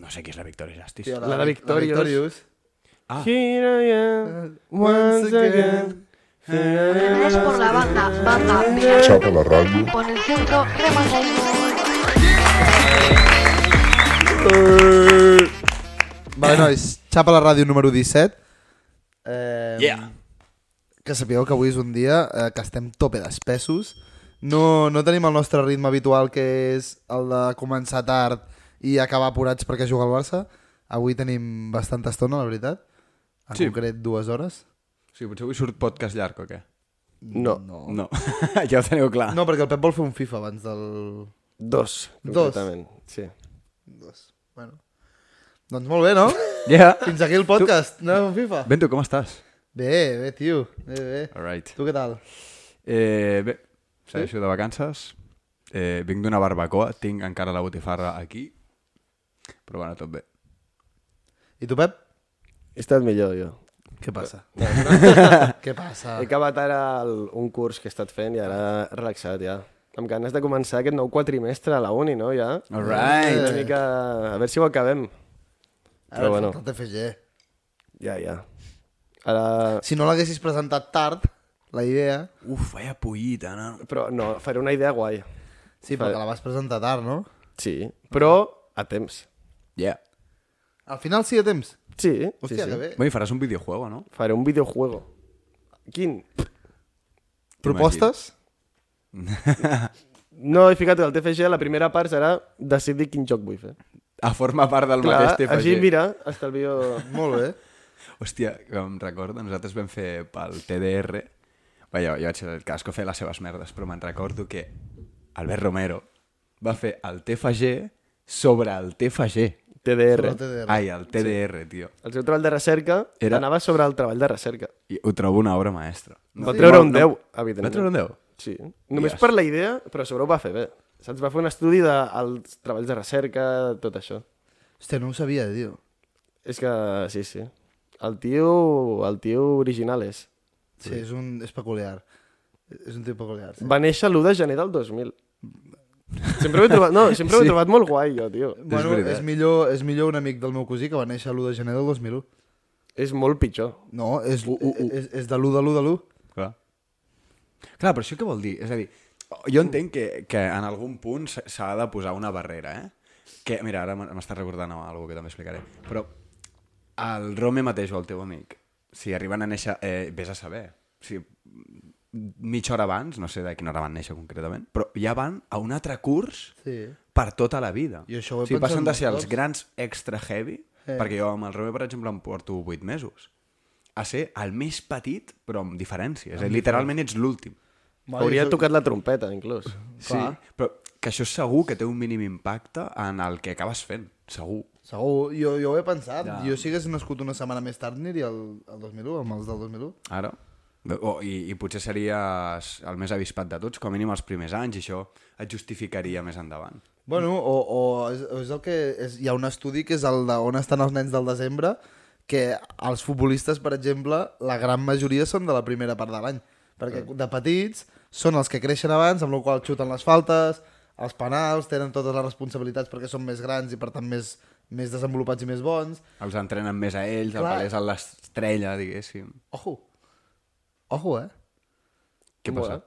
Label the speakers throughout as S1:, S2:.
S1: no sé qui és la Victoria Justice.
S2: Tio,
S1: Tio,
S2: la,
S3: La de
S2: de
S3: Victorious.
S2: Victorious. Eh,
S1: Ah.
S3: Here I am, once again.
S4: Es por la banda, banda, mira,
S5: Saca la radio.
S4: por el centro, remata
S2: Vale, nois, xapa la ràdio número 17. Eh,
S1: Yeah.
S2: Que sapigueu que avui és un dia eh, que estem tope d'espessos. No, no tenim el nostre ritme habitual, que és el de començar tard i acabar apurats perquè juga el Barça. Avui tenim bastanta estona, la veritat. En
S1: Sí.
S2: sí. concret, dues hores.
S1: Sí, pues, potser avui surt podcast llarg o què?
S3: No,
S2: No.
S1: No, ja ho teniu clar.
S2: No, perquè el Pep vol fer un FIFA abans del...
S3: dos,
S2: Dos.
S3: concretament. Sí.
S2: Dos. Bueno. Doncs molt bé, no?
S1: Yeah.
S2: Fins aquí el podcast. Tu... Anem a un FIFA.
S1: Bento, com estàs?
S2: Bé, bé, tio. Bé, bé.
S1: All right.
S2: Tu què tal?
S1: Eh, bé, segueixo de vacances. Eh, vinc d'una barbacoa, tinc encara la botifarra aquí. Però bueno, tot bé.
S2: I tu, Pep?
S3: He estat millor, jo.
S2: Què passa? Què passa?
S3: He acabat ara el, un curs que he estat fent i ara relaxat, ja. Amb ganes de començar aquest nou quatrimestre a la uni, no, ja?
S1: All right.
S3: Una mica... A veure si ho acabem.
S2: Ara
S3: Però bueno,
S2: falta el TFG.
S3: ja, ja. Ara...
S2: Si no l'haguessis presentat tard, la idea...
S1: Uf, vaya pollita, no?
S3: Però no, faré una idea guai.
S2: Sí, però que la vas presentar tard, no?
S3: Sí, però a temps.
S1: Yeah.
S2: Al final sí a temps.
S3: Sí,
S2: Hòstia,
S3: sí,
S2: que
S3: sí.
S2: bé.
S1: Bé, i faràs un videojuego, no?
S3: Faré un videojuego. Quin?
S2: Propostes?
S3: No, he ficat el TFG, la primera part serà decidir quin joc vull fer.
S1: A forma part del
S3: Clar,
S1: mateix TFG.
S3: així mira, estalvio...
S2: Molt bé.
S1: Hòstia, que em recordo, nosaltres vam fer pel TDR... Bé, jo, jo vaig ser el casco fer les seves merdes, però me'n recordo que Albert Romero va fer el TFG sobre el TFG.
S3: TDR.
S2: TDR.
S1: Ai, el TDR, sí. tio.
S3: El seu treball de recerca
S1: Era-
S3: Era... anava sobre el treball de recerca.
S1: I ho trobo una obra maestra.
S3: Va treure un
S1: no-
S3: 10, evidentment.
S1: Va treure un 10?
S3: Sí. Només
S1: Yes.
S3: per la idea, però sobre ho va fer bé. Saps? Va fer un estudi dels treballs de recerca, de tot això.
S2: Hòstia, no ho sabia, tio.
S3: És que, sí, sí. El tio, el tio original és.
S2: Sí, és un... és peculiar. És un tio peculiar. Sí.
S3: Va néixer l'1 de gener del 2000. Sempre ho he trobat, no, sempre ho
S1: Sí.
S3: he trobat molt guai, jo, tio.
S2: Bueno, és,
S1: veritat.
S2: millor, és millor un amic del meu cosí que va néixer l'1 de gener del 2001.
S3: És molt pitjor.
S2: No, és, Eh, és, és de l'1 de l'1 de l'1.
S1: Clar. Clar, però això què vol dir? És a dir, jo entenc que, que en algun punt s'ha- s'ha de posar una barrera, eh? Que, mira, ara m- m'estàs recordant alguna que també explicaré. Però el Rome mateix o el teu amic, si arriben a néixer, eh, vés a saber. Si mitja hora abans, no sé de quina hora van néixer concretament, però ja van a un altre curs
S2: Sí.
S1: per tota la vida.
S2: I això ho he
S1: o sigui,
S2: pensat
S1: passen de
S2: molts
S1: ser els
S2: cops.
S1: grans extra heavy,
S2: Eh.
S1: eh. perquè jo amb el Romeo, per exemple, em porto 8 mesos, a ser el més petit, però amb diferència. És a dir, literalment ets l'últim.
S2: Vale,
S3: Hauria
S2: això-
S3: tocat la trompeta, inclús.
S1: Sí, però que això segur que té un mínim impacte en el que acabes fent, segur.
S2: Segur, jo, jo ho he pensat. Ja. Jo si hagués nascut una setmana més tard aniria al, al 2001, amb els del 2001.
S1: Ara? O, i, I potser series el més avispat de tots, com a mínim els primers anys, i això et justificaria més endavant.
S2: Bueno, o, o és, o és el que... És, hi ha un estudi que és el de on estan els nens del desembre, que els futbolistes, per exemple, la gran majoria són de la primera part de l'any. Perquè de petits són els que creixen abans, amb la qual cosa xuten les faltes, els penals, tenen totes les responsabilitats perquè són més grans i per tant més, més desenvolupats i més bons.
S1: Els entrenen més a ells,
S2: Clar.
S1: el palès a l'estrella, diguéssim.
S2: Ojo. Ojo, eh?
S1: Què
S3: Bueno,
S1: passa?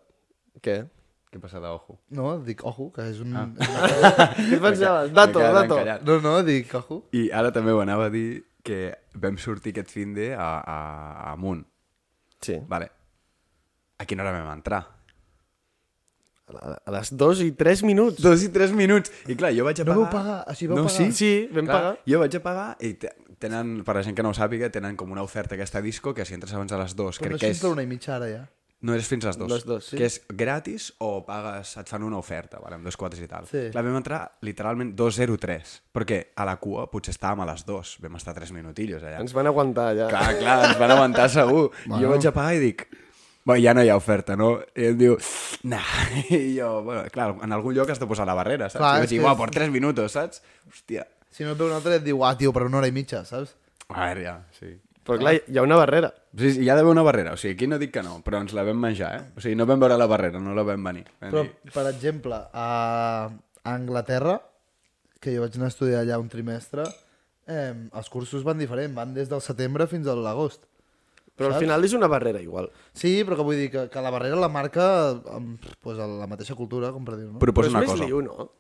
S3: Què?
S1: Què passa d'ojo?
S2: No, dic ojo, que és un... Ah.
S3: Què pensaves? Dato,
S1: quedat
S3: dato.
S1: encallat.
S2: No, no, dic ojo.
S1: I ara també ho anava a dir que vam sortir aquest fin de a, a, a Amunt.
S3: Sí.
S1: Vale. A quina hora vam entrar?
S3: A a les 2 i 3 minuts.
S1: Dos i tres minuts. I clar, jo vaig a
S2: No
S1: pagar...
S2: vau pagar? O sigui, vau
S1: no,
S2: pagar?
S1: Sí,
S3: Sí, vam
S1: clar,
S3: pagar.
S1: Jo vaig a pagar i te- tenen, per la gent que no ho sàpiga, tenen com una oferta aquesta disco que si entres abans de les dues,
S2: Però
S1: crec
S2: això
S1: que
S2: és
S1: és...
S2: la una i mitja ara, ja.
S1: No, és fins a les dues.
S3: Les dues, sí.
S1: Que és gratis o pagues, et fan una oferta, vale, amb dos quotes i tal.
S2: Sí.
S1: La vam entrar literalment 2.03, perquè a la cua potser estàvem a les dues, vam estar tres minutillos allà.
S3: Ens van aguantar allà.
S1: Clar, clar, ens van aguantar segur. Bueno. Jo vaig a pagar i dic... Bueno, ja no hi ha oferta, no? I em diu, nah. I jo, bueno, clar, en algun lloc has de posar la barrera, saps? Clar,
S2: Clar,
S1: I
S2: és
S1: vaig dir,
S2: que
S1: "Buah,
S2: és-
S1: per 3 minuts, saps? Hòstia.
S2: Si no et veu un altre et diu, ah, tio, per una hora i mitja, saps?
S1: A veure, ja, sí.
S3: Però clar, hi ha una barrera.
S1: Sí, sí, hi ha d'haver una barrera, o sigui, aquí no dic que no, però ens la vam menjar, eh? O sigui, no vam veure la barrera, no la vam venir. Vam
S2: Però,
S1: dir,
S2: per exemple, a a Anglaterra, que jo vaig anar a estudiar allà un trimestre, eh, els cursos van diferent, van des del setembre fins a l'agost.
S3: Però al
S2: Saps?
S3: final és una barrera igual.
S2: Sí, però que vull dir que, que la barrera la marca amb, pues, la mateixa cultura, com per dir no?
S1: Proposa
S3: és
S1: una
S3: més
S1: cosa.
S3: Liu, no?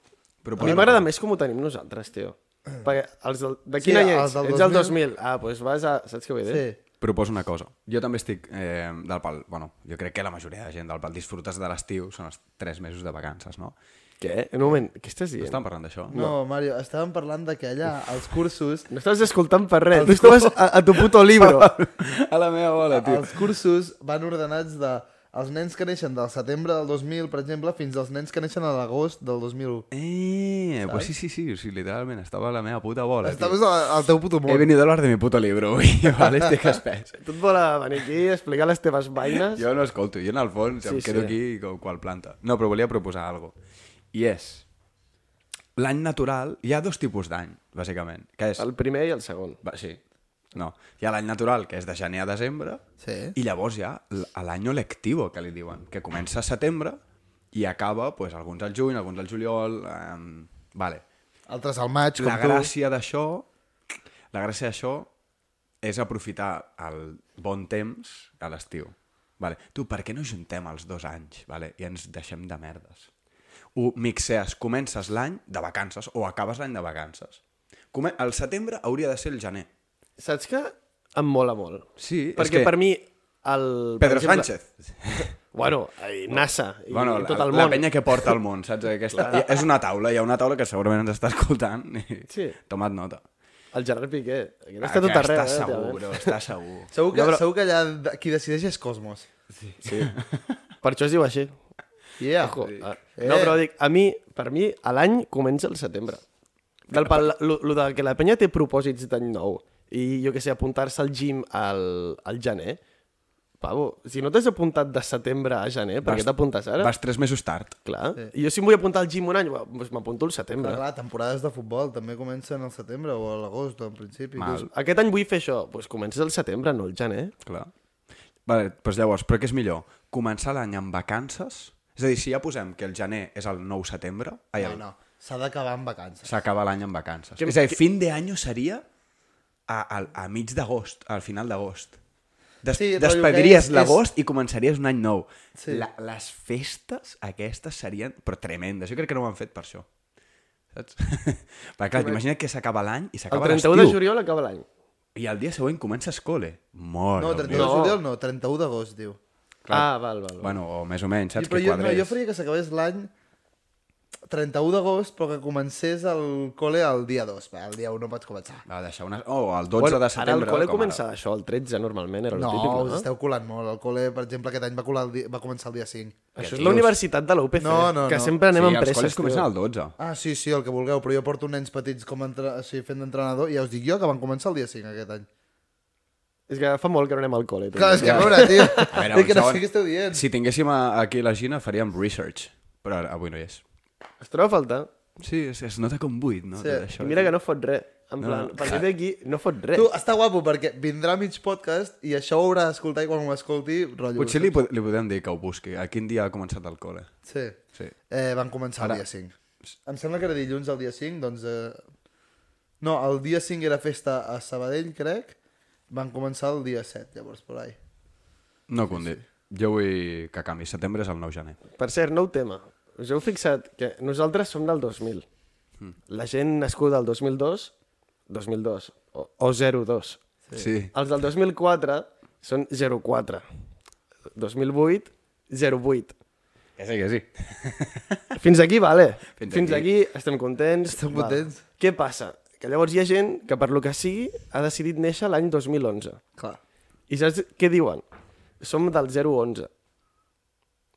S1: Proposa
S3: a mi
S1: una cosa.
S3: m'agrada
S1: Eh.
S3: més com ho tenim nosaltres, tio. Perquè els del... De
S2: Sí,
S3: quin any
S2: els
S3: ets?
S2: del
S3: Ets del
S2: 2000.
S3: 2000. Ah, doncs vas a... Saps què vull dir?
S2: Sí.
S1: Proposa una cosa. Jo també estic eh, del pal... Bueno, jo crec que la majoria de gent del pal disfrutes de l'estiu, són els tres mesos de vacances, no?
S3: Què? Un moment, què estàs
S1: No
S3: dient?
S1: estàvem parlant d'això?
S2: No, Mario, estàvem parlant de que allà, als cursos,
S3: No estàs escoltant per res. Tu estaves a, a tu puto libro.
S1: A la meva bola, tio.
S2: els cursos van ordenats de els nens que neixen del setembre del 2000, per exemple, fins als nens que neixen a l'agost del 2001.
S1: Eh, pues sí, sí, sí, o sigui, literalment, estava a la meva puta bola, tio.
S2: Estaves al, al teu puto
S1: He
S2: món.
S1: venido a hablar de mi puto libro, avui, vale? Estic espès.
S3: Tu et vol venir aquí a explicar les teves vaines?
S1: Jo no escolto, jo en el fons sí, em
S3: Sí,
S1: quedo
S3: sí.
S1: sí. aquí com qual planta. No, però volia proposar alguna cosa. I és... L'any natural... Hi ha dos tipus d'any, bàsicament. Que és...
S3: El primer i el segon.
S1: Va, sí. No. Hi ha l'any natural, que és de gener a desembre,
S2: Sí.
S1: i llavors hi ha l- a l'any lectivo, que li diuen, que comença a setembre i acaba, pues, alguns al juny, alguns al juliol... Eh, vale.
S2: Altres al maig, com
S1: La gràcia d'això... La gràcia d'això és aprofitar el bon temps a l'estiu. Vale. Tu, per què no juntem els dos anys vale? i ens deixem de merdes? Ho mixees, comences l'any de vacances o acabes l'any de vacances. Come el setembre hauria de ser el gener.
S3: Saps que em mola molt?
S1: Sí, és
S3: Perquè
S1: que-
S3: per mi el... per
S1: Pedro
S3: exemple-
S1: Sánchez.
S3: Bueno, eh, i NASA i,
S1: bueno,
S3: i tot el
S1: la,
S3: món.
S1: la penya que porta al món, saps? Aquesta, hi, és una taula, hi ha una taula que segurament ens està escoltant i
S3: Sí.
S1: tomat nota.
S3: El Gerard Piqué. Aquí
S2: Ah,
S3: no està tot
S1: Aquest
S3: arreu.
S1: Està
S3: eh,
S1: segur,
S3: tio?
S1: bro, està segur.
S2: Segur que,
S3: No, però-
S2: segur que allà de- qui decideix és Cosmos.
S3: Sí. Per això es diu així.
S2: Yeah.
S3: Ojo.
S2: Sí. Eh.
S3: Ah, No, però dic, a mi, per mi, a l'any comença el setembre. Del pal, lo, lo de que la penya té propòsits d'any nou i, jo que sé, apuntar-se al gym al, al gener, pavo, si no t'has apuntat de setembre a gener, per què t'apuntes ara?
S1: Vas tres mesos tard.
S3: Clar. I jo si em vull apuntar al gym un any, va, doncs m'apunto al
S2: Però
S3: setembre.
S2: clar, temporades de futbol també comencen al setembre o a l'agost, en principi.
S1: Mal.
S3: Aquest any vull fer això. Doncs comences al setembre, no al gener.
S1: Clar. Vale, doncs llavors, però què és millor? Començar l'any amb vacances? És a dir, si ja posem que el gener és el 9 setembre, ai,
S2: No,
S1: el-
S2: no, s'ha d'acabar amb vacances.
S1: s'acaba l'any amb vacances.
S3: Que-
S1: és a dir, fin de any seria a, a, a mig d'agost, al final d'agost. Des,
S2: Sí,
S1: sí,
S2: rotllo que
S1: despediries
S2: és-
S1: l'agost i començaries un any nou. Sí.
S2: Sí.
S1: La, les festes aquestes serien, però tremendes. Jo crec que no ho han fet per això. Saps? Perquè clar, imagina't que s'acaba l'any i
S3: El
S1: s'acaba
S3: 31
S1: l'estiu.
S3: de juliol acaba l'any.
S1: I el dia següent comences cole. Mort.
S2: No,
S1: Déu meu.
S2: 31 de
S3: No.
S2: juliol no, 31 d'agost, diu.
S3: Ah, val, val. val.
S1: Bueno, o més o menys,
S2: I,
S1: saps?
S2: però
S1: que
S2: jo, no,
S1: quadrés.
S2: jo faria que s'acabés l'any 31 d'agost, però que comencés el col·le el dia 2. Va, el dia 1 no pots començar.
S1: Va, deixar una... Oh, el 12
S3: Bueno,
S1: de setembre.
S3: Ara el col·le
S1: com
S3: comença això, el 13 normalment, era
S2: No,
S3: el típic,
S2: us
S3: no?
S2: esteu colant molt. El col·le, per exemple, aquest any va, colar el dia, va començar el dia 5.
S3: Això és la universitat de la UPC,
S2: No, no,
S3: que
S2: no.
S3: sempre anem
S1: sí,
S3: amb
S1: els col·les
S3: presses,
S1: comencen
S3: tio.
S1: el 12.
S2: Ah, sí, sí, el que vulgueu, però jo porto nens petits com a entre... o sigui, fent d'entrenador i ja us dic jo que van començar el dia 5 aquest any.
S3: És que fa molt que no anem al col·le. tio.
S2: Clar, és que a veure, tio.
S1: A veure, un
S2: és que no
S1: segon.
S2: sé què esteu dient.
S1: Si tinguéssim a- aquí la Gina, faríem research. Però ara, avui no hi és.
S3: Es troba a faltar.
S1: Sí, es, es nota com buit, no?
S2: Sí.
S1: Tot
S3: I
S1: això, eh?
S3: mira que no fot res. En
S1: No,
S3: plan,
S1: no,
S3: per
S1: clar.
S3: mi d'aquí no fot res.
S2: Tu, està guapo perquè vindrà mig podcast i això ho haurà d'escoltar i quan ho escolti, rotllo...
S1: Potser li, pod- li podem dir que ho busqui. A quin dia ha començat el col·le?
S2: Sí.
S1: Sí.
S2: Eh, van començar Ara... el dia 5. Em sembla que era dilluns el dia 5, doncs... Eh... No, el dia 5 era festa a Sabadell, crec. Van començar el dia 7, llavors, por ahí.
S1: No condit. Jo vull que canvi. Setembre és el 9 gener.
S3: Per cert, nou tema. Us heu fixat que nosaltres som del 2000. La gent nascuda al 2002, 2002 o, o 02.
S1: Sí. sí.
S3: Els del 2004 són 04. 2008, 08.
S1: Que sí, que sí.
S3: Fins aquí, vale. Fins,
S1: Fins
S3: Fins aquí.
S1: aquí.
S3: aquí estem contents.
S2: Estem
S3: Val.
S2: contents.
S3: Què passa? Que llavors hi ha gent que, per lo que sigui, ha decidit néixer l'any 2011.
S2: Clar.
S3: I saps què diuen? Som del 011.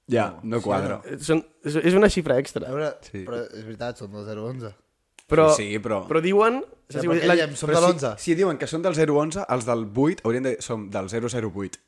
S1: Ja, no quadra.
S3: Són, és és una xifra
S2: A
S3: extra.
S2: veure, sí.
S1: Sí.
S2: però és veritat, són del 011.
S3: Però,
S1: Sí, però-
S3: però diuen...
S2: Ja,
S3: saps què
S2: però
S3: vull dir?
S2: què diem? Som de
S1: si-
S2: l'11.
S1: Si, diuen que són del 011, els del 8 haurien de dir som del 008.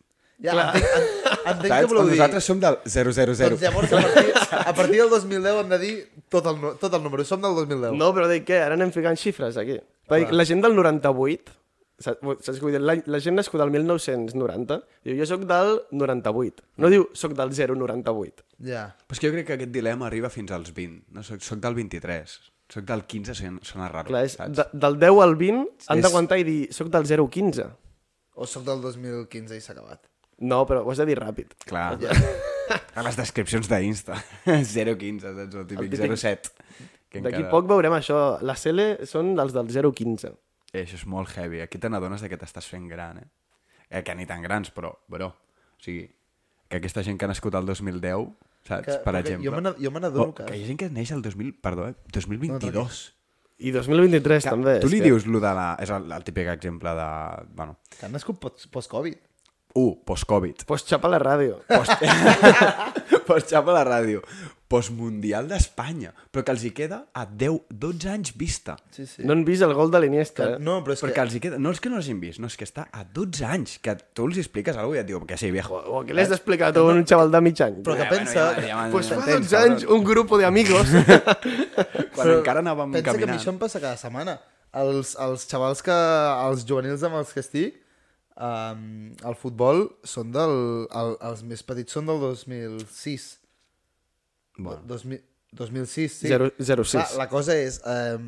S2: Ja, entenc, en- entenc
S1: Saps?
S2: que voleu
S1: O
S2: dir...
S1: nosaltres som del 000.
S2: Doncs llavors, a partir, a partir del 2010 hem de dir tot el, nu- tot el número. Som del 2010.
S3: No, però dic què? Ara anem ficant xifres aquí. Perquè la gent del 98, saps, saps què vull dir? La, la gent nascuda el 1990 diu jo sóc del 98. No diu sóc del 098.
S2: Ja.
S1: Però és que jo crec que aquest dilema arriba fins als 20. No? Soc, soc del 23. Soc del 15, sona, sona raro,
S3: Clar, és
S1: saps?
S3: de, del 10 al 20 han
S1: És-
S3: d'aguantar i dir soc del 0 al 15.
S2: O soc del 2015 i s'ha acabat.
S3: No, però ho has de dir ràpid.
S1: Clar. A les descripcions d'Insta. 015, saps? El típic,
S3: El típic-
S1: 07. que
S3: D'aquí
S1: encara-
S3: poc veurem això. La Cele són dels del 0 al 15.
S1: Eh, això és molt heavy. Aquí te n'adones de que t'estàs fent gran, eh? eh? Que ni tan grans, però, però... O sigui, que aquesta gent que ha nascut al 2010, saps?
S2: Que-
S1: per
S2: perquè
S1: exemple.
S2: jo me n'ad- jo me n'adono
S1: O
S2: que-
S1: que hi ha gent que neix al 2000... Perdó, eh? 2022.
S3: I 2023 també.
S1: tu
S3: és
S1: li
S3: que-
S1: dius lo de la... És el, el típic exemple de... Bueno,
S2: Que han nascut post- post-Covid.
S1: u, post-Covid.
S3: Pues xapa la ràdio.
S1: Post-xapa a la ràdio. Post-mundial d'Espanya. Però que els hi queda a 10, 12 anys vista.
S2: Sí, sí.
S3: No han vist el gol de l'Iniesta.
S2: Que,
S3: eh?
S2: no, però és
S1: Perquè
S2: que...
S1: els hi queda... No és que no l'hagin vist, no, és que està a 12 anys. Que tu els hi expliques alguna cosa i et diu que sí, viejo.
S3: O què l'has d'explicar tu a un xaval de mig any?
S2: Però que
S1: Eh, bueno,
S2: pensa...
S1: ja- ja-
S3: Pues fa
S2: doncs
S1: m'entens,
S3: 12 anys un grup d'amigos.
S1: Quan
S2: Però
S1: encara anàvem
S2: pensa que a mi
S1: caminant.
S2: això em passa cada setmana. Els, els xavals que... Els juvenils amb els que estic, um, al futbol, són del... El, els més petits són del 2006.
S1: Bueno.
S2: 2000, 2006, sí.
S3: Zero- zero
S2: Clar,
S3: sis.
S2: la cosa és, eh,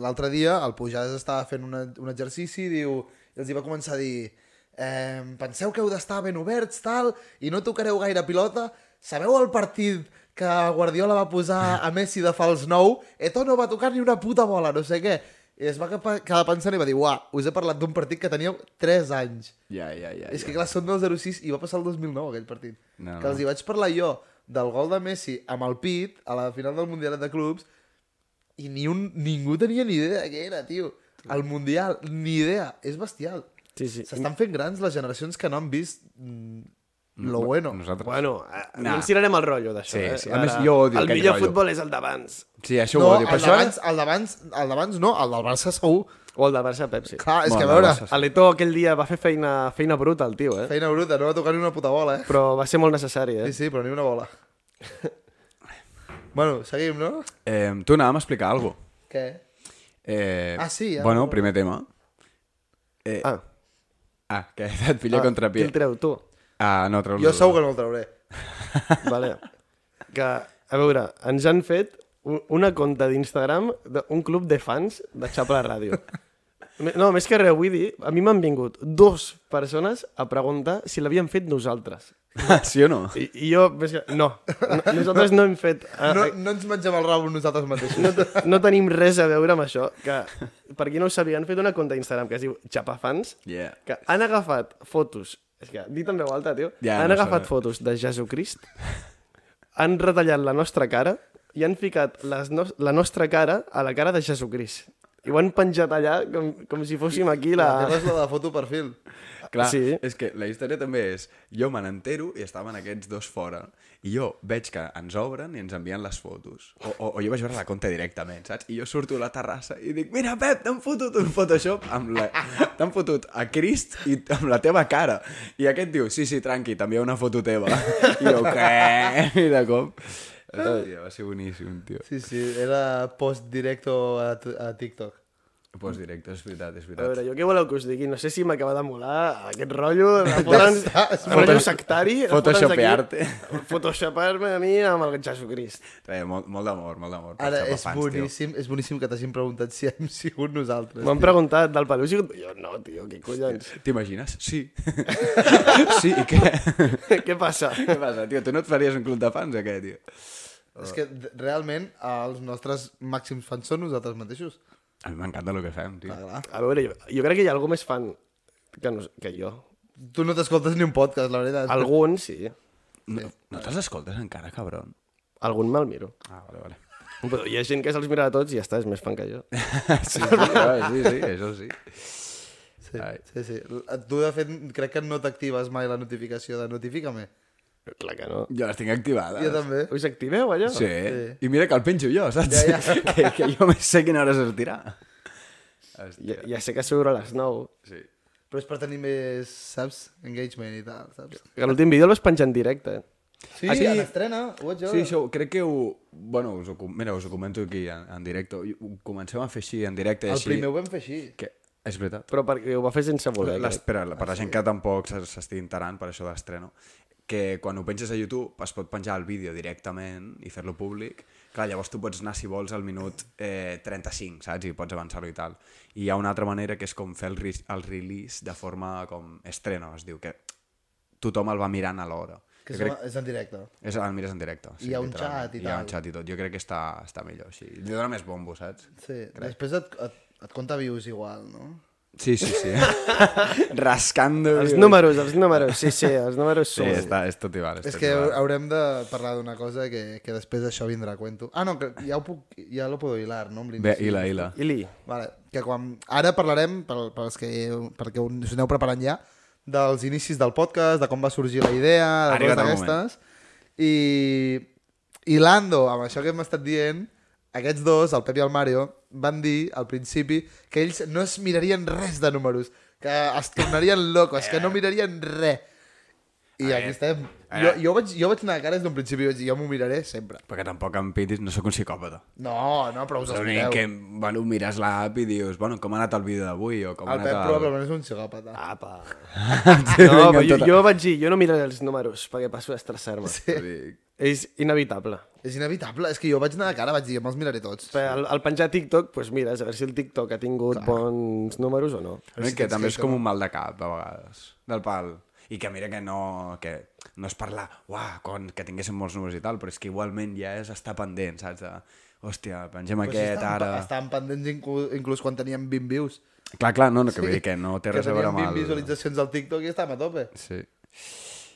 S2: l'altre dia el Pujades estava fent una, un exercici i diu, i els hi va començar a dir eh, penseu que heu d'estar ben oberts, tal, i no tocareu gaire pilota. Sabeu el partit que Guardiola va posar a Messi de fals nou? Eto no va tocar ni una puta bola, no sé què. I es va capa- quedar pensant i va dir, uah, us he parlat d'un partit que teníeu 3 anys.
S1: Ja, ja, ja.
S2: És que
S1: ja.
S2: clar, són del 06 i va passar el 2009 aquell partit.
S1: No,
S2: No,
S1: no.
S2: que els hi vaig parlar jo del gol de Messi amb el pit a la final del Mundial de Clubs i ni un, ningú tenia ni idea de què era, tio. El Mundial, ni idea. És bestial.
S3: Sí, sí.
S2: S'estan fent grans les generacions que no han vist mm, lo bueno.
S1: Nosaltres...
S3: Bueno, eh,
S1: Nah.
S3: no ens tirarem el rotllo d'això.
S1: Sí,
S3: eh?
S1: sí. A més, jo odio
S3: El
S1: aquest
S3: millor
S1: rotllo.
S3: futbol és el d'abans.
S1: Sí, això
S2: No,
S1: ho
S2: el
S1: diu. Però això...
S2: d'abans, el d'abans, el d'abans no, el del Barça segur.
S3: O el de Barça-Pepsi.
S2: Clar, és
S1: Bueno,
S2: que a
S1: el
S2: veure,
S1: Barça sí.
S3: L'Eto aquell dia va fer feina, feina bruta, el tio, eh?
S2: feina bruta, no va tocar ni una puta bola, eh?
S3: Però va ser molt necessari, eh?
S2: Sí, sí, però ni una bola. bueno, seguim, no?
S1: Eh, tu anàvem a explicar alguna cosa.
S2: Què?
S1: Eh,
S2: Ah, sí, ja.
S1: Bueno, primer tema. Eh, ah.
S3: Ah,
S1: ah, que et pilla ah, contra
S3: qui el treu, tu?
S1: Ah, no, treu
S2: Jo segur que no el trauré.
S3: Vale. Que, a veure, ens han fet u- una conta d'Instagram d'un club de fans de Xapla Ràdio. Me- No, més que res, vull dir, a mi m'han vingut dos persones a preguntar si l'havíem fet nosaltres.
S1: sí o no?
S3: I, i jo, més que... No, no nosaltres no hem fet... eh,
S2: No, no ens mengem el rabo nosaltres mateixos.
S3: no, te- no tenim res a veure amb això. Que, per qui no ho sabia, han fet una conta d'Instagram que es diu Xapafans,
S1: Yeah.
S3: que han agafat fotos... És que, dit en veu alta, tio.
S1: Ja,
S3: han
S1: no
S3: agafat
S1: sé.
S3: fotos de Jesucrist, han retallat la nostra cara i han ficat les no la nostra cara a la cara de Jesucrist. I ho han penjat allà com, com si fóssim aquí
S2: La
S3: la...
S2: teva és la de foto perfil.
S1: Clar, sí.
S3: Sí.
S1: és que la història també és... Jo me n'entero i estaven aquests dos fora. I jo veig que ens obren i ens envien les fotos. O, o, o jo vaig veure la conta directament, saps? I jo surto a la terrassa i dic Mira, Pep, t'han fotut un Photoshop amb la... T'han fotut a Crist i t- amb la teva cara. I aquest diu Sí, sí, tranqui, t'envia una foto teva. I jo, què? I de cop... Hòstia, va ser boníssim, tio.
S2: Sí, sí, era post directo a, t- a TikTok.
S1: Pues directe, és veritat, és
S3: A
S1: veritat.
S3: veure, jo què voleu que us digui? No sé si m'acaba de molar aquest rotllo, de fotre'ns-
S2: Ja està, es
S3: rotllo
S1: foto-
S3: sectari.
S1: photoshopear-te.
S3: fotre'ns aquí- Photoshopear-me a mi amb el Jesucrist.
S1: Res, molt, molt d'amor, molt d'amor. per
S2: Ara,
S1: xapar
S2: és
S1: fans, tio.
S2: boníssim, és boníssim que t'hagin preguntat si hem sigut nosaltres.
S3: M'han preguntat del Pelús i jo, no, tio, què collons?
S1: T'imagines? Sí. sí, i què?
S3: què passa?
S1: què passa, tio? Tu no et faries un club de fans, o què, tio?
S2: És que d- realment els nostres màxims fans són nosaltres mateixos.
S1: A mi m'encanta el que fem, tio.
S2: Clar.
S3: A veure, jo, jo crec que hi ha algú més fan que, no, que jo.
S2: Tu no t'escoltes ni un podcast, la veritat.
S3: Algun, sí.
S1: No, no te'ls escoltes encara, cabron?
S3: Algun me'l miro.
S1: Ah, vale, vale.
S3: Però hi ha gent que se'ls mira a tots i ja està, és més fan que jo.
S1: Sí, sí, clar, sí, sí, això sí.
S2: Sí,
S1: Ai.
S2: sí, sí. L- Tu, de fet, crec que no t'actives mai la notificació de notifica-me.
S3: Però Clar que no.
S1: Jo les tinc activades.
S2: Jo també.
S3: Us activeu, allò?
S1: Sí.
S2: Sí.
S1: I mira que el penjo jo, saps?
S2: Ja, ja.
S1: Que, que jo més sé quina hora sortirà.
S3: Ja, ja sé que sobre les 9.
S1: Sí.
S2: Però és per tenir més, saps? Engagement i tal, saps?
S3: Que l'últim vídeo el vas penjar en directe. eh?
S2: Sí,
S1: Ah, sí?
S2: en estrena, ho vaig veure.
S1: Sí, això, ho- crec que ho... Bueno, us ho, com- mira, us ho comento aquí en, en directe. Ho comencem a fer així, en directe. i
S2: El
S1: així,
S2: primer ho vam fer així.
S1: Que... És veritat.
S3: Però perquè ho va fer sense voler.
S1: L'espera, per la gent que tampoc s'es- s'estigui enterant per això d'estreno, que quan ho penges a YouTube es pot penjar el vídeo directament i fer-lo públic. Clar, llavors tu pots anar, si vols, al minut eh, 35, saps? I pots avançar-ho i tal. I hi ha una altra manera que és com fer el, re el release de forma com estreno, es diu, que tothom el va mirant a l'hora.
S2: Que
S1: Jo
S2: crec... és en directe.
S1: és el mires en directe.
S2: Hi ha un
S1: literalment.
S2: xat i
S1: Hi ha
S2: tal.
S1: un xat i tot. Jo crec que està, està millor així. Li dona més bombo, saps?
S2: Sí. Crec. Després et, et, et compta views igual, no?
S1: Sí, sí, sí. Rascant de...
S3: Els números, els números, sí, sí, els números
S1: Sí,
S3: sumen.
S1: està, és tot igual.
S2: És que haurem de parlar d'una cosa que, que després això vindrà a cuento. Ah, no, que ja ho puc... Ja lo puedo hilar, no? Amb
S1: Bé,
S2: l'inici.
S1: hila, hila.
S3: Ili,
S2: Vale, que quan... Ara parlarem, per, pels que, perquè us aneu preparant ja, dels inicis del podcast, de com va sorgir la idea,
S1: Ha
S2: de
S1: arribat
S2: coses
S1: el moment.
S2: d'aquestes. I, I l'Ando, amb això que hem estat dient, aquests dos, el Pep i el Mario, van dir al principi que ells no es mirarien res de números, que es tornarien locos, que no mirarien res. I aquí estem. Jo, jo, vaig, jo vaig anar a cares d'un principi i vaig dir, jo m'ho miraré sempre.
S1: Perquè tampoc em pitis, no sóc un psicòpata.
S2: No, no, però us
S1: L'únic
S2: expliqueu.
S1: que, bueno, mires l'app i dius, bueno, com ha anat el vídeo d'avui? O com ha
S2: El
S1: anat
S2: Pep probablement és un psicòpata.
S3: apa.
S1: Sí,
S3: No,
S1: vinga,
S3: però jo,
S1: tota-
S3: jo vaig dir, jo no miraré els números perquè passo a estressar-me. Sí.
S1: Dic,
S3: És inevitable.
S2: És inevitable, és que jo vaig anar de cara, vaig dir, me'ls miraré tots.
S3: Però Al, al penjar TikTok, doncs mires a veure si el TikTok ha tingut Clar. bons números o no.
S1: L'únic que també és com un mal de cap, a vegades. Del pal. I que mira que no, que no és parlar, uah, con, que tinguéssim molts números i tal, però és que igualment ja és estar pendent, saps? De, hòstia, pengem
S2: Però si
S1: aquest
S2: estàvem-
S1: ara...
S2: Estàvem pendents inclús, inclús quan teníem 20 views.
S1: Clar, clar, no, no, que vull dir que no té res a veure amb
S2: Que teníem 20
S1: el...
S2: visualitzacions al TikTok i estàvem a tope.
S1: Sí,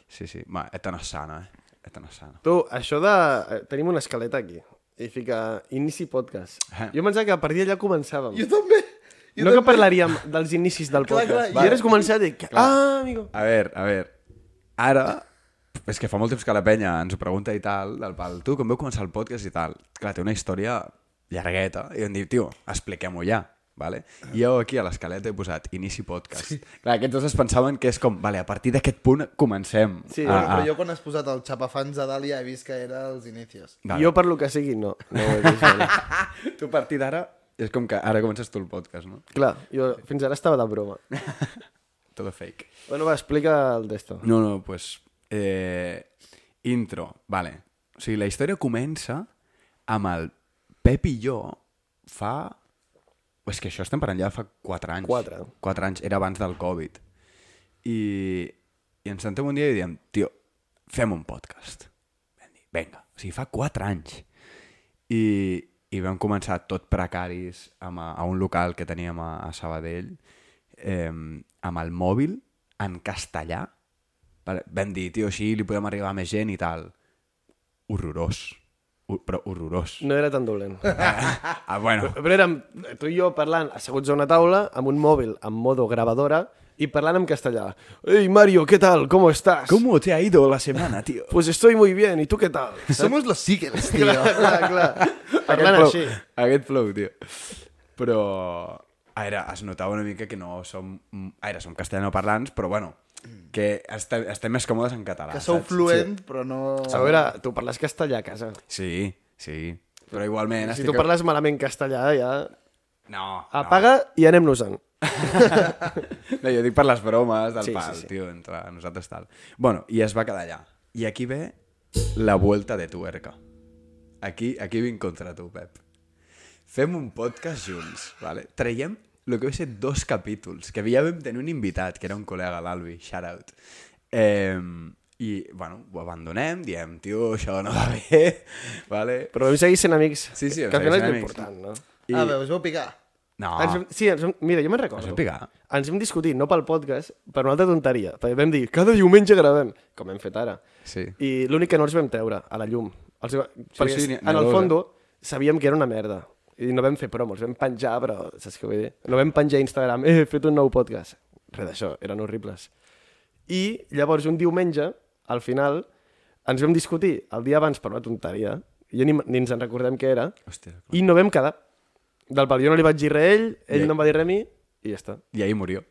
S1: sí, sí. Va, eta no és sana, eh? Eta no és sana.
S3: Tu, això de... eh, Tenim una escaleta aquí. I fica inici podcast.
S1: Ah.
S3: Jo em pensava que a partir d'allà començàvem.
S2: Jo també. Jo
S3: no que
S2: també.
S3: parlaríem dels inicis del
S2: Clar,
S3: podcast. Clar,
S2: clar,
S3: I
S2: jo-
S3: eres començat a dir... Que... Ah, amigo.
S1: A veure, a veure. Ara, és que fa molt temps que la penya ens ho pregunta i tal, del pal, tu, com veu començar el podcast i tal? Clar, té una història llargueta. I em diu, tio, expliquem-ho ja. Vale? I jo aquí a l'escaleta he posat inici podcast. Sí. Clar, aquests dos es pensaven que és com, vale, a partir d'aquest punt comencem. Ah,
S3: Sí,
S2: Bueno, però jo quan has posat el xapafans a dalt ja he vist que era els inicios.
S1: Vale.
S3: Jo per lo que sigui, no. no ho he vist, vale.
S1: Tu a partir d'ara, és com que ara comences tu el podcast, no?
S3: Clar, jo fins ara estava de broma.
S1: Todo fake.
S3: Bueno, va, explica el d'esto.
S1: No, no, pues... Eh, intro, vale. O sigui, la història comença amb el Pep i jo fa... O És que això estem parlant ja de fa 4 anys.
S3: Quatre.
S1: 4 anys, era abans del Covid. I, i ens sentem un dia i diem, tio, fem un podcast. Vam dir, vinga. O sigui, fa 4 anys. I, i vam començar tot precaris amb, a, a un local que teníem a, a Sabadell, eh, amb el mòbil en castellà. Vale, Vam dir, tio, així li podem arribar a més gent i tal. Horrorós. Ho- però horrorós.
S3: No era tan dolent.
S1: Ah, bueno.
S3: Però érem tu i jo parlant, asseguts a una taula, amb un mòbil en modo gravadora, i parlant en castellà. Ei, Mario, què tal? Com estàs?
S1: ¿Cómo te ha ido la semana, tío?
S3: Pues estoy muy bien, i tu què tal?
S2: Somos los sigles, tio.
S3: clar, clar. Parlant
S1: flow,
S3: així.
S1: Aquest flow, tio. Però... A veure, es notava una mica que no som... A veure, som castellanoparlants, però bueno, que estem, estem més còmodes en català.
S2: Que
S1: Ah,
S2: sou
S1: saps?
S2: fluent, però no...
S3: A veure, tu parles castellà a casa.
S1: Sí, sí. Però igualment...
S3: Si
S1: estic-
S3: tu parles malament castellà, ja...
S1: No,
S3: Apaga i anem-nos-en.
S1: no. no. jo dic per les bromes del
S3: Sí,
S1: sí,
S3: sí,
S1: pal, sí,
S3: sí.
S1: sí. tio, entre nosaltres tal. Bueno, i es va quedar allà. I aquí ve la vuelta de tuerca. Aquí, aquí vinc contra tu, Pep. Fem un podcast junts, vale? Traiem el que va ser dos capítols, que ja vam tenir un invitat, que era un col·lega, l'Albi, shout out. Eh, I, bueno, ho abandonem, diem, tio, això no va bé, vale?
S3: Però vam seguir sent amics,
S1: Sí, sí,
S3: que al final és
S1: seguim
S3: l'important, no?
S1: I...
S2: Ah, bé, us vau picar.
S1: No,
S3: Ens vam, sí, ens vam, mira, jo me'n recordo.
S1: Ah. Ens vam picar.
S3: Ens vam discutir, no pel podcast, per una altra tonteria. Perquè vam dir, cada diumenge gravem, com hem fet ara.
S1: Sí.
S3: I l'únic que no els vam treure, a la llum. Els, sí, perquè
S1: sí,
S3: sí,
S1: ni-
S3: en el
S1: nerviosa.
S3: fondo sabíem que era una merda. I no vam fer promos, vam penjar, però saps què vull dir? No vam penjar a Instagram, eh, he fet un nou podcast. Res d'això, eren horribles. I llavors un diumenge, al final, ens vam discutir el dia abans per una tonteria, i ni, ni ens en recordem què era,
S1: hòstia.
S3: i no vam quedar. Del pal, jo no li vaig dir res a ell, ell
S1: I-
S3: no em va dir res a mi, i ja està.
S1: Y ahí murió.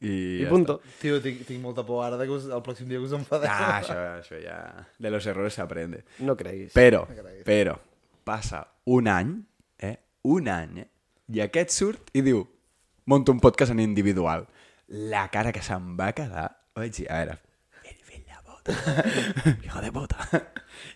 S1: Y,
S3: I
S1: ya
S3: punto.
S2: Tio, tinc, tinc molta por ara de que us, el pròxim dia que us
S1: está.
S2: enfadeu.
S1: Ah, això, això ja... De los errores se aprende.
S3: No creguis.
S1: Però, però, passa un any, eh? Un any, eh? I aquest surt i diu, monto un podcast en individual. La cara que se'm va quedar, vaig dir, a veure, ell ve la boca. Hijo de puta.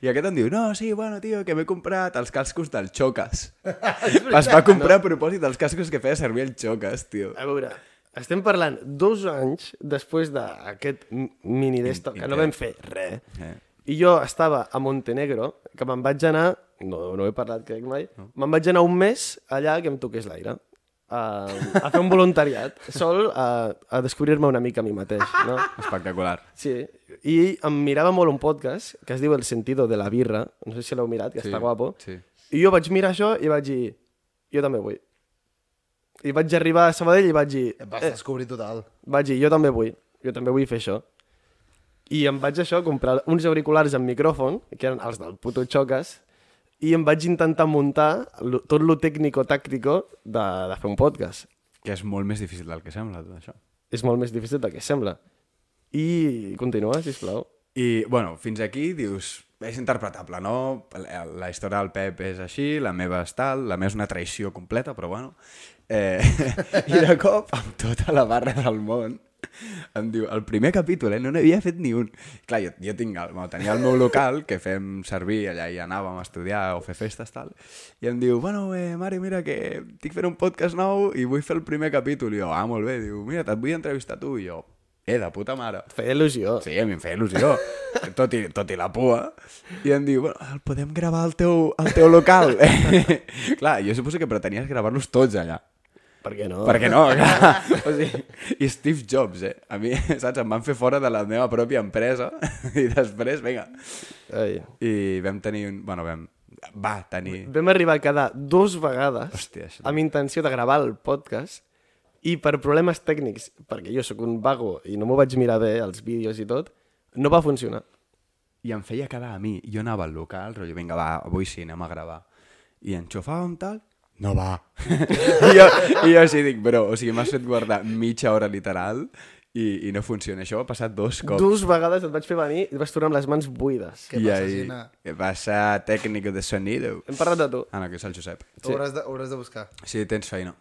S1: I aquest em diu, no, sí, bueno, tio, que m'he comprat els cascos del Xocas. es va comprar a propòsit els cascos que feia servir el Xocas, tio.
S3: A veure, estem parlant dos anys després d'aquest m- mini d'esto, que no vam fer res.
S1: Eh.
S3: I jo estava a Montenegro, que me'n vaig anar, no, no he parlat crec mai, me'n vaig anar un mes allà que em toqués l'aire. A, a fer un voluntariat, sol a, a descobrir-me una mica a mi mateix, no?
S1: Espectacular.
S3: Sí, i em mirava molt un podcast que es diu El sentido de la birra, no sé si l'heu mirat, que
S1: Sí,
S3: sí, està guapo,
S1: sí.
S3: i jo vaig mirar això i vaig dir, jo també vull. I vaig arribar a Sabadell i vaig dir,
S2: Em
S1: Eh.
S2: vas descobrir total.
S3: vaig dir, jo també vull, jo també vull fer això. I em vaig això, comprar uns auriculars amb micròfon, que eren els del puto Xocas, i em vaig intentar muntar lo- tot lo tècnico-tàctico de, de fer un podcast.
S1: Que és molt més difícil del que sembla, tot això.
S3: És molt més difícil del que sembla. I continua, sisplau.
S1: I, bueno, fins aquí dius, és interpretable, no? La, la història del Pep és així, la meva és tal, la meva és una traïció completa, però bueno. Eh, I de cop, amb tota la barra del món, em diu, el primer capítol, eh? No n'havia fet ni un. Clar, jo, jo tinc el, bueno, tenia el meu local, que fem servir, allà hi anàvem a estudiar o fer festes, tal, i em diu, bueno, eh, Mari, mira, que estic fent un podcast nou i vull fer el primer capítol. I jo, ah, molt bé. Diu, mira, et vull entrevistar tu. I jo, eh, de puta mare.
S3: Feia il·lusió.
S1: Sí, a mi em feia il·lusió, tot i, tot i la pua. I em diu, bueno, el podem gravar al teu, al teu local. clar, jo suposo que pretenies gravar-los tots allà.
S3: Per què no?
S1: Per què no? Clar. O sigui, I Steve Jobs, eh? A mi, saps, em van fer fora de la meva pròpia empresa i després, vinga.
S3: Ai.
S1: I vam tenir un... Bueno, vam... Va tenir...
S3: Vam arribar a quedar dos vegades
S1: Hòstia, això
S3: amb intenció de gravar el podcast i per problemes tècnics, perquè jo sóc un vago i no m'ho vaig mirar bé, els vídeos i tot, no va funcionar.
S1: i em feia quedar a mi. Jo anava al local, rotllo, vinga, va, avui sí, anem a gravar. I enxufàvem tal, no va. I, jo, I jo així dic, bro, o sigui, m'has fet guardar mitja hora literal i, i no funciona. Això ha passat dos
S3: Com?
S1: cops.
S3: Dues vegades et vaig fer venir i et vas tornar amb les mans buides.
S2: Què
S1: I
S2: passa,
S1: ahí-
S2: Gina?
S1: Què passa, tècnic de sonido?
S3: Hem parlat de tu.
S1: Ah, no, que és el Josep.
S2: Ho hauràs de, ho hauràs de buscar.
S1: Sí, tens feina.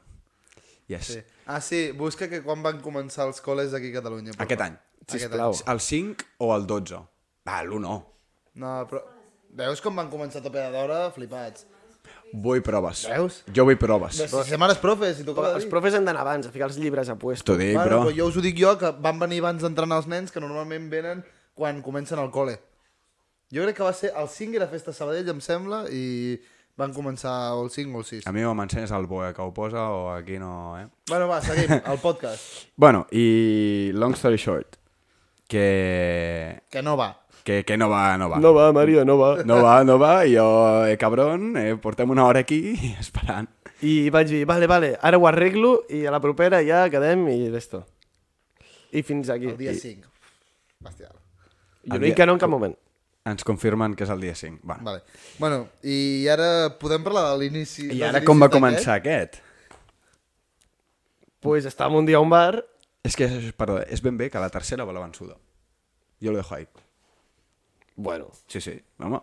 S1: Yes.
S2: Sí.
S1: Sí.
S2: Ah, sí, busca que quan van començar els col·les aquí a Catalunya. per
S1: Aquest
S2: favor.
S1: any.
S3: Sisplau.
S1: El 5 o el 12? Va, l'1 no.
S2: No, però... Veus com van començar a tope d'hora? Flipats.
S1: Vull proves.
S2: Veus?
S1: Jo vull proves.
S2: Però... Si demanes profes, si t'ho
S3: Però
S2: acaba de
S3: els
S2: dir.
S3: profes han d'anar abans a ficar els llibres a puesto.
S1: T'ho dic,
S2: bueno,
S1: bro.
S2: però jo us ho dic jo, que van venir abans d'entrenar els nens, que normalment venen quan comencen al col·le. Jo crec que va ser el 5 era Festa Sabadell, em sembla, i van començar o el 5 o el 6.
S1: A mi o m'ensenyes el boe que ho posa o aquí no, eh?
S2: Bueno, va, seguim, el podcast,
S1: Bueno, i long story short, que,
S2: que no va.
S1: que, que no va, no va.
S3: No va, Mario, no va.
S1: No va, no va, i jo, eh, cabron, eh, portem una hora aquí esperant.
S3: I vaig dir, vale, vale, ara ho arreglo i a la propera ja quedem i d'esto. I fins aquí.
S2: El dia
S3: I,
S2: 5. Bestial.
S3: jo
S1: El
S3: no dic
S1: dia-
S3: que no en cap moment.
S1: Ens confirmen que és el dia 5. Bueno.
S2: Vale. Bueno, i ara podem parlar de l'inici...
S1: I
S2: dels
S1: ara com va
S2: inicis d'aquest?
S1: començar aquest? eh?
S3: Pues estàvem un dia a un bar
S1: És que, perdó, és ben bé que la tercera va la vençuda. Jo lo dejo ahí.
S3: Bueno,
S1: Sí, sí, home.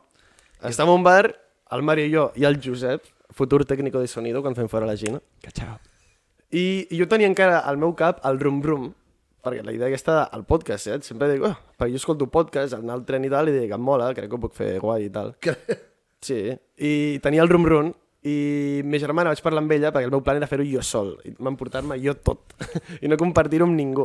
S3: estem en un bar, el Mario i jo, i el Josep, futur tècnico de sonido, quan fem fora la Gina.
S1: Que xau.
S3: I jo tenia encara al meu cap el Rum Rum, perquè la idea aquesta del podcast, saps? Sempre dic, oh, perquè jo escolto podcast, anar al tren i tal, i dic, em mola, crec que ho puc fer guai i tal. Sí, i tenia el Rum Rum, i ma germana vaig parlar amb ella perquè el meu plan era fer-ho jo sol, i m'emportar-me jo tot, i no compartir-ho amb ningú.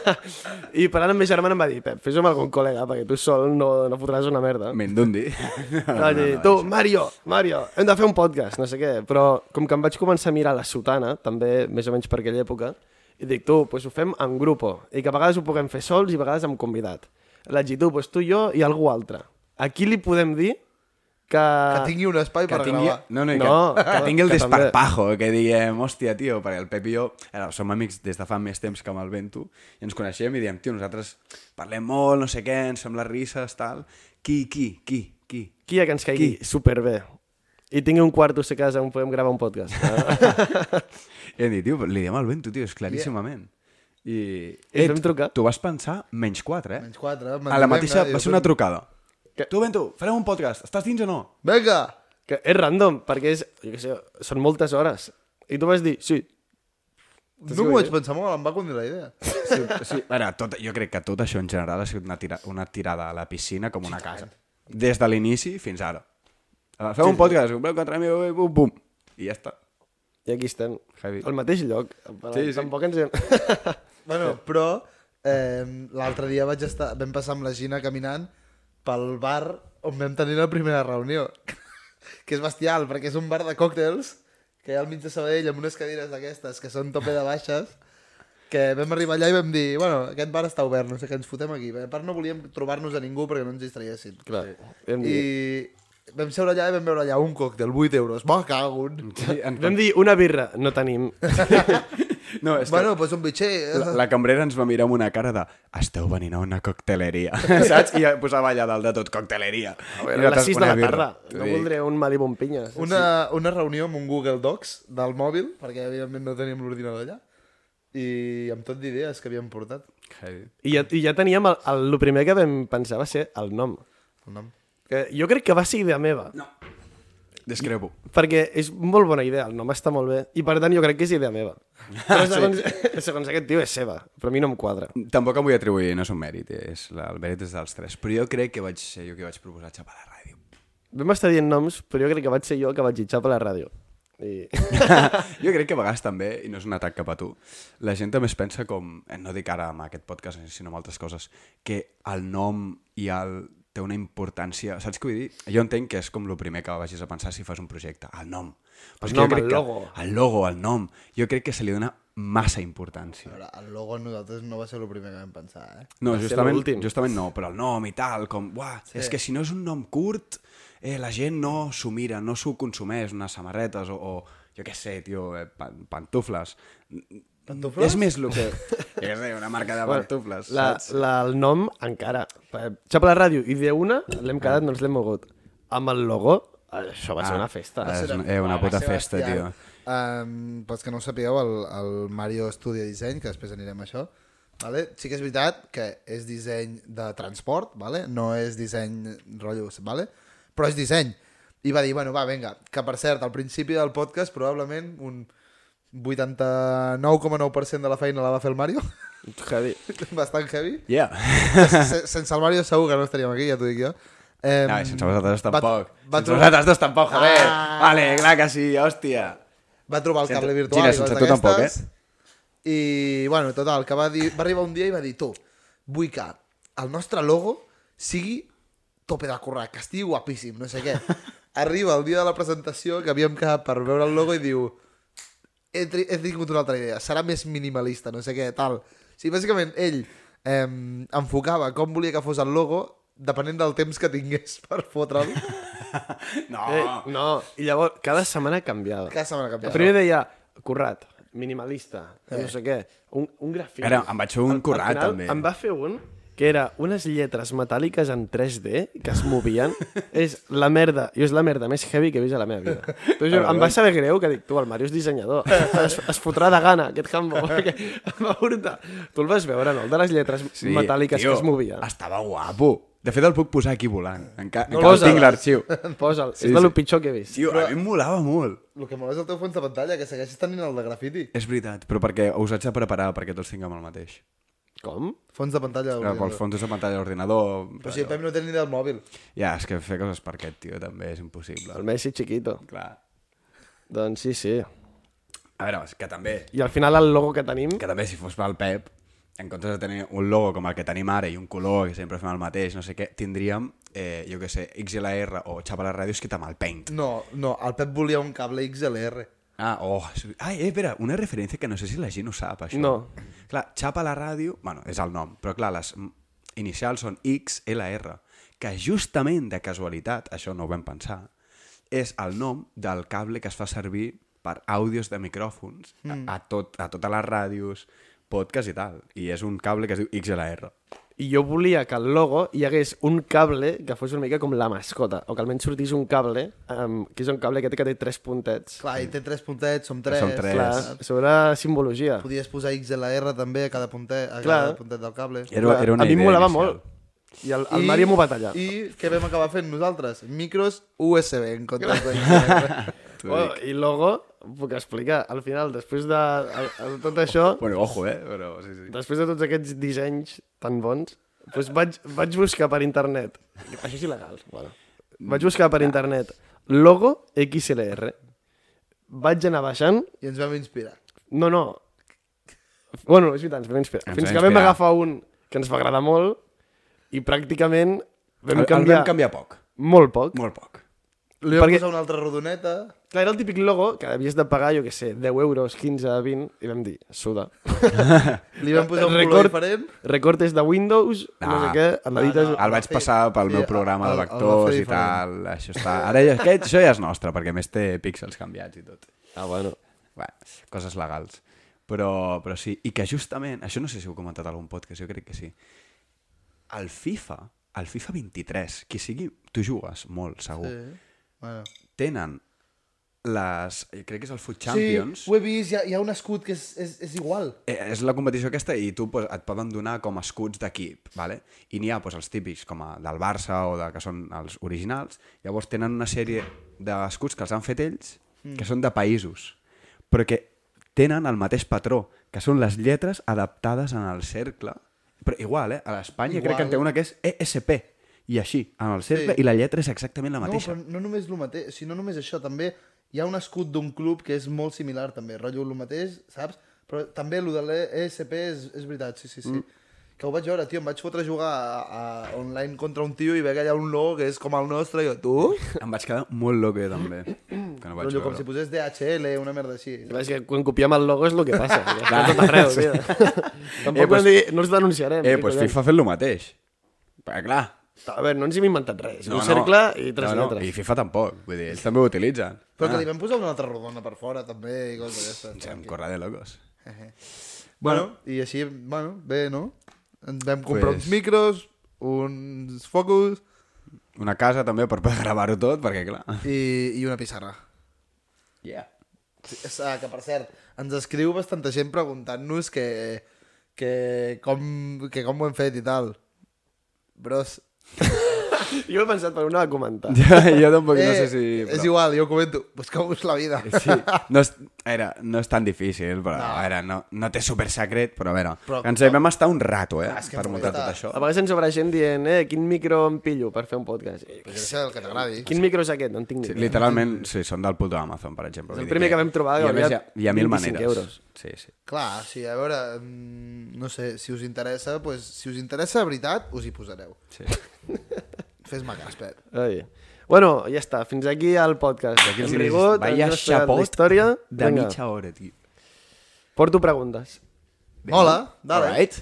S3: I parlant amb ma germana em va dir, Pep, fes-ho amb algun col·lega, perquè tu sol no, no fotràs una merda.
S1: Mendundi.
S3: No, no, no, tu, Mario, Mario, hem de fer un podcast, no sé què. Però com que em vaig començar a mirar la sotana, també més o menys per aquella època, i dic, tu, pues ho fem en grupo, i que a vegades ho puguem fer sols i a vegades amb convidat. La tu, pues tu, jo i algú altre. A qui li podem dir que...
S2: Que tingui un espai
S1: que
S2: per
S1: tingui,
S2: gravar.
S1: no, no, i
S3: No,
S1: que, que
S3: no,
S1: tingui el
S3: que també.
S1: desparpajo, que diguem, hòstia, tio, perquè el Pep i jo ara, som amics des de fa més temps que amb el Bento, i ens coneixem i diem, tio, nosaltres parlem molt, no sé què, ens fem les risses, tal, qui, qui, qui, qui?
S3: Qui que ens caigui
S1: Qui?
S3: superbé. I tingui un quarto a casa on podem gravar un podcast.
S1: I hem dit, tio, li diem al Bento, tio, és claríssimament. I,
S3: I
S1: eh,
S3: vam trucar.
S1: tu vas pensar menys 4, eh?
S2: Menys quatre,
S1: A la
S2: mantenim,
S1: mateixa,
S2: eh?
S1: va ser una trucada.
S3: Que-
S1: Tu, Bento, farem un podcast, estàs dins o no?
S2: Vinga!
S3: que és random, perquè és, jo què sé, són moltes hores. I tu vas dir, sí.
S2: No m'ho vaig pensar molt, em va conduir la idea.
S1: Sí, sí. A veure, tot, jo crec que tot això en general ha sigut una, tira, una tirada a la piscina com una casa. Des de l'inici fins ara. Ah, Feu un podcast, compreu 4.000, bum, bum, i ja està.
S3: I aquí estem,
S1: Heavy.
S3: al mateix lloc. Sí,
S1: Sí, sí.
S3: sí. Tampoc ens hem...
S2: Bueno, però eh, l'altre dia vaig estar, vam passar amb la Gina caminant pel bar on vam tenir la primera reunió. que és bestial, perquè és un bar de còctels que hi ha al mig de Sabadell amb unes cadires d'aquestes que són tope de baixes que vam arribar allà i vam dir bueno, aquest bar està obert, no sé què ens fotem aquí a part no volíem trobar-nos a ningú perquè no ens distraiessin
S3: Clar, vam dir...
S2: i vam seure allà i vam veure allà un còctel, 8 euros me cago en...
S1: Sí, en...
S3: Vam dir una birra, no tenim.
S1: No, és
S2: bueno,
S1: bueno,
S2: doncs pues un bitxer
S1: que la, la cambrera ens va mirar amb una cara de esteu venint a una cocteleria, saps? I posava allà dalt de tot, cocteleria. I
S3: A les
S1: nosaltres,
S3: 6 de
S1: una
S3: la
S1: birra.
S3: tarda.
S1: T'ho
S3: No
S1: dic.
S3: voldré un Malibu amb pinya.
S2: una, una reunió amb un Google Docs del mòbil, perquè evidentment no teníem l'ordinador allà, i amb tot d'idees que havíem portat.
S1: Heavy.
S3: I ja, i ja teníem... El, el, el primer que vam pensar va ser el nom.
S2: El nom.
S3: Que jo crec que va ser idea meva. No.
S1: Discrepo.
S3: Perquè és molt bona idea, el nom està molt bé. I per tant jo crec que és idea meva. Però segons, sí. segons aquest tio és seva. Però a mi no em quadra.
S1: Tampoc em vull atribuir, no és un mèrit, és, la- el mèrit és dels tres. Però jo crec que vaig ser jo que vaig proposar xapar la ràdio.
S3: Vam estar dient noms, però jo crec que vaig ser jo que vaig hitjar per la ràdio. I...
S1: jo crec que a vegades també, i no és un atac cap a tu, la gent també es pensa com, eh, no dic ara amb aquest podcast, sinó amb altres coses, que el nom i el té una importància, saps què vull dir? Jo entenc que és com el primer que vagis a pensar si fas un projecte, el nom. Però és que jo
S3: nom,
S1: crec
S3: el
S1: que-
S3: logo.
S1: El logo, el nom. Jo crec que se li dona massa importància.
S2: A veure, el logo a nosaltres no va ser el primer que vam pensar, eh?
S1: No,
S3: Va ser
S1: justament,
S3: l'últim.
S1: justament no, però el nom i tal, com, uah, sí. és que si no és un nom curt, eh, la gent no s'ho mira, no s'ho consumeix, unes samarretes o, o jo què sé, tio, eh, pan pantufles.
S2: Pantufles?
S1: És més el que... jo què sé, una marca de pantufles,
S3: la,
S1: saps?
S3: la, el nom encara. Per- Xapa la ràdio i d'una l'hem quedat, no ens l'hem mogut. Amb el logo, això va ser
S1: Ah,
S3: una festa.
S1: va ser una- eh, una puta festa, tio.
S2: Um, pels que no ho sapigueu, el, el Mario estudia disseny, que després anirem a això. Vale? Sí que és veritat que és disseny de transport, vale? no és disseny rotllo, vale? però és disseny. I va dir, bueno, va, vinga, que per cert, al principi del podcast probablement un 89,9% de la feina la va fer el Mario,
S3: Heavy.
S2: bastant heavy.
S1: Yeah.
S2: Se- Sense el Mario segur que no estaríem aquí, ja t'ho dic jo. Um,
S1: No, i sense vosaltres tampoc.
S2: Va,
S1: sense
S2: trobar,
S1: vosaltres dos tampoc, joder.
S2: Ah.
S1: Vale, clar que sí, hòstia.
S2: va trobar el
S1: Sense-
S2: cable virtual
S1: Gina,
S2: i coses
S1: sense tu tampoc, eh?
S2: d'aquestes. I, bueno, total, que va, dir, va arribar un dia i va dir, tu, vull que el nostre logo sigui tope de currar, que estigui guapíssim, no sé què. Arriba el dia de la presentació que havíem quedat per veure el logo i diu he, tri he tingut una altra idea, serà més minimalista, no sé què, tal. O sigui, bàsicament, ell eh, enfocava com volia que fos el logo depenent del temps que tingués per fotre'l.
S1: No.
S3: Eh, no, i llavors cada setmana canviava.
S2: Ah. Cada setmana canviava.
S3: Primer deia, currat, minimalista, eh. no sé què, un, un grafit.
S1: Era, em vaig fer un
S3: Al- al
S1: currat,
S3: final,
S1: també.
S3: Em va fer un que era unes lletres metàl·liques en 3D que es movien. és la merda, jo és la merda més heavy que he vist a la meva vida.
S1: Ah,
S3: Tu, jo, em va saber greu que dic, tu, el Mario és dissenyador, es, es fotrà de gana aquest cambo, perquè em va portar. Tu el vas veure, no? El de les lletres sí, metàl·liques
S1: tio,
S3: que es movien.
S1: Estava guapo. De fet, el puc posar aquí volant. Enca no, encara
S3: Posa-la.
S1: tinc l'arxiu.
S3: Posa'l,
S1: Sí,
S3: és de lo
S1: sí.
S3: pitjor que he vist.
S1: Tio, a mi em molava molt.
S2: El que mola és el teu fons de pantalla, que segueixes tenint el de grafiti.
S1: És veritat, però perquè us haig de preparar perquè tots tinguem el mateix.
S3: Com?
S2: Fons de pantalla.
S1: Però
S2: d'ordinador.
S1: pels Ah, fons de pantalla d'ordinador...
S2: Però si el Pep no té ni del mòbil.
S1: Ja, és que fer coses per aquest, tio, també és impossible.
S3: El Messi chiquito.
S1: Clar.
S3: Doncs sí, sí.
S1: A veure, és que també,
S3: I al final el logo que tenim...
S1: que també si fos pel Pep, en comptes de tenir un logo com el que tenim ara i un color que sempre fem el mateix, no sé què, tindríem, eh, jo què sé, XLR o xapa la ràdio escrita amb el paint.
S2: No, no, el Pep volia un cable XLR.
S1: Ah, oh. és- Ai, eh, espera, una referència que no sé si la gent ho sap, això.
S3: No.
S1: Clar, xapa la ràdio, bueno, és el nom, però clar, les mm, inicials són XLR, que justament de casualitat, això no ho vam pensar, és el nom del cable que es fa servir per àudios de micròfons mm.
S3: Hmm.
S1: a, a, tot, a totes les ràdios, podcast i tal. I és un cable que es diu XLR.
S3: I jo volia que al logo hi hagués un cable que fos una mica com la mascota, o que almenys sortís un cable, um, que és un cable que té, que té tres puntets.
S2: Clar, i té tres puntets, som tres.
S1: Som tres.
S3: Clar, sobre simbologia.
S2: Podies posar XLR també a cada puntet, a
S3: Clar.
S2: cada puntet del cable.
S1: Era, era una
S3: a mi em
S1: idea
S3: molava
S1: inicial.
S3: molt. I el, el I... Mario m'ho va tallar. I...
S2: I què vam acabar fent nosaltres? Micros USB en comptes de XLR.
S1: t'ho
S3: Oh,
S1: dic.
S3: I logo, puc explicar, al final, després de, de, de tot això,
S1: Bueno, ojo, eh? Però, sí, sí.
S3: després de tots aquests dissenys tan bons, doncs vaig, vaig buscar per internet. Això és il·legal. Bueno. Vaig buscar per internet logo XLR. Vaig anar baixant...
S2: I ens vam inspirar.
S3: No, no. Bueno, és veritat, ens vam inspirar.
S1: Ens
S3: Fins
S1: vam
S3: que vam
S1: inspirar.
S3: agafar un que ens va agradar molt i pràcticament
S1: El,
S3: vam
S1: el
S3: canviar,
S1: vam canviar poc,
S3: molt poc.
S1: molt poc.
S2: Li vam
S3: Perquè-
S2: posar una altra rodoneta.
S3: Clar, era el típic logo que havies de pagar, jo què sé, 10 euros, 15, 20, i vam dir, suda.
S2: Li vam posar un color
S3: Record-
S2: diferent.
S3: Recortes de Windows, no
S1: Ah.
S3: sé què, et l'edites...
S2: Ah, no.
S1: El vaig
S2: fer-
S1: passar pel
S2: sí,
S1: meu
S2: el-
S1: programa de
S2: el- el va fer
S1: vectors i tal.
S2: diferent.
S1: Això està... Ara ja, aquest, això ja és nostre, perquè a més té píxels canviats i tot.
S3: Ah, bueno.
S1: Bé, coses legals. Però, però sí, i que justament, això no sé si ho he comentat a algun podcast, jo crec que sí, el FIFA, el FIFA 23, qui sigui, tu jugues molt, segur,
S2: Sí. Bueno.
S1: tenen les... Crec que és el Foot
S2: Sí,
S1: Champions.
S2: ho he vist, hi ha, hi ha un escut que és, és, és igual.
S1: Eh, és la competició aquesta i tu pues, et poden donar com a escuts d'equip, vale? i n'hi ha pues, els típics com a del Barça o de, que són els originals, llavors tenen una sèrie d'escuts que els han fet ells, mm. que són de països, però que tenen el mateix patró, que són les lletres adaptades en el cercle, però igual, eh? a l'Espanya crec que en té
S2: Igual.
S1: una
S2: eh?
S1: que és ESP, i així, en el cercle,
S2: Sí.
S1: sí. i la lletra és exactament la mateixa.
S2: No, però no només el mateix, o sigui, no només això, també hi ha un escut d'un club que és molt similar també, rotllo el mateix, saps? Però també el de l'ESP és, és veritat, sí, sí, sí. Mm. Que ho vaig veure, tio, em vaig fotre a jugar a, a online contra un tio i veig allà un logo que és com el nostre, i jo, tu?
S1: Em vaig quedar molt loco jo també, que no vaig Eh,
S2: Rotllo, com si
S1: veure.
S2: posés DHL, una merda així.
S3: És que quan copiem el logo és el que passa. Clar. Tot arreu, tio.
S1: Eh,
S3: Tampoc eh,
S1: pues-
S3: pues, dir, no ens denunciarem.
S1: Eh,
S3: què
S1: doncs
S3: collons.
S1: FIFA ha fet el mateix. Però clar,
S3: A veure, no ens hem inventat res. No, un cercle i tres no,
S1: I
S3: lletres.
S1: FIFA tampoc, vull dir, ells també ho utilitzen.
S2: Però que li vam posar una altra rodona per fora, també, i coses d'aquestes.
S1: Se em corre de locos.
S2: Bueno, i així, bueno, bé, no? Ens vam comprar
S1: Pues-
S2: uns micros, uns focus
S1: Una casa també per poder gravar-ho tot, perquè clar...
S2: i, i una pissarra.
S1: Yeah.
S2: Sí, és, ah, que per cert, ens escriu bastanta gent preguntant-nos que, que, com, que com ho hem fet i tal. Bros.
S3: Jo he pensat per una de comentar.
S1: jo, jo tampoc no sé si...
S2: eh,
S1: Eh,
S2: És igual, jo ho comento. Pues com us la vida.
S1: Sí, no és, a veure, no és tan difícil, però no. a veure, no, no té super secret, però a veure,
S2: Però-
S1: però, ens hi vam estar un rato, eh,
S2: és que
S1: per muntar
S2: molesta.
S1: tot això.
S3: A vegades ens obre gent dient, eh, quin micro em pillo per fer un podcast. Eh,
S2: Pues és el que t'agradi.
S3: Quin micro és aquest? No en tinc ni
S1: Sí,
S3: idea.
S1: literalment, sí, són del puto Amazon, per exemple.
S3: És el
S1: vull dir
S3: primer que vam trobar,
S1: I a
S3: que
S1: més, hi
S3: valia
S1: ha, hi ha mil
S3: 25
S1: maneres.
S3: euros.
S1: Sí, sí.
S2: Clar, sí, a veure, mm, no sé, si us interessa, pues, si us interessa de veritat, us hi posareu.
S1: sí.
S2: Fes-me cas, Pep.
S3: Ai. Bueno, ja està. Fins aquí el podcast.
S1: Aquí
S3: Hem
S1: els
S3: rigut,
S1: Vaya
S3: ens hem explicat
S1: xapot
S3: la història.
S1: de
S3: Vinga,
S1: mitja hora, tio.
S3: Porto preguntes.
S2: Hola, dale.
S1: Alright.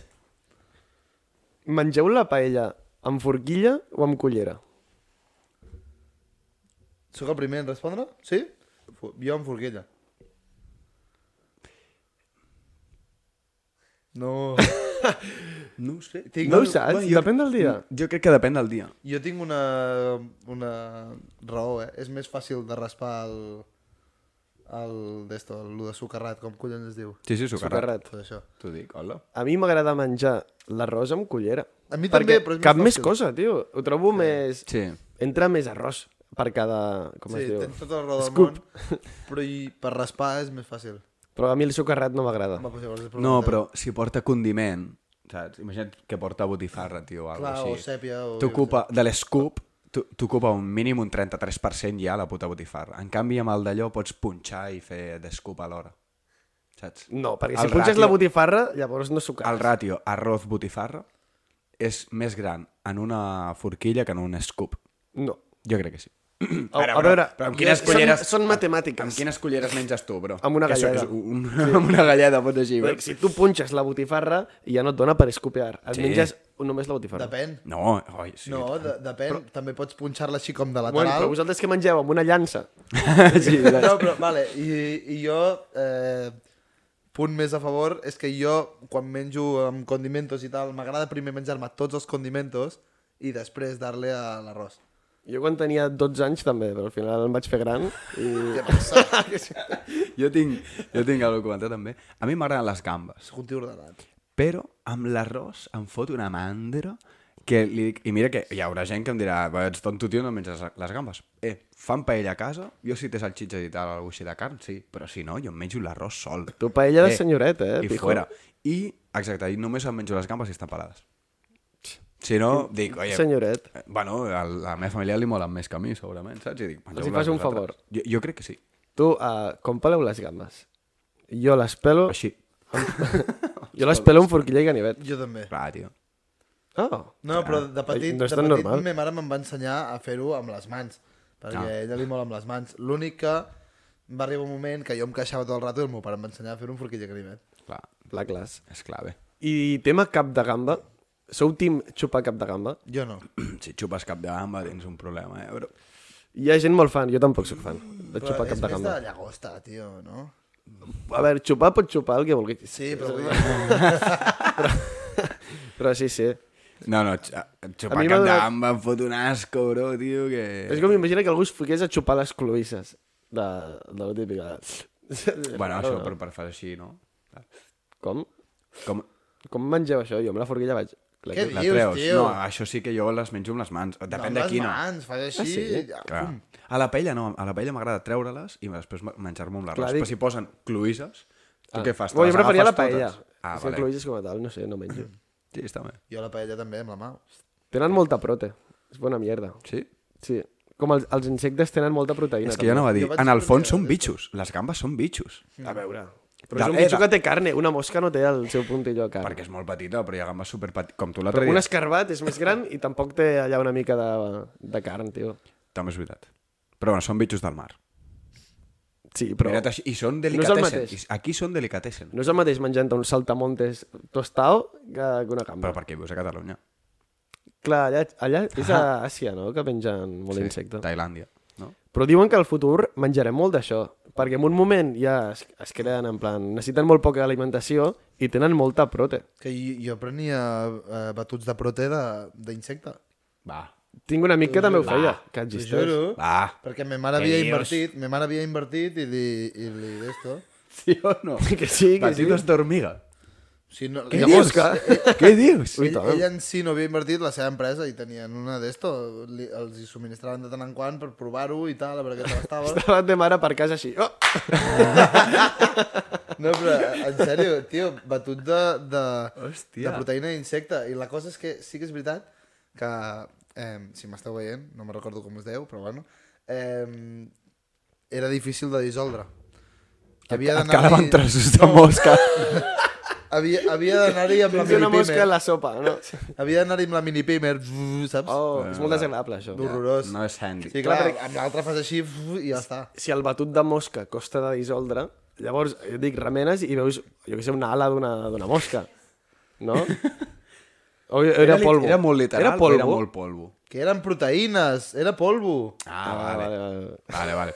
S3: Mengeu la paella amb forquilla o amb cullera?
S2: Sóc el primer en respondre? Sí? Fu- Jo amb forquilla. No...
S1: No ho sé.
S2: Tinc-
S3: No ho saps?
S1: jo-
S3: Depèn del dia.
S1: Jo crec que depèn del dia.
S2: Jo tinc una, una raó, eh? És més fàcil de raspar el... el d'esto, el lo de sucarrat, com collons es diu.
S1: Sí, sí, sucarrat.
S3: Socarrat.
S2: Tot això.
S1: T'ho dic, hola.
S3: A mi m'agrada menjar l'arròs amb cullera.
S2: A mi
S3: Perquè
S2: també, però és més
S3: cap més
S2: fàcil.
S3: cosa, tio. Ho trobo més...
S1: Sí.
S3: Entra més arròs per cada... Com
S2: sí,
S3: es diu?
S2: tens tota la raó del
S3: Scoop.
S2: món, però i per raspar és més fàcil.
S3: Però a mi el sucarrat no m'agrada.
S2: Home, pues llavors és
S1: No, però si porta condiment, saps? Imagina't que porta botifarra, tio, o alguna
S2: Clar,
S1: cosa
S2: o
S1: així.
S2: sèpia, o...
S1: T'ocupa, de l'escup, tu- t'ocupa un mínim un 33% ja la puta botifarra. En canvi, amb el d'allò pots punxar i fer d'escup alhora. Saps?
S3: No, perquè
S1: El
S3: si punxes la
S1: ratio-
S3: botifarra, llavors no sucarres.
S1: El ratio arroz-botifarra és més gran en una forquilla que en un escup.
S3: No.
S1: Jo crec que sí.
S3: A, a veure,
S1: però amb quines
S3: són-
S1: culleres...
S3: Són, matemàtiques.
S1: Amb quines culleres menges tu, bro?
S3: Amb una
S1: Que això
S3: galleda.
S1: és Un, sí. Amb una galleda, pots així, bro.
S3: Perquè si tu punxes la botifarra, ja no et dona per escopiar. Et
S1: Sí.
S3: menges només la botifarra.
S2: Depèn.
S1: No, oi, sí.
S2: No, de, depèn. També pots punxar-la així com de lateral.
S3: Bueno, però vosaltres que mengeu amb una llança,
S1: sí,
S2: No, però, vale, i, i jo, eh, punt més a favor, és que jo, quan menjo amb condimentos i tal, m'agrada primer menjar-me tots els condimentos i després dar-li a l'arròs.
S3: jo quan tenia 12 anys també, però al final em vaig fer gran i...
S2: Què passa?
S1: jo tinc, jo tinc alguna comentar també. A mi m'agraden les gambes,
S2: Sóc un tio ordenat.
S1: però amb l'arròs em fot una mandra que li dic, i mira que hi haurà gent que em dirà, "Va, ets tonto, tio, no menges les- les gambes. Eh, fan paella a casa, jo si té salxitxes i tal, alguna així de carn, sí, però si no, jo em menjo l'arròs sol.
S3: Tu paella de senyoreta, eh,
S1: I
S3: pijo.
S1: fuera. I, exacte, i només em menjo les gambes si estan pelades. Si no, dic, oye...
S3: Senyoret.
S1: eh, Bueno, a la meva família li molen més que a mi, segurament, saps? I dic,
S3: Els hi
S1: mengeu-les
S3: fas un
S1: vosaltres.
S3: favor.
S1: Jo, jo crec que sí.
S3: Tu, uh, com peleu les gambes? Jo les pelo...
S1: Així.
S3: Jo les pelo amb forquilla i ganivet.
S2: Jo també.
S1: Clar, tio.
S3: Oh,
S2: No, però de petit,
S3: No és
S2: de
S3: tan
S2: petit
S3: normal.
S2: ma mare me'n va ensenyar a fer-ho amb les mans, perquè
S1: Ah.
S2: ah. ella li mola amb les mans. L'únic que va arribar un moment que jo em queixava tot el rato i el meu pare em va ensenyar a fer un forquilla grimet.
S1: Clar,
S3: la classe.
S1: és clave.
S3: I tema cap de gamba. Sou team xupar cap de gamba?
S2: Jo no.
S1: Si xupes cap de gamba tens un problema, eh? Però...
S3: Hi ha gent molt fan, jo tampoc sóc fan de
S2: Però
S3: xupar
S2: és
S3: cap de
S2: més
S3: gamba.
S2: de llagosta, tio, no?
S3: A veure, xupar pot xupar el que vulguis.
S2: Sí, però vull dir...
S3: Però sí, sí.
S1: No, no, xu-
S3: A
S1: xupar
S3: mi m'ha
S1: cap de
S3: donat-
S1: gamba em fot un asco, bro, tio, que...
S3: És com imagina que algú es fiqués a xupar les cloïsses de, de la típica.
S1: Bueno, això, però per fer així, no?
S3: Com?
S1: Com...
S3: Com mengeu això? Jo amb la forquilla vaig... Clar,
S2: Què
S3: que-
S1: La
S2: dius,
S1: treus?
S2: tio?
S1: No, això sí que jo les menjo amb les mans. Depèn de
S2: no,
S1: quina.
S2: Les mans, fas així... Ah, sí?
S1: Clar. A la paella no, a la paella m'agrada treure-les i després ma- menjar-me amb l'arròs.
S3: Clar,
S1: Però
S3: dic-
S1: si posen cloïsses, tu què fas? Te
S3: Ah. Bueno,
S1: les
S3: jo preferia la
S1: agafes
S3: paella.
S1: totes? Ah,
S3: si vale.
S1: vale.
S3: cloïsses com a tal, no sé, no menjo.
S1: Sí, està bé.
S2: Jo la paella també, amb la mà.
S3: Tenen molta prote. És bona mierda.
S1: Sí?
S3: Sí. Com els, els insectes tenen molta proteïna.
S1: És que jo no va dir,
S2: Jo vaig
S1: en el fons
S2: sortir
S1: són
S2: de-
S1: bitxos, les gambes són bitxos.
S3: A veure. Però
S1: De-
S3: és un
S1: eh,
S3: bitxo
S1: de-
S3: que té carne. Una mosca no té el seu puntilló de carne.
S1: Perquè és molt petita, però hi ha gambes superpetites. Com tu l'altre
S3: Però un
S1: dia.
S3: escarbat és més gran i tampoc té allà una mica de, de carn, tio.
S1: També és veritat. Però bueno, són bitxos del mar.
S3: Sí,
S1: Però...
S3: però
S1: Mira't, així- I són
S3: el
S1: delicatessen.
S3: mateix.
S1: Aquí són delicatessen.
S3: no és el mateix menjant un saltamontes tostao que que una gamba.
S1: Però perquè vius a Catalunya.
S3: Clar, allà, allà és a
S1: Ah.
S3: Àsia, no?, que mengen molt sí, insecte.
S1: Tailàndia. No?
S3: Però diuen que al futur menjarem molt d'això, perquè en un moment ja es, es creen en plan... Necessiten molt poca alimentació i tenen molta prote.
S2: Que jo, jo prenia eh, batuts de prote de- d'insecte.
S1: Va.
S3: Tinc un amic que
S1: Doncs
S3: també ho feia, que
S2: T'ho
S3: existeix.
S2: juro.
S1: Va.
S2: Perquè ma mare
S1: Què
S2: havia
S1: dius?
S2: invertit, ma mare havia invertit i li, i li d'esto.
S1: Sí o no?
S3: Que sí, que sí.
S1: Patitos d'hormiga.
S2: Si no,
S1: Què
S2: llavors,
S1: dius? Què dius?
S2: Ell, ell
S3: eh?
S2: en si no havia invertit la seva empresa i tenien una d'esto, li- els hi subministraven de tant en quant per provar-ho i tal, a veure què tal estava.
S3: Estava de mare per casa així. Oh!
S2: No, però en sèrio, tio, batut de, de,
S1: Hòstia.
S2: de proteïna d'insecte. I la cosa és que sí que és veritat que, eh, si m'esteu veient, no me recordo com es deu, però bueno, eh, era difícil de dissoldre. Havia
S1: Et
S2: d'anar-hi-
S1: calaven trossos de mosca.
S2: Havia, havia d'anar-hi amb la
S3: Tens una mosca
S2: minipimer.
S3: a la sopa, no?
S2: Havia d'anar-hi amb la minipimer, saps?
S3: Oh, és molt desagradable, això.
S2: Horrorós.
S1: No és handy.
S2: Sí, clar, perquè amb l'altra fas així fu, i ja està.
S3: si el batut de mosca costa de dissoldre, llavors, jo dic, remenes i veus, jo què sé, una ala d'una d'una mosca, no? O era, era
S1: li-
S3: polvo.
S1: Era molt literal,
S3: Era polvo.
S1: però era molt polvo.
S2: Que eren proteïnes, era polvo.
S1: Ah, vale.
S3: vale, vale.
S1: Vale, vale.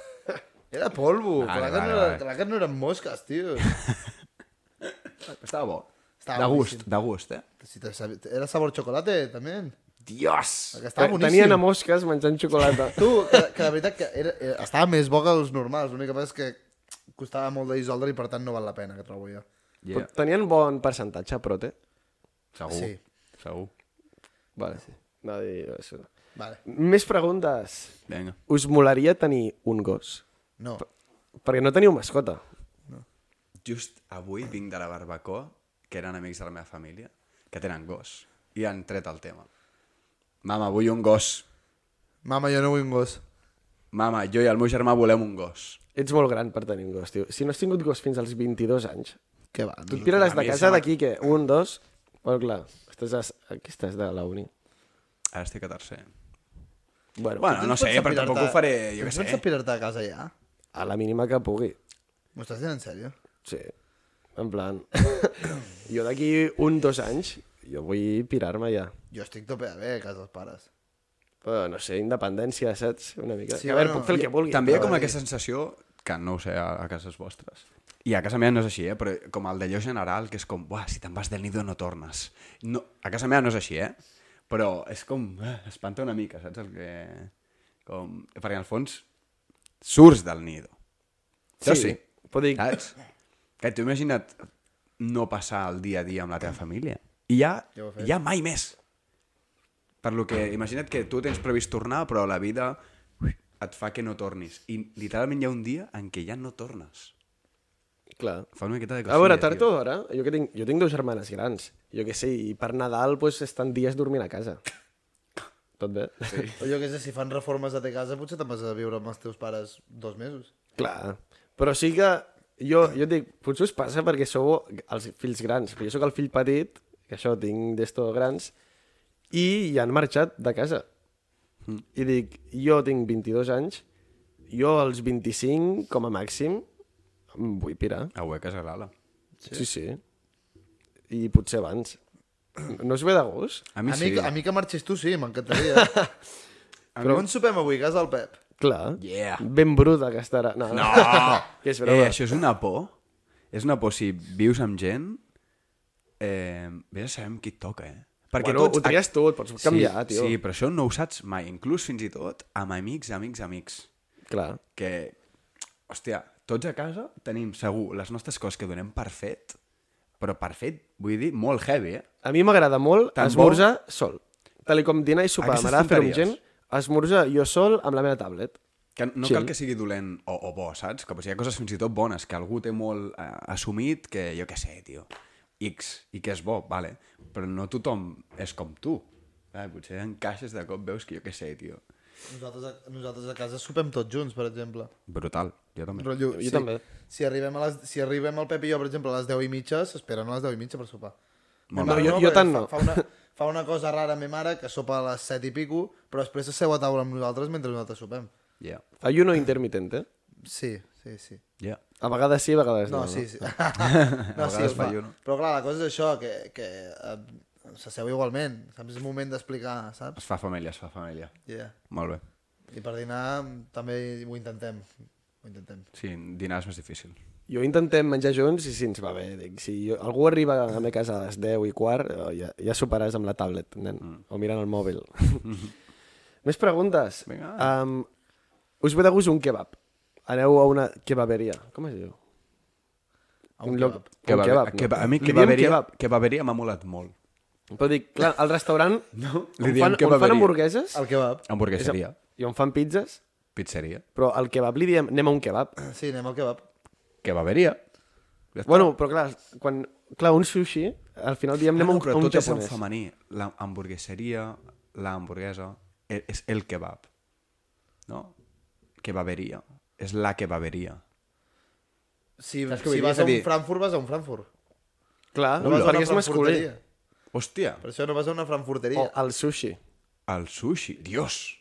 S2: Era polvo.
S1: Vale,
S2: clar, que
S1: vale,
S2: no era,
S1: vale.
S2: clar que no eren mosques, tio.
S1: Estava bo.
S2: Estava
S1: de gust,
S2: boníssim.
S1: de gust, eh?
S2: Si te sabe- era sabor xocolate, també.
S1: Dios!
S2: Que estava
S3: Tenien
S2: boníssim.
S3: Eh, Tenien a mosques menjant xocolata.
S2: Tu, que, que la veritat que era, era, estava més bo que els normals. L'únic que passa és que costava molt de dissoldre i per tant no val la pena, que trobo jo.
S1: Yeah,
S3: Però Tenien bon percentatge, però té.
S1: segur,
S2: Sí.
S1: segur.
S3: Vale, sí. No, dir això.
S2: Vale.
S3: Més preguntes.
S1: Vinga.
S3: Us molaria tenir un gos?
S2: No.
S3: Perquè no teniu mascota.
S1: Just avui vinc de la barbacoa, que eren amics de la meva família, que tenen gos, i han tret el tema. Mama, vull un gos.
S2: Mama, jo no vull un gos.
S1: Mama, jo i el meu germà volem un gos.
S3: Ets molt gran per tenir un gos, tio. Si no has tingut gos fins als 22 anys,
S2: Què va?
S3: Tu et tires les
S1: A
S3: de
S1: mi
S3: casa
S1: se m'ha-
S3: d'aquí, que un, dos... Bueno, clar, estàs a... aquí estàs de la uni.
S1: Ara estic a tercer.
S3: Bueno,
S1: Bueno, no sé, però tampoc ho faré, jo què
S2: què
S1: sé.
S2: Tens pirar-te a casa ja?
S3: a la mínima que pugui.
S2: M'ho estàs dient en sèrio?
S3: Sí. En plan... jo d'aquí un, dos anys, jo vull pirar-me ja.
S2: Jo estic tope de bé a casa dels pares.
S3: Però, no sé, independència, saps? Una mica.
S2: Sí,
S3: Sí, a veure,
S2: bueno,
S3: puc fer el que vulgui.
S1: També hi ha
S3: però-
S1: com aquesta sensació, que no ho sé a, a cases vostres, i a casa meva no és així, eh? però com el d'allò general, que és com, buah, si te'n vas del nido no tornes. No, a casa meva no és així, eh? Però és com, eh, espanta una mica, saps? El que... Com... Perquè en el fons surts del nido. Jo sí. Ah.
S3: Però dic,
S1: Saps? Que t'ho he imagina't no passar el dia a dia amb la teva família. I ja,
S2: Ja ho he fet.
S1: ja mai més. Per lo que, imagina't que tu tens previst tornar, però la vida et fa que no tornis. I literalment hi ha un dia en què ja no tornes.
S3: Clar.
S1: Fa una miqueta de
S3: A veure,
S1: cosilla,
S3: tard o
S1: tio.
S3: d'hora, jo, que tinc, jo tinc dues germanes grans, jo que sé, i per Nadal pues, estan dies dormint a casa. Tot bé? Sí.
S2: O jo què sé, si fan reformes a te casa, potser te'n vas a viure amb els teus pares dos mesos.
S3: Clar. Però sí que jo, jo et dic, potser us passa perquè sou els fills grans, però jo sóc el fill petit, que això tinc d'esto grans, i ja han marxat de casa. Mm. I dic, jo tinc 22 anys, jo als 25, com a màxim, em vull pirar.
S1: A hueques a l'ala.
S3: Sí, sí. sí. I potser abans. No us ve de gust?
S1: A mi,
S2: a,
S1: sí.
S2: mi, a mi que marxis tu sí, m'encantaria. Però on sopem avui? Casa del Pep.
S3: Clar.
S1: Yeah.
S3: Ben bruta que estarà. No, no.
S2: Ah!
S3: que és broma.
S1: Eh, això és una por. És una por si vius amb gent... Eh, vés a saber amb qui et toca, eh? Perquè
S3: Bueno,
S1: tots...
S3: ho tries tu, et pots canviar,
S1: sí,
S3: tio.
S1: Sí, però això no ho saps mai. Inclús fins i tot amb amics, amics, amics.
S3: Clar.
S1: Que, hòstia, tots a casa tenim segur les nostres coses que donem per fet, però per fet, vull dir, molt heavy, eh?
S3: A mi m'agrada molt
S1: Tan
S3: esmorzar sol. Tal com dinar i sopar.
S1: Aquestes
S3: M'agrada fer amb gent
S1: tonteries.
S3: esmorzar jo sol amb la meva tablet.
S1: Que no
S3: Sí.
S1: sí. cal que sigui dolent o, o bo, saps? Que pues, hi ha coses fins i tot bones que algú té molt eh, assumit que jo què sé, tio, X, i que és bo, vale, però no tothom és com tu. Eh, potser encaixes de cop, veus que jo què sé, tio.
S2: Nosaltres a, nosaltres a casa sopem tots junts, per exemple.
S1: Brutal, jo també. Però...
S2: Rotllo,
S3: Jo també.
S2: Si arribem, a les, si arribem el Pep i jo, per exemple, a les 10 i mitja, s'esperen a les 10 i mitja per sopar.
S1: Molt bé.
S2: Ma mare
S3: No, jo- jo
S2: perquè
S3: tant
S2: fa-
S3: no.
S2: Fa una, fa una cosa rara a mi mare, que sopa a les 7 i pico, però després s'asseu a taula amb nosaltres mentre nosaltres sopem.
S1: Yeah,
S3: Ayuno intermitente.
S2: Sí, sí, sí.
S1: yeah.
S3: eh? A vegades sí, a vegades no.
S2: No, sí, sí. no, sí,
S1: vegades
S2: es fa.
S1: fa jo, no?
S2: Però clar, la cosa és això, que, que eh, s'asseu igualment, saps? És moment d'explicar, saps?
S1: Es fa família, es fa família.
S2: Yeah.
S1: Molt bé.
S2: I per dinar també ho intentem. Ho intentem.
S1: Sí, dinar és més difícil.
S3: Jo intentem menjar junts i si ens va bé. Dic, si jo, algú arriba a la meva casa a les 10 i quart, eh, ja, ja soparàs amb la tablet, nen, mm. o mirant el mòbil. Més preguntes.
S1: Vinga.
S3: Um, us ve de gust un kebab. Aneu a una kebaberia. Com es diu?
S2: A un
S3: lloc-
S2: kebab.
S1: Que
S3: un
S1: va,
S3: kebab.
S1: que va, a mi
S3: Li
S1: que
S3: diem
S1: va haver-hi
S3: kebab.
S1: que va haver-hi m'ha molat molt.
S3: Però dic, clar, al restaurant no,
S1: li
S3: on,
S1: diem
S3: fan, on
S1: kebaberia.
S3: fan hamburgueses
S2: El kebab.
S3: és a-
S1: Hamburgueseria,
S3: i on fan pizzas,
S1: pizzeria,
S3: però al kebab li diem anem a un kebab.
S1: Ah,
S2: Sí, anem al kebab.
S1: que va haver-hi. Ja està.
S3: Bueno, però clar, quan, clar, un sushi, al final diem
S1: Ah,
S3: anem a
S1: no,
S3: un,
S1: però
S3: a un
S1: tot és en
S3: japonès.
S1: femení. La hamburgueseria, la hamburguesa, e- és el kebab, no? Kebaberia. És la kebaberia.
S2: Si,
S1: Saps què vull
S2: si
S1: dir? És
S2: vas
S1: a
S2: a un
S1: dir-
S2: Frankfurt, vas a un Frankfurt.
S3: Clar,
S2: No vas a una
S3: perquè és masculí.
S2: frankfurteria.
S1: Hòstia,
S2: Per això no vas a una
S3: O
S1: Oh.
S2: frankfurteria.
S3: al sushi.
S1: el sushi. Dios!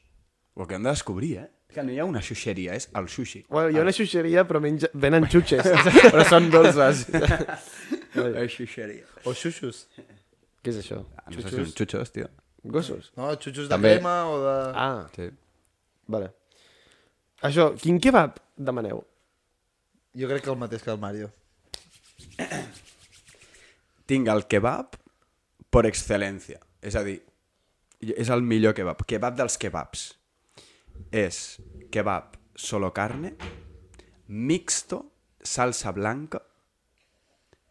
S1: Ho que hem de descobrir, eh? Que no hi ha una xuxeria, és el sushi.
S3: Bueno, hi ha una xuxeria, però menja... venen xutxes. però són dolces.
S1: La xuxeria.
S2: O, o xuxus.
S3: Què és això?
S1: Ah, no sé si són xutxos, tio.
S3: Gossos?
S2: No, xuxus de
S1: També.
S2: crema o de...
S3: Ah,
S1: Sí.
S3: vale. Això, quin kebab demaneu?
S2: Jo crec que el mateix que el Mario.
S1: Tinc el kebab per excel·lència. És a dir, és el millor kebab. Kebab dels kebabs. és kebab solo carne, mixto, salsa blanca,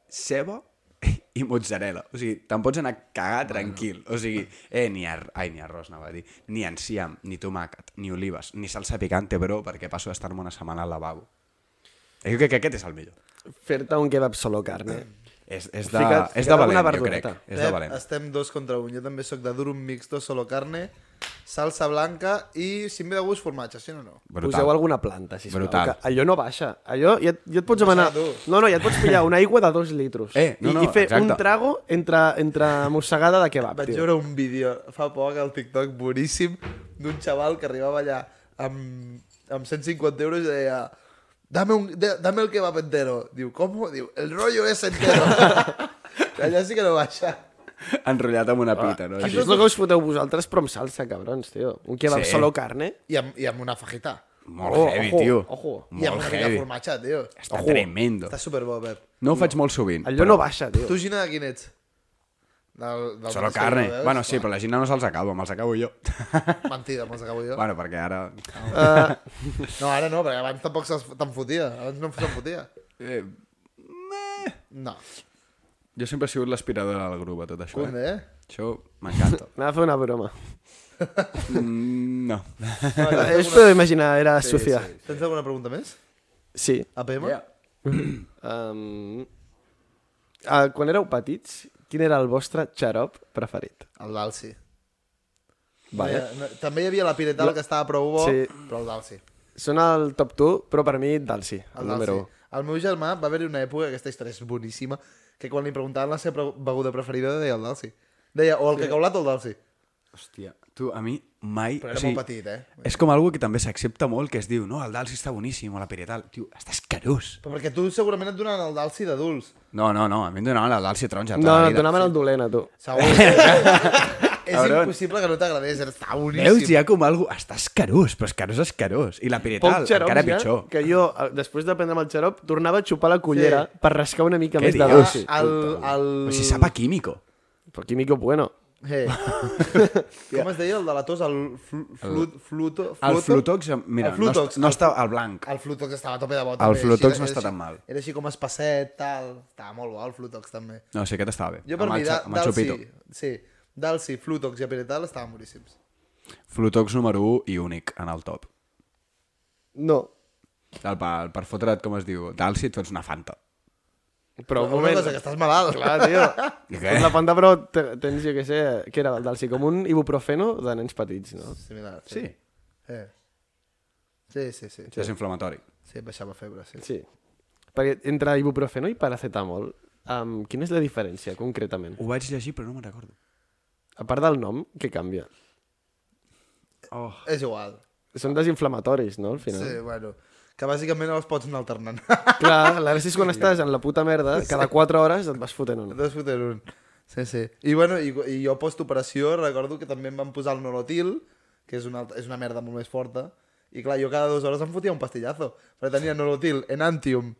S1: ceba i mozzarella. O sigui, te'n pots anar a cagar tranquil. O sigui, eh, ni, ar Ai, ni arròs, anava a dir, ni enciam, ni tomàquet, ni olives, ni salsa picante, però perquè passo d'estar-me una setmana al lavabo. Eh, Jo crec que aquest és el millor.
S3: Fer-te un kebab solo carne.
S1: És, és, de,
S3: Fica't-
S1: és de
S3: fica't alguna
S1: valent, jo crec.
S3: verdureta. Eh,
S1: És de valent.
S2: estem dos contra un. Jo també sóc de durum mixto, solo carne, salsa blanca i, si em ve de gust, formatge, sí o no?
S1: Brutal.
S3: Poseu alguna planta, sisplau.
S1: Brutal.
S3: Que allò no baixa. Allò ja, et- ja et pots demanar...
S2: baixarà dur.
S3: No, no, ja et pots pillar una aigua de dos litros.
S1: Eh, no,
S3: I,
S1: no,
S3: I fer
S1: exacte.
S3: un trago entre, entre mossegada de kebab,
S2: Ah, Vaig
S3: tio.
S2: veure un vídeo fa poc al TikTok boníssim d'un xaval que arribava allà amb, amb 150 euros i deia dame, un, de, dame el kebab entero. Diu, com? Diu, el rollo es entero. allà sí que no baixa.
S1: Enrotllat amb una pita, no?
S3: Això és el que us foteu vosaltres, però amb salsa, cabrons, tio. Un kebab
S1: Sí.
S3: solo carne.
S2: I amb, i amb una fajita.
S1: Molt
S3: Ojo,
S1: heavy,
S3: ojo,
S1: tio.
S3: ojo.
S2: I
S1: Molt
S2: amb una mica de
S1: heavy.
S2: formatge, tio.
S1: Està tremendo.
S2: Està superbo, Pep.
S1: No ho faig molt sovint.
S3: Allò no baixa, tio.
S2: Tu, Gina, de quin ets? Del, del
S1: Solo
S2: mateix que
S1: carne.
S2: jo, veus?
S1: Bueno, sí, però la Gina no se'ls acaba, me'ls acabo jo.
S2: Mentida, me'ls acabo jo.
S1: bueno, perquè ara...
S2: No, ara no, perquè abans tampoc se'ls- te'n fotia. Abans no se'n fotia.
S1: Eh,
S2: No.
S1: Jo sempre he sigut l'aspiradora del grup a tot això.
S2: Cunde, eh?
S1: Això m'encanta.
S3: Anava a fer una broma.
S1: Mm, no.
S3: Eh, Us podeu imaginar, era sí, Sofia.
S2: Tens alguna pregunta més?
S3: Sí. sí.
S2: APM?
S1: Yeah.
S3: Um, uh, quan éreu petits, quin era el vostre xarop preferit?
S2: El d'Alci. No, hi
S3: Vale.
S2: ha- no, també hi havia la Piretal, que estava prou bo,
S3: Sí.
S2: però el d'Alci.
S3: Són el top 2, però per mi Dalsi, el,
S2: El,
S3: el número 1.
S1: Tota
S2: d'Alci. el meu germà va haver-hi una època, aquesta història és boníssima, que quan li preguntaven la seva pre- beguda preferida deia el d'Alci. Deia o el sí. cacaulat o el d'Alci.
S1: Hòstia, tu, a mi mai...
S2: Però era molt petit, eh?
S1: És com algo que també s'accepta molt, que es diu, no, el Dalsi està boníssim, o la Piretal. Tio, està escarós.
S2: Però perquè tu segurament et donaven el d'Alci d'adults.
S1: No, no, no, a mi em donaven el Dalsi taronja. tota
S3: No,
S1: la
S3: no, et
S1: vida.
S3: donaven el dolent a tu.
S2: Segur. és impossible que no t'agradés, està boníssim.
S1: Veus, hi ha com algo... Està escarós, però escarós, escarós. I la Piretal, encara pitjor.
S3: que jo, eh, després de prendre el xarop, tornava a xupar la cullera
S2: Sí.
S3: sí. per rascar una mica
S1: Què
S3: més de
S1: dius?
S3: Dalsi.
S2: Ah, el, el...
S1: Però si sap a químico.
S3: Però químico bueno.
S2: Hey. Com es deia el de la tos? El flu, flu, fluto, fluto?
S1: El Flutox, mira,
S2: el Flutox,
S1: no, no
S2: el-
S1: està al blanc.
S2: El Flutox estava a tope de bo.
S1: El
S2: també.
S1: Flutox
S2: Així-
S1: no està
S2: així-
S1: tan mal.
S2: Era així com espacet, tal. Estava molt bo el Flutox també.
S1: No, sí, aquest estava bé.
S2: Jo per
S1: Amb
S2: mi,
S1: el
S2: da-
S1: xa- amb el xupito.
S2: Dalsi, sí, Dalsi, Flutox i Apiretal estaven boníssims.
S1: Flutox número 1 i únic en el top.
S3: No,
S1: El, per, per fotre't, com es diu, d'alci, tu ets una fanta.
S3: però un
S2: Una
S3: moment...
S2: cosa que estàs malalt.
S3: Clar, tio.
S1: I què?
S3: Tens la panda, però te- tens, jo què sé, què era el Dalsi? Com un ibuprofeno de nens petits, no?
S2: Similar.
S1: Sí,
S2: Sí. Eh. Sí, sí, sí.
S1: sí. és inflamatori.
S2: Sí, baixava febre, sí.
S3: Sí. Perquè entre ibuprofeno i paracetamol, um, quina és la diferència, concretament?
S1: Ho vaig llegir, però no me'n recordo.
S3: A part del nom, què canvia?
S1: Oh.
S2: És igual.
S3: Són desinflamatoris, no, al final?
S2: Sí, bueno. Que bàsicament els pots anar alternant.
S3: Clar, la gràcia és quan estàs en la puta merda, cada 4 hores et vas fotent un.
S2: Dos fotent un. Sí, sí. I, bueno, i, i jo postoperació recordo que també em van posar el nolotil, que és una, alt- és una merda molt més forta, i clar, jo cada dues hores em fotia un pastillazo, perquè tenia nolotil, enantium,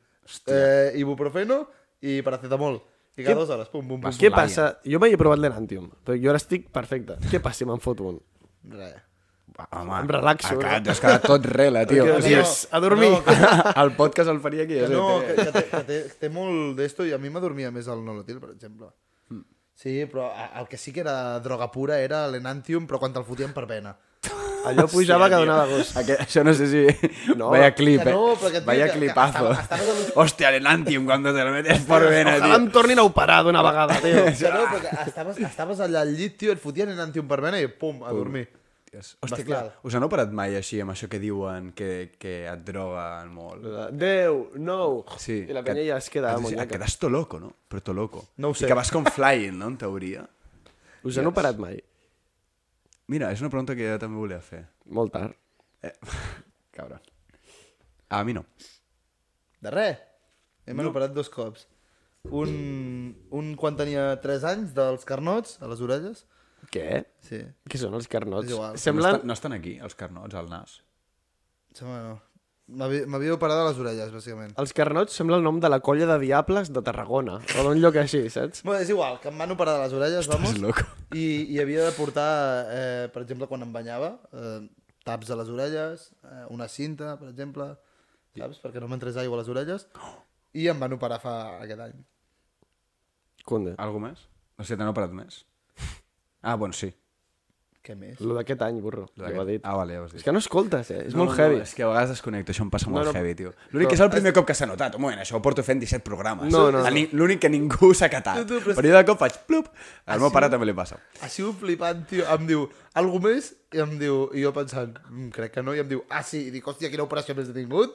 S2: eh, ibuprofeno i paracetamol. I cada dues hores, pum, pum, pum.
S3: Què passa? Jo mai he provat l'enantium, però jo ara estic perfecte. Què passa si me'n foto un?
S2: pum. Res.
S1: Home,
S3: Em relaxo,
S1: Ha
S2: eh?
S3: no?
S1: quedat, has quedat tot rela, tio.
S3: Que-
S1: O sigui,
S3: no,
S1: és-
S3: a dormir.
S1: No, que- el podcast el faria aquí.
S2: Que
S1: és
S2: no,
S1: el
S2: que, que, té, que té, té molt d'esto i a mi m'adormia més el nolotil, per exemple. Sí, però a- el que sí que era droga pura era l'enantium, però quan te'l fotien per vena.
S3: Allò pujava que donava gust.
S1: Aquest, això no sé si...
S3: No.
S1: No, Vaya clip,
S2: Que
S1: eh?
S2: no, però que, tio,
S1: Vaya
S2: que- que
S1: clipazo.
S2: estava- estava com-
S1: Hòstia, l'Enantium, quan te lo metes por vena,
S3: Ojalà em
S1: tio.
S3: tornin a operar d'una vegada, tio.
S2: Que no, perquè estaves, estaves allà al llit, tio, et fotien en antiumpermena i pum, a dormir.
S1: Hòstia, clar,
S2: Bestial.
S1: us han operat mai així amb això que diuen que, que et droguen molt?
S3: Déu, no.
S1: Sí.
S3: I la penya ja es queda
S1: que,
S3: monyaca.
S1: que quedes to loco, no? Però to loco.
S2: No ho sé.
S1: I que vas com flying, no? En teoria.
S3: Us han operat mai?
S1: Mira, és una pregunta que jo també volia fer.
S3: Molt tard.
S1: Eh, cabron. A mi no.
S2: De res. Hem no. operat dos cops. Un, un quan tenia 3 anys, dels carnots, a les orelles.
S3: Què?
S2: Sí.
S3: Què són els
S2: És
S3: carnots?
S2: igual.
S1: No,
S3: Semblen...
S1: estan, no estan aquí, els carnots, al nas.
S2: Sembla no. M'havi- M'havia operat a les orelles, bàsicament.
S3: Els carnots sembla el nom de la colla de diables de Tarragona, o d'un lloc així, saps?
S2: Bé, és igual, que em van operar de les orelles, vamos.
S1: És loco.
S2: I, I havia de portar, eh, per exemple, quan em banyava, eh, taps a les orelles, eh, una cinta, per exemple, saps? Perquè no m'entrés aigua a les orelles. I em van operar fa aquest any.
S3: Cunde.
S1: Algú més? No sé, t'han operat més? Ah, bueno, sí.
S2: Què més?
S3: Lo d'aquest any, burro.
S1: Lo
S3: Ja ho ha
S1: d'aquest-
S3: dit.
S1: Ah, vale, ja ho has dit.
S3: És que no escoltes, eh? És
S1: No,
S3: molt
S1: no,
S3: heavy.
S1: és que a vegades desconnecto, això em passa molt
S3: no,
S1: heavy, tio. L'únic que és el primer cop que s'ha notat, un moment, això ho porto fent 17 programes.
S3: No, no,
S1: A
S3: no.
S1: ni- L'únic que ningú s'ha catat.
S2: Tu, tu, però
S1: però Ah, jo de cop faig plup, al meu pare també li passa.
S2: ha sigut flipant, tio. Em diu, algú més? I em diu, i jo pensant, "Mm, crec que no. I em diu, ah, sí. I dic, hòstia, quina operació més he tingut?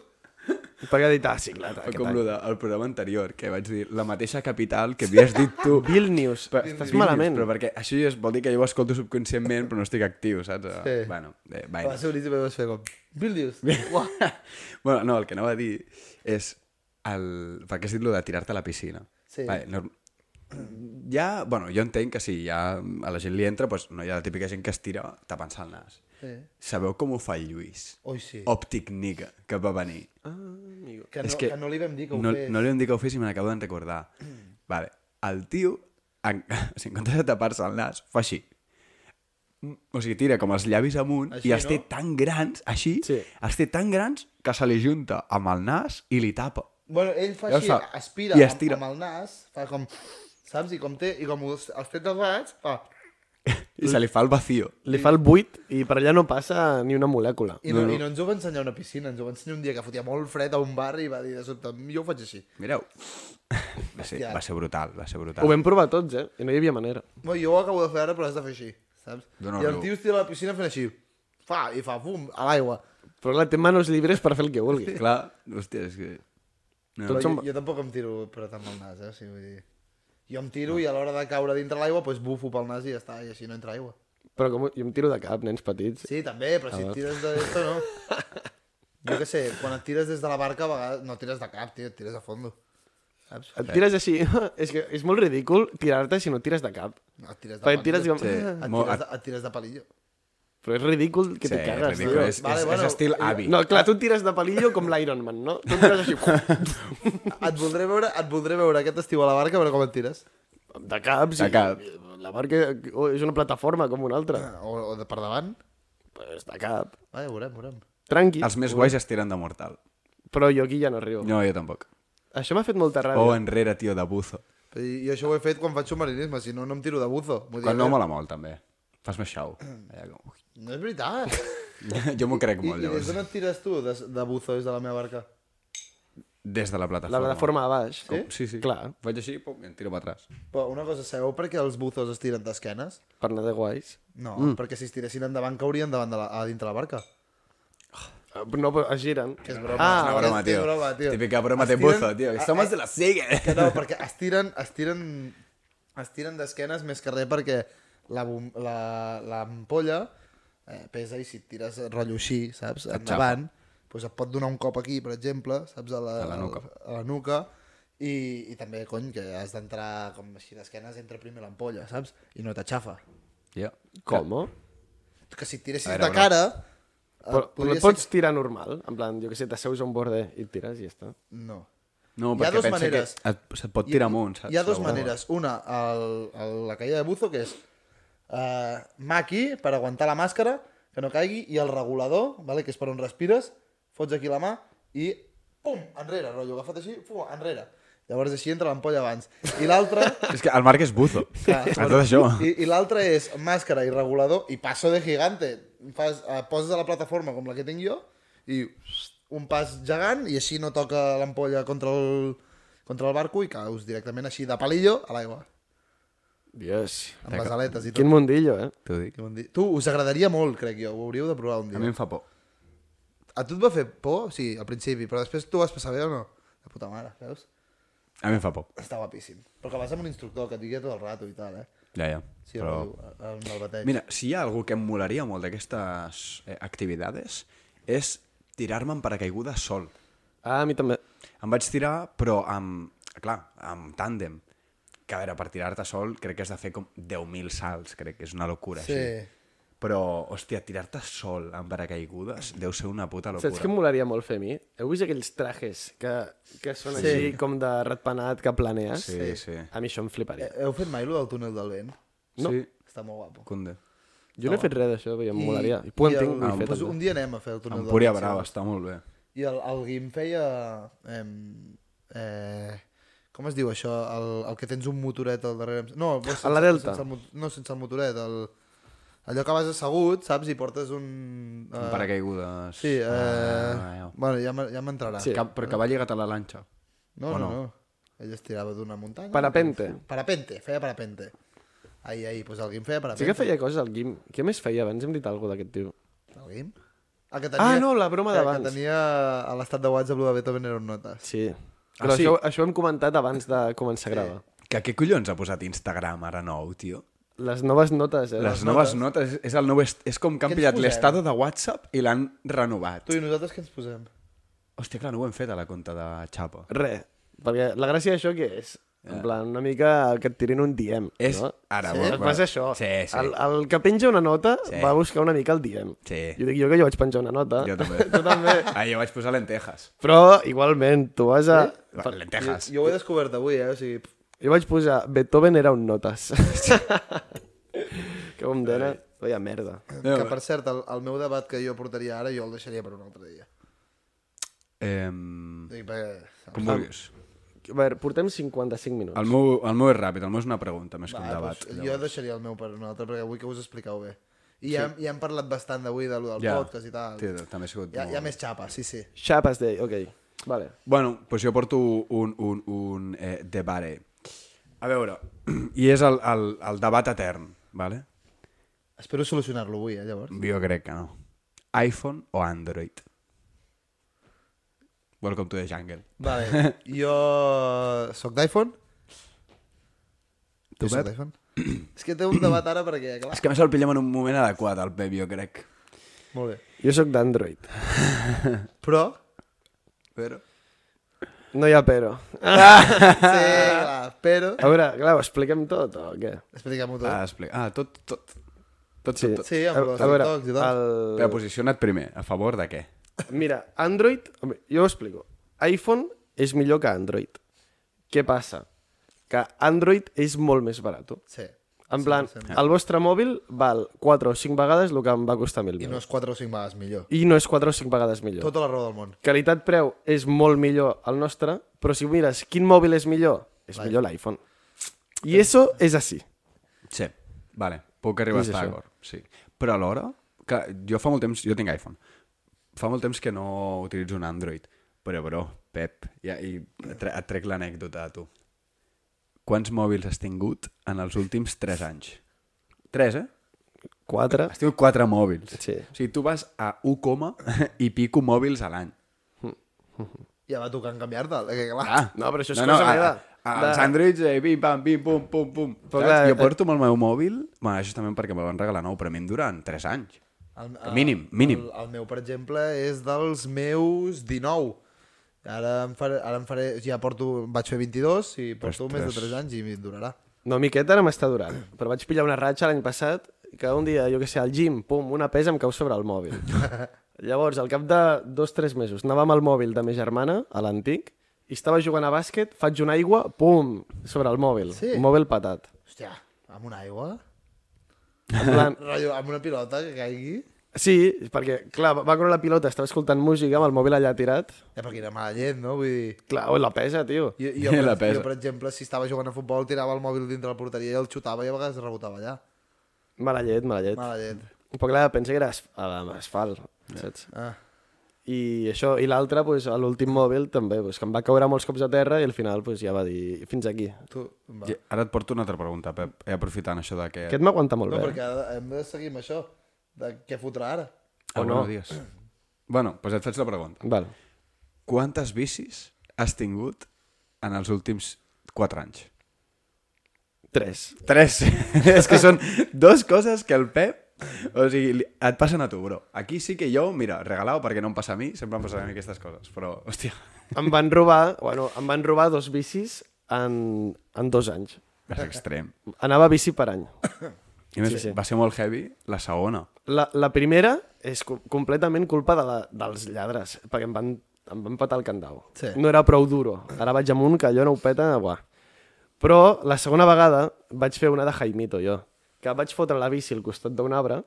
S3: Perquè ha dit, ah, sí, clar,
S1: O
S3: aquest
S1: com
S3: any.
S1: el del programa anterior, que vaig dir la mateixa capital que havies dit tu.
S3: Vilnius.
S1: Però-
S3: Estàs
S1: Vilnius,
S3: malament.
S1: Però perquè això ja es vol dir que jo ho escolto subconscientment, però no estic actiu, saps?
S2: Sí.
S1: Bueno, eh,
S2: Va
S1: vaina.
S2: ser boníssim, i vaig fer com, Vilnius. Uah.
S1: bueno, no, el que anava a dir és... El... Perquè has dit lo de tirar-te a la piscina.
S2: Sí.
S1: Vale, no... Ja, bueno, jo entenc que si ja a la gent li entra, doncs no hi ha la típica gent que es tira tapant-se el nas.
S2: Sí.
S1: Sabeu com ho fa el Lluís?
S2: Ui, sí.
S1: Òptic Nica, que va venir.
S2: Que, no,
S1: Oh, És
S2: que...
S1: que
S2: que no li vam dir que ho
S1: No,
S2: fes. Mm.
S1: no li vam dir que ho fes i me n'acabo de recordar. Vale. El tio, en, o sigui, en comptes de tapar-se el nas, fa així. Mm, O sigui, tira com els llavis amunt així,
S2: Així,
S1: i els té
S2: no?
S1: tan grans, així,
S3: Sí.
S1: els té tan grans que se li junta amb el nas i li tapa.
S2: Bueno, ell fa
S1: Ja
S2: així,
S1: ho fa.
S2: aspira
S1: I
S2: I
S1: estira.
S2: amb, amb el nas, fa com... Saps? I com, té, i com els, els té tapats, fa...
S1: I se li fa el vacío.
S3: Li fa el buit i per allà no passa ni una molècula.
S2: I no, no, no. I no ens ho va ensenyar a una piscina, ens ho va ensenyar un dia que fotia molt fred a un bar i va dir de sobte, jo ho faig així.
S1: Mireu. Va ser, va ser brutal, va ser brutal.
S3: Ho vam provar tots, eh? I no hi havia manera.
S2: Bueno, jo ho acabo de fer ara, però has de fer així, saps?
S1: Dóna
S2: I el
S1: el
S2: tio estia a la piscina fent així, fa, i fa, pum, a l'aigua.
S3: Però la té manos llibres per fer el que vulgui.
S1: Clar, hòstia, és que...
S2: Però
S3: Tots
S2: jo,
S3: som...
S2: jo tampoc em tiro per tant pel nas, eh? O sigui, vull dir... Jo em tiro i a l'hora de caure dintre l'aigua, doncs bufo pel nas i ja està, i així no entra aigua.
S3: Però com... jo em tiro de cap, nens petits.
S2: Sí, també, però si et tires de esto, no. Jo què sé, quan et tires des de la barca, a vegades no tires de cap, tio, et tires a fondo. Saps?
S3: Et tires així. és que és molt ridícul tirar-te si no tires de cap.
S2: No, et tires de
S3: Perquè et tires "Eh,
S2: palillo.
S3: com... Sí.
S2: Et
S1: Mo-
S2: tires, de, et tires de palillo.
S3: Però és ridícul que
S1: Sí,
S3: sí, te cagues,
S1: ridícul,
S3: tio.
S1: és,
S2: Vale,
S1: és, és
S2: bueno,
S1: estil avi.
S3: No, clar, tu et tires de palillo com l'Iron Man, no? Tu et tires així...
S2: Et voldré veure, et voldré veure aquest estiu a la barca, a veure com et tires.
S3: De cap, sí.
S1: De cap.
S3: La barca o és una plataforma com una altra.
S2: O, o de per davant.
S3: Pues de cap.
S2: Vaja, veurem, veurem.
S3: Tranqui.
S1: Els més guais es tiren de mortal.
S3: Però jo aquí ja no arribo.
S1: No, jo Oh, tampoc.
S3: Això m'ha fet molta ràbia.
S1: O enrere, tio, de buzo.
S2: Però jo això ho he fet quan faig submarinisme, si no, no em tiro de buzo. Vull dir, eh,
S1: Quan no
S2: a veure,
S1: mola molt, també. Fas més xau. Allà com... ui.
S2: no és veritat.
S1: Jo m'ho crec
S2: I,
S1: molt,
S2: i des
S1: llavors.
S2: d'on et tires tu de, de buzo des de la meva barca?
S1: Des de la plataforma.
S3: La plataforma de baix. eh?
S1: Com? Sí, sí.
S3: Clar,
S1: Vaig així pum, i em tiro per atràs.
S2: Però una cosa, sabeu per què els buzos es tiren d'esquenes?
S3: per anar de guais.
S2: No, mm. perquè si es tiressin endavant caurien davant de la, a dintre la barca.
S3: Eh, No, però es giren.
S2: Que és broma.
S1: Ah, una
S2: és-
S1: broma,
S2: és
S1: tio.
S2: broma, tio.
S1: Típica broma de
S2: Es tiren-
S1: buzo, tio.
S2: Ah,
S1: Som
S2: eh,
S1: els de la sigue.
S2: Que no, perquè es tiren, es tiren, es tiren d'esquenes més que res perquè la bom- la- l'ampolla eh, pesa i si et tires rotllo així, saps, endavant, doncs et pot donar un cop aquí, per exemple, saps, a la,
S1: A la nuca.
S2: A la nuca i, i també, cony, que has d'entrar com així d'esquenes, entra primer l'ampolla, saps? I no t'aixafa.
S1: Yeah.
S3: Com?
S2: Que si et tiressis
S1: A veure,
S2: de cara... eh,
S3: Però, però
S2: podria
S3: et pots tirar normal? En plan, jo què sé, t'asseus a un borde i et tires i ja està.
S2: No.
S1: No,
S2: Hi ha
S1: perquè
S2: dos
S1: pensa
S2: maneres.
S1: que et, se't pot tirar amunt, saps?
S2: Hi ha dues
S1: Segur.
S2: maneres. Una, el, el, la caïda de buzo, que és eh, mà aquí per aguantar la màscara, que no caigui, i el regulador, vale, que és per on respires, fots aquí la mà i pum, enrere, rotllo, agafat així, pum, enrere. Llavors així entra l'ampolla abans. I l'altra...
S1: És que el Marc és buzo.
S2: Clar.
S1: A tot això.
S2: I, i l'altra és màscara i regulador i passo de gigante. Fas, eh, poses a la plataforma com la que tinc jo i un pas gegant i així no toca l'ampolla contra el, contra el barco i caus directament així de palillo a l'aigua.
S3: Dios.
S2: Amb les aletes i tot.
S3: Quin mundillo, eh?
S1: T'ho dic.
S2: Què vol dir? Tu, us agradaria molt, crec jo. Ho hauríeu de provar un
S1: A
S2: dia.
S1: mi em fa por.
S2: A tu et va fer por? Sí, al principi, però després tu vas passar bé o no? La puta mare, veus?
S1: A mi em fa por.
S2: Està guapíssim. Però que vas amb un instructor que et digui tot el rato i tal, eh?
S1: Ja, ja.
S2: Sí,
S1: Però...
S2: Però... el, el bateig.
S1: Mira, si hi ha algú que em molaria molt d'aquestes eh, activitats és tirar-me en paracaiguda sol.
S3: Ah, a mi també.
S1: Em vaig tirar, però amb... Clar, amb tàndem. Que a veure, per tirar-te sol crec que has de fer com 10.000 salts, crec que és una locura
S2: Sí.
S1: així. Però, hòstia, tirar-te sol en paracaigudes deu ser una puta locura.
S3: Saps què em molaria molt fer a mi? Heu vist aquells trajes que, que són sí. així com de ratpenat que planees?
S1: Sí, sí.
S3: A mi això em fliparia.
S2: Heu fet mai lo del túnel del vent?
S1: No. Sí,
S2: Està molt guapo.
S1: Cunde.
S3: Jo no, he fet res d'això, però em molaria. I
S2: i
S3: puc
S2: el-
S3: entenc, ho he
S2: doncs
S3: fet.
S2: un
S3: també.
S2: dia anem a fer el túnel del
S1: Empúria
S2: Valencia.
S1: Brava, està molt bé.
S2: I el, el Guim feia... Eh, eh, com es diu això? El, el que tens un motoret al darrere... amb- No, sense,
S3: la Delta.
S2: Sense el, mot- no, sense el motoret. El, allò que vas assegut, saps? I portes un... Eh,
S1: En paracaigudes.
S2: Sí, eh,
S1: Ah,
S2: ah, bueno, ja, me- ja m'entrarà.
S3: Sí.
S1: Que, però que va lligat a la lanxa.
S2: No, no, no. Ell es tirava d'una muntanya.
S3: Parapente.
S2: Parapente, feia parapente. Ahir, ahir, doncs el Guim feia
S3: Sí
S2: parapente.
S3: que feia coses al Guim. Què més feia? Abans hem dit alguna cosa d'aquest tio.
S2: El Guim? El que
S3: Ah, no, la broma
S2: el
S3: d'abans.
S2: Que tenia a l'estat de WhatsApp, el de Beethoven era un notes.
S3: Sí. Però ah,
S1: sí?
S3: sí? això, això ho hem comentat abans de començar a gravar.
S1: Que què collons ha posat Instagram ara nou, tio?
S3: Les noves notes, eh?
S1: Les, noves notes, és, el nou est... és com que han
S2: Què ens
S1: pillat
S2: posem?
S1: l'estado de WhatsApp i l'han renovat.
S2: Tu i nosaltres què ens posem?
S1: Hòstia, clar, no ho hem fet a la conta de Xapa.
S3: Res. Perquè la gràcia d'això què és? En plan, una mica que et tirin un DM,
S1: Eh. És
S3: no?
S1: ara,
S3: Sí?
S1: bo-
S3: Et passa Eh? això.
S1: Sí, sí.
S3: El, el que penja una nota
S1: Sí.
S3: va buscar una mica el DM.
S1: Sí.
S3: Jo dic jo que jo vaig penjar una nota.
S1: Jo també.
S3: tu també.
S1: Ah, jo vaig posar lentejas.
S3: Però, igualment, tu vas a...
S1: Va, Lentejas.
S2: Jo ho he descobert avui, eh? O sigui, pff,
S3: Jo vaig posar Beethoven era un notes. que com dena... Vaya merda.
S1: No,
S2: que per cert, el, el meu debat que jo portaria ara jo el deixaria per un altre dia.
S1: Ehm,
S2: O sigui, perquè,
S1: com vulguis.
S3: A veure, portem 55 minuts.
S1: El meu, el meu és ràpid, el meu és una pregunta més que un debat.
S2: doncs, jo deixaria el meu per un altre, perquè vull que us expliqueu bé. I ja, ja hem parlat bastant d'avui, de lo del
S1: Ja.
S2: podcast i tal.
S1: Té- també ha sigut
S2: Hi ha,
S1: molt-
S2: hi ha més xapa, sí, sí.
S3: Xapes Day, ok. Vale.
S1: Bueno, doncs jo porto un, un, un eh, debate. A veure, i és el, el, el debat etern, vale?
S2: Espero solucionar-lo avui, eh, llavors.
S1: Jo crec que no. iPhone o Android? Welcome to the jungle.
S2: Vale, jo soc d'iPhone.
S1: Tu,
S2: Jo soc
S1: Pep?
S2: d'iPhone. És que té un debat ara perquè, clar...
S1: És que a més el pillem en un moment adequat, el Pep, jo crec.
S2: Molt bé.
S3: Jo sóc d'Android.
S2: Però...
S1: Però...
S3: No hi ha però.
S2: Sí, clar, però...
S3: A veure, clar, ho expliquem tot o què?
S2: Expliquem-ho tot.
S1: Ah, explica. Ah, tot, tot. Tot,
S3: Sí,
S1: sí. tot.
S2: Sí, amb
S3: a,
S2: els
S3: a veure,
S2: TikToks i tot.
S1: Però
S3: el...
S1: posiciona't primer, a favor de què?
S3: Mira, Android... home, Jo ho explico. iPhone és millor que Android. Què passa? Que Android és molt més barat.
S2: Sí.
S3: En plan, el vostre mòbil val 4 o 5 vegades el que em va costar a mi el
S2: I
S3: meu.
S2: no és 4 o 5 vegades millor.
S3: I no és 4 o 5 vegades millor.
S2: Tota la raó del món.
S3: Qualitat-preu és molt millor el nostre, però si mires quin mòbil és millor, és millor l'iPhone. I eso és així.
S1: Sí. Vale, puc arribar a
S3: És
S1: estar
S3: això.
S1: d'acord. Sí. Però alhora, que jo fa molt temps, jo tinc iPhone, fa molt temps que no utilitzo un Android, però, bro, Pep, ja, i et tre- et trec l'anècdota a tu. Quants mòbils has tingut en els últims 3 anys? 3, eh?
S3: 4.
S1: Has tingut 4 mòbils.
S3: Sí.
S1: O sigui, tu vas a 1, coma i pico mòbils a l'any.
S2: Ja va tocant canviar-te'l, que clar...
S1: Ah,
S3: No, però això és cosa
S1: a-
S3: meva.
S1: a-
S3: De-
S1: Els Androids, eh, pim, pam, pim, pum, pum, pum.
S3: Però
S1: Saps?
S3: clar,
S1: jo porto amb el meu mòbil, bueno, això també perquè me'l van regalar nou, però a mi em duran 3 anys.
S2: El,
S1: Mínim, mínim.
S2: El, el meu, per exemple, és dels meus 19. Ara em faré, ara em faré ja porto, vaig fer 22 i porto més de 3 anys i em durarà.
S3: No, miqueta ara m'està durant, però vaig pillar una ratxa l'any passat que un dia, jo que sé, al gym, pum, una pesa em cau sobre el mòbil. Llavors, al cap de dos o tres mesos, anava amb el mòbil de ma germana, a l'antic, i estava jugant a bàsquet, faig una aigua, pum, sobre el mòbil.
S2: Sí?
S3: Un mòbil patat.
S2: Hòstia, amb una aigua?
S3: En plan,
S2: Rotllo, amb una pilota que caigui?
S3: sí, perquè, clar, va córrer la pilota, estava escoltant música amb el mòbil allà tirat.
S2: Ja perquè era mala llet, no? Vull dir...
S3: Clar, oi, la pesa, tio.
S2: Jo, jo,
S1: La pesa.
S2: per, jo, per exemple, si estava jugant a futbol, tirava el mòbil dintre la porteria i el xutava i a vegades rebotava allà.
S3: Mala llet, mala llet.
S2: Mala llet.
S3: Però clar, pensa que era as a- amb asfalt, saps?
S2: Ah.
S3: I això, i l'altre, pues, a l'últim mòbil també, pues, que em va caure molts cops a terra i al final pues, ja va dir, fins aquí.
S2: Tu, va.
S1: I ara et porto una altra pregunta, Pep, eh, aprofitant això de que...
S3: Aquest m'aguanta molt
S1: eh.
S2: No,
S3: bé. eh?
S2: perquè ara hem de seguir amb això. De què fotrà ara?
S1: o no. Ah, Dies. Bueno, doncs et faig la pregunta.
S3: Val.
S1: Quantes bicis has tingut en els últims 4 anys?
S3: Tres.
S1: 3. És que són dues coses que el Pep... O sigui, li- et passen a tu, bro. Aquí sí que jo, mira, regalado perquè no em passa a mi, sempre em passen a mi aquestes coses, però, hòstia...
S3: Em van robar, bueno, em van robar dos bicis en, en dos anys.
S1: És extrem.
S3: Anava a bici per any.
S1: I a més,
S3: Sí,
S1: sí,
S3: sí.
S1: sí. va ser molt heavy la segona.
S3: La, la primera és co completament culpa de la, dels lladres, perquè em van, em van petar el candau.
S2: Sí.
S3: No era prou duro. Ara vaig amunt, que allò no ho peta, buah. Però la segona vegada vaig fer una de Jaimito, jo, que vaig fotre la bici al costat d'un arbre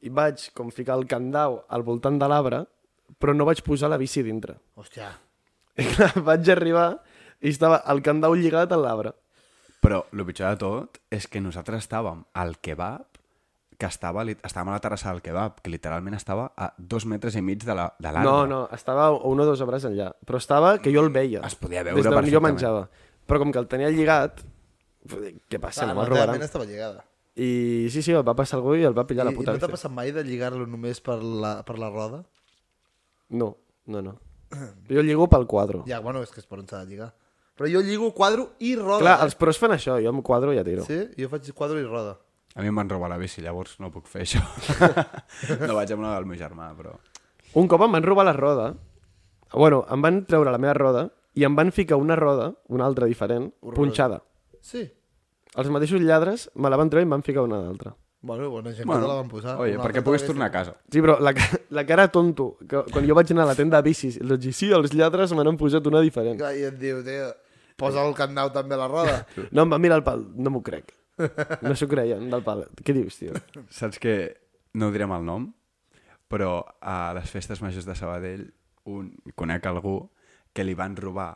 S3: i vaig com ficar el candau al voltant de l'arbre, però no vaig posar la bici dintre.
S2: Hòstia.
S3: I clar, vaig arribar i estava el candau lligat a l'arbre.
S1: Però el pitjor de tot és que nosaltres estàvem al kebab, que estava, lit- estàvem a la terrassa del kebab, que literalment estava a dos metres i mig de la- de l'arbre.
S3: No, no, estava un o dos arbres enllà. Però estava que jo el veia.
S1: Es podia veure
S3: Des d'on jo
S1: perfectament.
S3: menjava. Però com que el tenia lligat, vull dir, què passa, no me'l
S2: realment
S3: robaran.
S2: estava lligada.
S3: I sí, sí, el va passar algú i el va pillar la
S2: I,
S3: puta.
S2: I no t'ha
S3: bici.
S2: passat mai de lligar-lo només per la, per la roda?
S3: No, no, no. Jo lligo pel quadro.
S2: Ja, bueno, és que és per on s'ha de lligar. Però jo lligo quadro i roda.
S3: Clar,
S2: eh?
S3: els pros fan això, jo amb quadro ja tiro.
S2: Sí, jo faig quadro i roda.
S1: A mi em van robar la bici, llavors no puc fer això. no vaig amb la del meu germà, però...
S3: Un cop em van robar la roda, bueno, em van treure la meva roda i em van ficar una roda, una altra diferent, punxada.
S2: Sí.
S3: Els mateixos lladres me la van treure i em van ficar una d'altra.
S2: Bueno, bona gent que te tota la van posar.
S1: Oye,
S2: Una
S1: perquè
S2: altra
S1: puguis
S2: vegada
S1: tornar a casa.
S3: Sí, però la, ca- la cara tonto, que quan jo vaig anar a la tenda de bicis, els vaig dir, sí, els lladres me n'han posat una
S2: que-
S3: diferent.
S2: Clar, I et diu, tio, posa el candau també a la roda.
S3: No, em va mirar el pal, no m'ho crec. No s'ho creien, del pal. Què dius, tio?
S1: Saps que no direm el nom, però a les festes majors de Sabadell un, conec algú que li van robar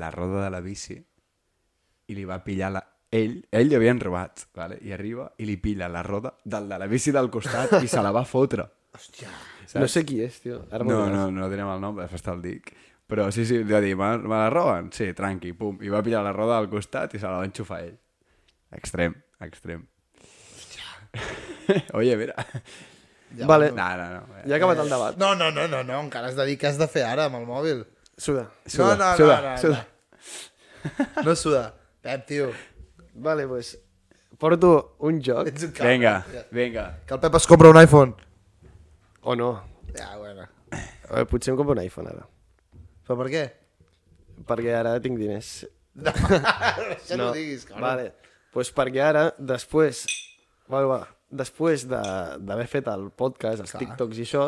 S1: la roda de la bici i li va pillar la... Ell, ell li havien robat, vale? i arriba i li pilla la roda del de la bici del costat i se la va fotre.
S3: No sé qui és, tio. Ara
S1: No,
S3: m'ho diràs.
S1: no, no direm el nom, després te'l dic. Però sí, sí, li va dir, me, me la roben? Sí, tranqui, pum. I va pillar la roda al costat i se la va enxufar ell. Extrem, extrem. Oye, mira.
S3: Vale,
S1: No, no, no.
S3: ja ha acabat el debat.
S2: No, no, no, no, no, encara has de dir què has de fer ara amb el mòbil.
S3: Suda.
S1: Suda,
S2: no, no,
S1: suda,
S2: no, no,
S1: suda.
S2: no. No suda. Pep, tio,
S3: Vale, pues, porto un joc,
S2: ets un cabra.
S1: Vinga, vinga.
S2: Que el Pep es compra un iPhone.
S3: o no.
S2: Ja, bueno.
S3: A veure, potser em compro un iPhone ara,
S2: Però per què?
S3: perquè ara tinc diners.
S2: No, això no, no ho diguis, cabrón.
S3: Vale, pues perquè ara, després, bueno, va, després de- d'haver fet el podcast, els TikToks i això,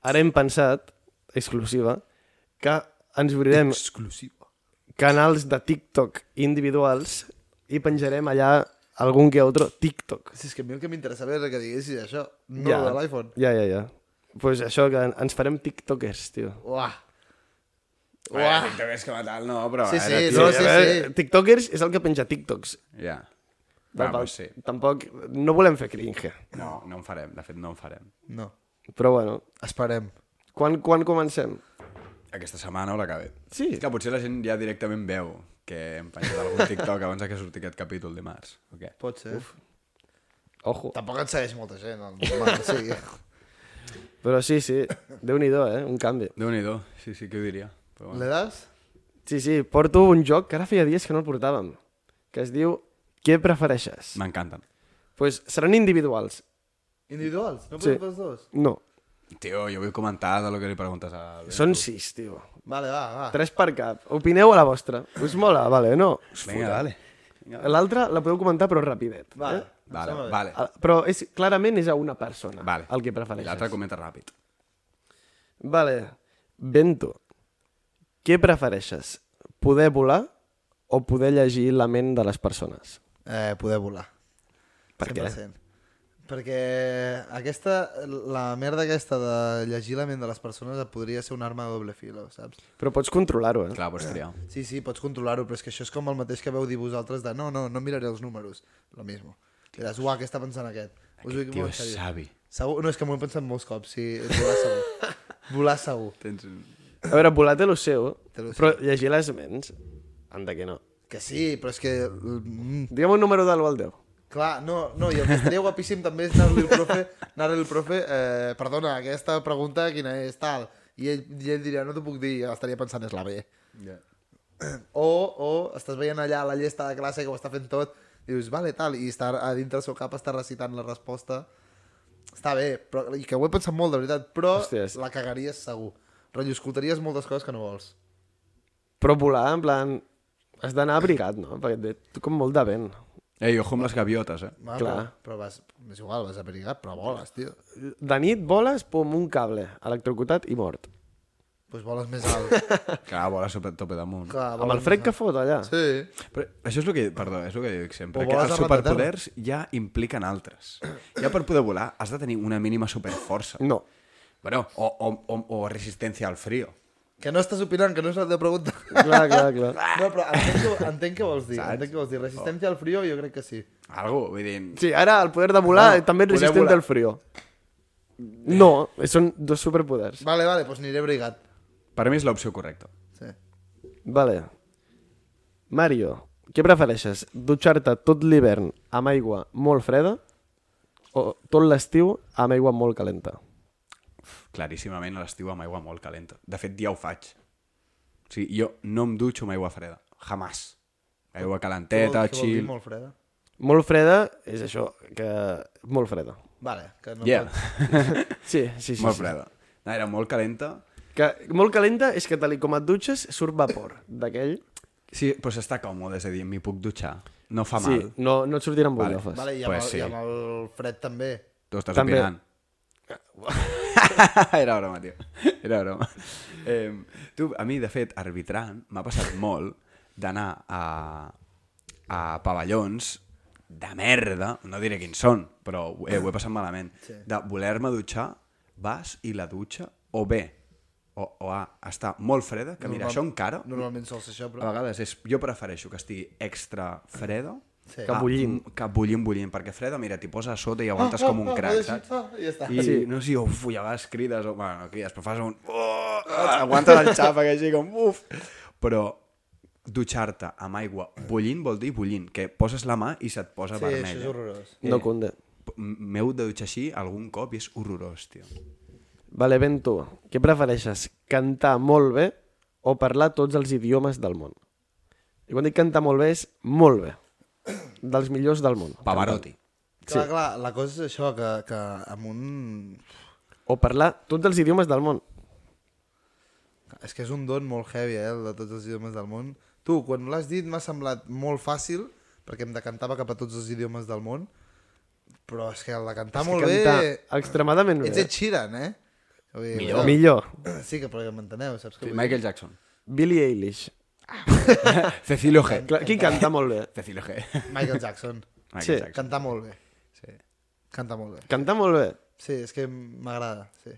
S3: ara hem pensat, exclusiva, que ens obrirem
S1: Exclusiva.
S3: canals de TikTok individuals i penjarem allà algun que altre TikTok.
S2: Si és que a mi el que m'interessava era que diguessis això, no
S3: Ja.
S2: yeah. de l'iPhone.
S3: Ja, ja, ja. Pues això, que en- ens farem tiktokers, tio.
S2: Uah.
S1: Uah. Bueno, és que va tal, no, però...
S2: Sí, sí,
S1: era, tio,
S2: no,
S1: ja
S2: sí,
S1: veus.
S2: sí. Ah,
S3: Tiktokers és el que penja TikToks.
S1: Ja. Va,
S3: Tampoc,
S1: pues sí.
S3: tampoc no volem fer cringe.
S1: No, no en farem, de fet no en farem.
S2: No,
S3: Però bueno,
S2: esperem.
S3: quan, quan comencem?
S1: Aquesta setmana o la que ve.
S3: Sí.
S1: És que potser la gent ja directament veu que hem penjat algun TikTok abans de que surti aquest capítol dimarts. O què?
S2: Pot ser. Uf.
S3: Ojo.
S2: Tampoc et segueix molta gent, el normal, sí.
S3: Però sí, sí, Déu-n'hi-do, eh? Un canvi.
S1: Déu-n'hi-do, sí, sí, què ho diria. Però bueno.
S2: Le das?
S3: Sí, sí, porto un joc que ara feia dies que no el portàvem, que es diu Què prefereixes? Doncs
S1: M'encanten.
S3: pues seran individuals.
S2: Individuals? No
S3: Sí.
S2: pots els dos?
S3: No,
S1: Tio, jo vull comentar de lo que li preguntes a...
S3: són sis, tio.
S2: Vale, va, va.
S3: Tres per cap. Opineu a la vostra. Us mola, vale, no? Us
S1: Vinga,
S3: foda.
S1: dale.
S3: L'altra la podeu comentar, però rapidet.
S2: Vale.
S3: Eh?
S2: em
S1: Vale,
S2: sembla bé.
S1: vale.
S3: Ah, Però és, clarament és a una persona
S1: Vale.
S3: el que
S1: I
S3: prefereixes.
S1: l'altre comenta ràpid.
S3: Vale. Bento, què prefereixes? Poder volar o poder llegir la ment de les persones?
S2: Eh, poder volar.
S3: Per què?
S2: 100%. Perquè aquesta, la merda aquesta de llegir la ment de les persones et podria ser una arma de doble filo, saps?
S3: Però pots controlar-ho, eh?
S1: Clar, pots triar.
S2: Sí, sí, pots controlar-ho, però és que això és com el mateix que veu dir vosaltres de no, no, no miraré els números. Lo mismo. Diràs, uah, què està pensant aquest? Us
S1: Aquest
S2: dic
S1: tio
S2: molt
S1: és
S2: seriós.
S1: savi.
S2: Segur? No, és que m'ho he pensat molts cops, sí, volar segur. volar segur.
S1: Tens un...
S3: A veure, volar té lo seu,
S2: Té lo
S3: però llegir les ments, anda que no.
S2: Que sí, però és que... Mm,
S3: Digue'm un número de l'1 al 10.
S2: clar, no, no, i el que estaria guapíssim també és anar-li al profe, anar al profe, eh, perdona, aquesta pregunta quina és, tal. I ell, i ell diria, no t'ho puc dir, i estaria pensant, és la B.
S1: Ja.
S2: O, o estàs veient allà la llesta de classe que ho està fent tot, i dius, vale, tal, i estar a dintre del seu cap està recitant la resposta. Està bé, però, i que ho he pensat molt, de veritat, però
S3: Hòsties.
S2: la cagaries segur. Rotllo, escoltaries moltes coses que no vols.
S3: Però volar, en plan, has d'anar abrigat, no? Perquè et ve tu com molt de vent.
S1: Ei, ojo amb les gaviotes, eh?
S2: Va,
S3: Clar.
S2: Però, però vas, és igual, vas abrigat, però voles, tio.
S3: De nit voles, pum, un cable, electrocutat i mort.
S2: Doncs voles més alt.
S1: Clar, vola sobre tope damunt.
S2: Clar,
S3: Amb
S2: voles
S3: el fred que fot allà.
S2: Ah, Sí.
S1: Però això és el que, perdó, és el que dic sempre,
S2: O
S1: que
S2: voles
S1: els
S2: arran de terra.
S1: superpoders ja impliquen altres. Ja per poder volar has de tenir una mínima superforça.
S3: No.
S1: Bueno, o, o, o, o resistència al frío.
S2: Que no estàs opinant, que no és la teva pregunta.
S3: Clar, clar, clar.
S1: Ah.
S2: No, però entenc que, entenc que vols dir. Entenc que vols dir. Resistència
S1: Oh.
S2: al frío, jo crec que sí.
S1: Algo, vull dir...
S3: Sí, ara el poder de volar
S1: No,
S3: no, també
S1: poder
S3: és resistent
S1: volar.
S3: al frío. No, són dos superpoders.
S2: Vale, vale, doncs aniré abrigat.
S1: Per mi és l'opció correcta.
S2: Sí.
S1: Eh,
S3: Vale. Mario, què prefereixes? Dutxar-te tot l'hivern amb aigua molt freda o tot l'estiu amb aigua molt calenta?
S1: Claríssimament a l'estiu amb aigua molt calenta. De fet, ja ho faig. O sigui, jo no em dutxo amb aigua freda. Jamás. Aigua calenteta,
S2: Què vol dir
S1: chill...
S2: molt freda?
S3: Molt freda és això, que... Molt freda.
S2: Vale, que no
S1: Yeah,
S2: pots...
S3: Sí, sí, sí.
S1: molt
S3: sí.
S1: freda. No, era molt calenta.
S3: Que molt calenta és que tal i com et dutxes surt vapor d'aquell.
S1: Sí, però s'està còmode, és a dir, m'hi puc dutxar. No fa
S3: Sí,
S1: mal.
S3: no, no et sortiran butllofes.
S2: Vale, i amb,
S1: Pues
S2: el,
S1: sí.
S2: i amb el fred també.
S1: Tu estàs
S3: També.
S1: També. opinant. Era broma, tio. Era broma. Eh, tu, a mi, de fet, arbitrant, m'ha passat molt d'anar a, a pavellons de merda, no diré quins són, però ho- eh, ho he passat malament, sí. de voler-me dutxar, vas i la dutxa, o bé o, o A està molt freda, que mira,
S2: Normal-
S1: això encara, Ah,
S2: Normalment sol ser això,
S1: a
S2: però...
S1: vegades és, jo prefereixo que estigui extra freda a
S2: Sí.
S3: Que bullint.
S1: un- Ah, mm, que bullint, bullint, perquè freda, mira, t'hi posa a sota i
S2: Ah,
S1: aguantes com un crac, saps?
S2: I ja està.
S1: I
S3: Sí.
S1: no sé, uf, i a vegades crides, o, bueno, no crides, però fas un... Oh, aguantes el xàfec així com... Uf. Però dutxar-te amb aigua bullint vol dir bullint, que poses la mà i se't posa
S2: Sí,
S1: vermella.
S2: això és horrorós.
S3: No conde.
S1: P- M'heu de dutxar així algun cop i és horrorós, tio.
S3: Vale, ben tu. Què prefereixes? Cantar molt bé o parlar tots els idiomes del món? I quan dic cantar molt bé és molt bé. Dels millors del món.
S1: Pavarotti.
S2: Clar, clar, la cosa és això, que, que amb un...
S3: O parlar tots els idiomes del món.
S2: És que és un don molt heavy, eh, el de tots els idiomes del món. Tu, quan l'has dit, m'ha semblat molt fàcil, perquè em decantava cap a tots els idiomes del món, però és que el de
S1: Ah,
S2: cantar
S3: És que
S2: molt
S3: cantar
S2: bé...
S3: Extremadament bé.
S2: Ets Ed Sheeran, eh? Vull dir,
S1: Millor.
S3: Millor.
S2: Sí, que però que m'enteneu, saps? Que vull dir?
S1: Michael Jackson.
S3: Billie Eilish.
S1: Cecilio G.
S3: Clar, qui canta molt bé?
S1: Cecilio G.
S2: Michael Jackson.
S3: Sí.
S1: Michael Jackson.
S2: Cantar molt bé.
S1: Sí.
S2: Canta molt bé.
S3: Canta molt bé.
S2: Sí, és que m'agrada, sí.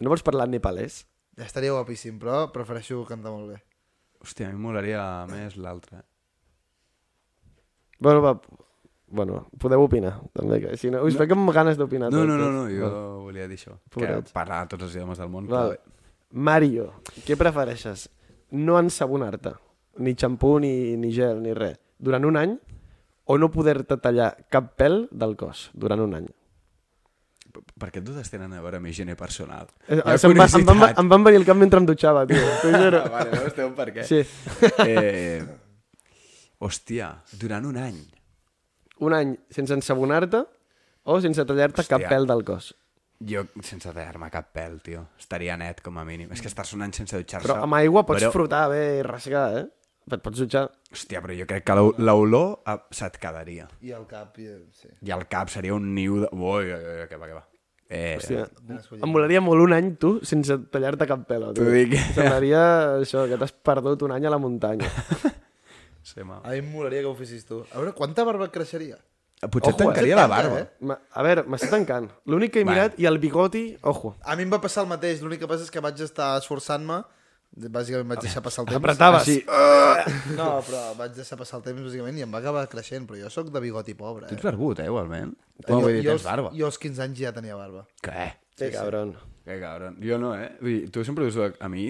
S3: No vols parlar nepalès?
S2: Ja estaria guapíssim, però prefereixo cantar molt bé.
S1: Hòstia, a mi m'agradaria més l'altre.
S3: Bueno, va... Bueno, podeu opinar, també, que si no... Us no. veig amb ganes d'opinar.
S2: Ah, doncs
S1: No, no,
S3: tots.
S1: no, no, jo volia dir això.
S3: Pobret.
S1: Que parlar tots els idiomes del món.
S3: Val.
S1: Però...
S3: Mario, què prefereixes? No ensabonar-te, ni xampú, ni, ni gel, ni res, durant un any, o no poder-te tallar cap pèl del cos durant un any?
S1: Per- Per què totes tenen a veure amb higiene personal?
S3: Eh,
S1: Hi ha
S3: se'm va, em, van,
S1: curiositat.
S3: em van venir al cap mentre em dutxava, tio. T'ho juro.
S1: Ah, vale, no esteu per què.
S3: Sí,
S1: Eh, hòstia, durant un any.
S3: un any sense ensabonar-te o sense tallar-te cap
S1: Hòstia.
S3: pèl del cos.
S1: Jo, sense tallar-me cap pèl, tio. Estaria net, com a mínim. És que estar un any sense dutxar-se...
S3: Però amb aigua pots
S1: però-
S3: frotar bé i rascar, eh? Et pots dutxar.
S1: Hòstia, però jo crec que l'o- l'olor eh, se't quedaria.
S2: I el cap, i... sí.
S1: I al cap seria un niu de... Ui, ui, ui, que va, que va. Eh,
S3: Hòstia,
S2: Ben escollit.
S3: em volaria molt un any, tu, sense tallar-te cap pèl. tio.
S1: T'ho dic.
S3: Semblaria això, que t'has perdut un any a la muntanya.
S1: Sí, mal.
S2: A mi em molaria que ho fessis tu. A veure, quanta barba et creixeria?
S1: Potser Ojo,
S3: Ojo,
S1: tancaria
S2: eh?
S1: la
S2: Tanca,
S1: barba.
S2: eh?
S1: Eh?
S3: Ma- A veure, m'està tancant. L'únic que he mirat, i el bigoti, ojo.
S2: A mi em va passar el mateix, l'únic que passa és que vaig estar esforçant-me, bàsicament
S1: Ah,
S2: vaig deixar passar el temps.
S3: Apretaves.
S1: Així,
S2: No, però vaig deixar passar el temps, bàsicament, i em va acabar creixent, però jo sóc de bigoti pobre,
S1: tu ets
S2: eh?
S1: barbut, eh, igualment? Bueno, vull dir,
S2: jo,
S1: tens barba.
S2: jo als 15 anys ja tenia barba.
S1: Què?
S3: Sí, cabron.
S1: Que cabron. Jo no, eh? Vull dir, tu sempre dius... A mi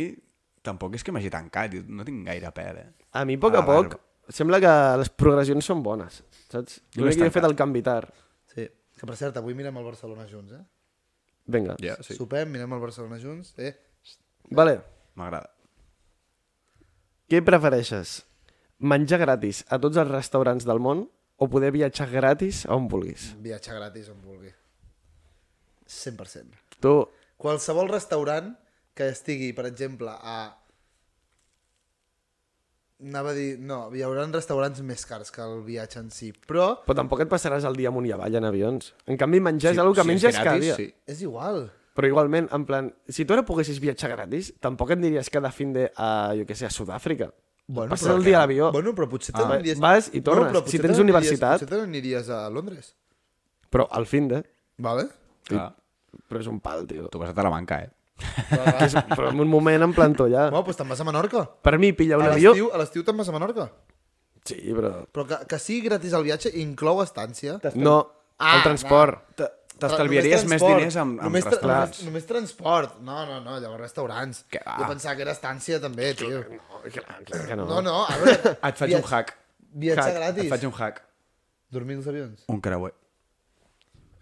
S1: tampoc és que m'hagi tancat. Jo no tinc gaire pèl, eh?
S3: A mi, a poc a
S1: Ah,
S3: poc,
S1: barba.
S3: sembla que les progressions són bones, saps?
S1: Jo
S3: L'únic
S1: l'he
S3: que he fet
S1: tancat.
S3: el canvi tard.
S2: Sí. Que, per cert, avui mirem el Barcelona junts, eh?
S3: Vinga.
S1: Ja,
S2: Sí.
S1: sí.
S2: Sopem, mirem el Barcelona junts, eh?
S3: Vale.
S1: M'agrada.
S3: Què prefereixes? Menjar gratis a tots els restaurants del món o poder viatjar gratis a on vulguis?
S2: Viatjar gratis on vulgui. 100%.
S3: Tu,
S2: Qualsevol restaurant que estigui, per exemple, a... Anava a dir... No, hi haurà restaurants més cars que el viatge en si, però
S3: però tampoc et passaràs el dia amunt i avall en avions. En canvi, menjar és una que
S1: si
S3: menges
S1: és
S3: cada
S1: gratis,
S3: dia.
S1: Sí.
S2: és igual.
S3: Però igualment, en plan, si tu ara poguessis viatjar gratis, tampoc et diries cada fin de, a, jo què sé, a Sud-àfrica. Bueno, Passes
S2: però
S3: el dia
S2: que-
S3: a l'avió.
S2: Bueno, però potser te
S3: Ah.
S2: n'aniries...
S3: Vas i tornes.
S2: però
S3: Si
S2: potser
S3: tens
S2: te n'aniries-
S3: universitat-
S2: Potser te n'aniries a Londres.
S3: Però al fin de...
S2: Vale?
S1: Clar.
S3: Però és un pal, tio.
S1: Tu vas a Talamanca, eh?
S3: És, però en un moment em planto allà.
S2: Bueno, doncs te'n vas a Menorca.
S3: Per mi, pilla un
S2: A
S3: avió...
S2: l'estiu- a l'estiu te'n vas a Menorca.
S3: Sí, però...
S2: Però que, que sigui gratis el viatge inclou estància.
S3: No,
S2: Ah,
S3: el transport.
S1: Te- T'estalviaries
S2: Només
S1: més
S2: transport.
S1: diners amb, amb
S2: només, tra-
S1: restaurants.
S2: Només, només transport. No, no, no, llavors restaurants.
S1: Que va.
S2: Jo pensava que era estància també, tio.
S3: No, Oh, clar, clar que no.
S2: No, no, a veure...
S1: Et faig un
S2: viatge-
S1: hack.
S2: Viatjar
S3: Hack.
S2: gratis.
S1: Et faig un hack.
S2: Dormir als avions.
S1: Un creuer.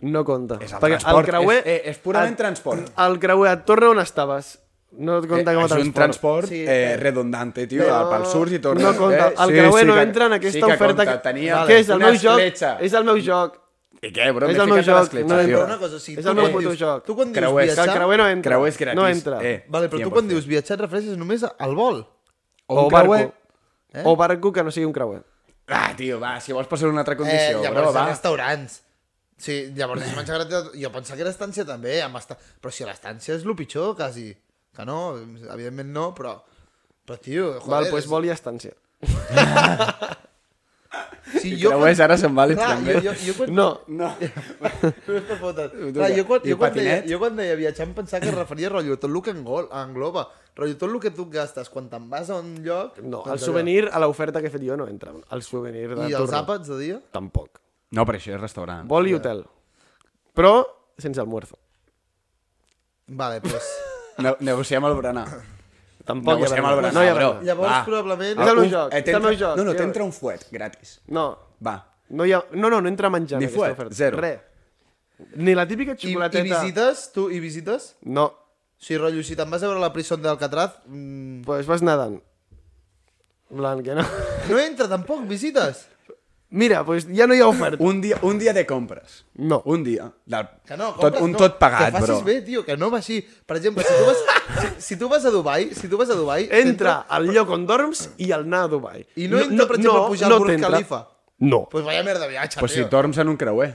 S3: No compta.
S1: És el
S3: Perquè
S1: transport,
S3: el creuer...
S1: és- eh, és purament transport.
S3: El creuer et torna on estaves. No et compta
S1: eh,
S3: com a
S1: és
S3: transport.
S1: un transport
S2: Sí,
S1: sí,
S2: eh,
S1: eh, redundante, tio,
S3: Però
S1: pel surts i tornes.
S3: No compta.
S1: Eh?
S3: El creuer no
S1: que-
S3: entra en aquesta
S1: sí que
S3: oferta...
S1: Compta. Tenia
S3: Vale. que és el
S1: una
S3: meu joc.
S1: escletxa.
S3: És el meu joc.
S1: I què, bro?
S3: és
S1: M'he
S3: el meu
S1: ficat a
S3: joc,
S1: l'escletxa,
S3: no entra.
S1: tio.
S2: Però una cosa, o sigui,
S3: És
S2: tu
S3: el meu
S2: quan
S3: puto
S2: dius-
S3: joc.
S2: Tu quan dius
S1: Creuers.
S3: Que
S2: viatjar...
S3: el creuer no entra.
S1: Creuers gratis.
S3: No entra.
S1: Eh,
S2: Vale, però tu
S1: 100%.
S2: quan dius viatjar et refereixes només al vol.
S1: O
S3: O
S1: un creuer...
S3: barco. Eh? O barco que no sigui un creuer.
S1: Ah, tio, va, si vols passar una altra condició,
S2: eh,
S1: eh,
S2: llavors
S1: bro,
S2: hi ha
S1: va.
S2: restaurants. Sí, llavors és menjar gratis. Jo pensava que era estància també, amb esta... però si l'estància és el pitjor, quasi. Que no, evidentment no, però... Però, tio, joder...
S3: Val, doncs
S2: és-
S3: vol i estància.
S2: Si
S5: I creuers ara se'n valen
S2: Clar,
S5: també.
S2: jo, jo, jo quan...
S3: No,
S1: No.
S2: Però és per fotre't.
S5: Tu, tu,
S2: Clar, jo quan,
S5: i
S2: jo, quan deia,
S5: patinet.
S2: jo quan deia viatjar em pensava que es referia a rotllo, tot el que engol, engloba, rotllo, tot el que tu gastes quan te'n vas a un lloc...
S3: no,
S2: doncs
S3: el
S2: allò.
S3: souvenir a l'oferta que he fet jo no entra. El souvenir de
S2: I els
S3: torno.
S2: àpats de dia?
S3: Tampoc.
S1: No, però això és restaurant.
S3: Vol i hotel. Però sense almuerzo.
S2: Vale, doncs...
S5: Ne negociem el berenar.
S3: Tampoc
S5: Negociem el berenar,
S3: No hi ha
S5: bro.
S3: berenar.
S2: Llavors,
S5: Va.
S2: probablement...
S3: És el meu
S5: Un-
S3: joc,
S5: eh,
S3: és
S5: t'entra-
S3: el meu joc.
S5: No, no,
S3: Ja
S5: t'entra un fuet, gratis.
S3: No,
S5: Va.
S3: no, hi ha... no, no, no entra menjar en
S5: Ni
S3: aquesta
S5: fuet,
S3: oferta.
S5: zero.
S3: Re. Ni la típica
S2: I, I
S3: xocolateta.
S2: visites? Tu, i visites?
S3: No,
S2: O sigui, rotllo, si te'n vas a veure la prison d'Alcatraz... Mm,
S3: pues vas nedant. En plan, que no.
S2: no entra tampoc, visites?
S3: Mira, pues ja no hi ha oferta.
S1: Un dia, un dia de compres.
S3: No.
S1: Un dia. Del...
S2: Que no,
S1: tot,
S2: compres,
S1: un
S2: no.
S1: tot pagat,
S2: Que facis
S1: bro.
S2: bé, tio, que no va així. Per exemple, si tu vas, si, si tu vas a Dubai, si tu vas a Dubai...
S3: Entra al lloc on dorms i al anar a Dubai.
S2: I no entra, per exemple, a pujar al Burj
S3: t'entra.
S2: Khalifa?
S3: No.
S2: Pues vaya merda de viatge,
S1: Pues si
S2: tio.
S1: dorms en un creuer.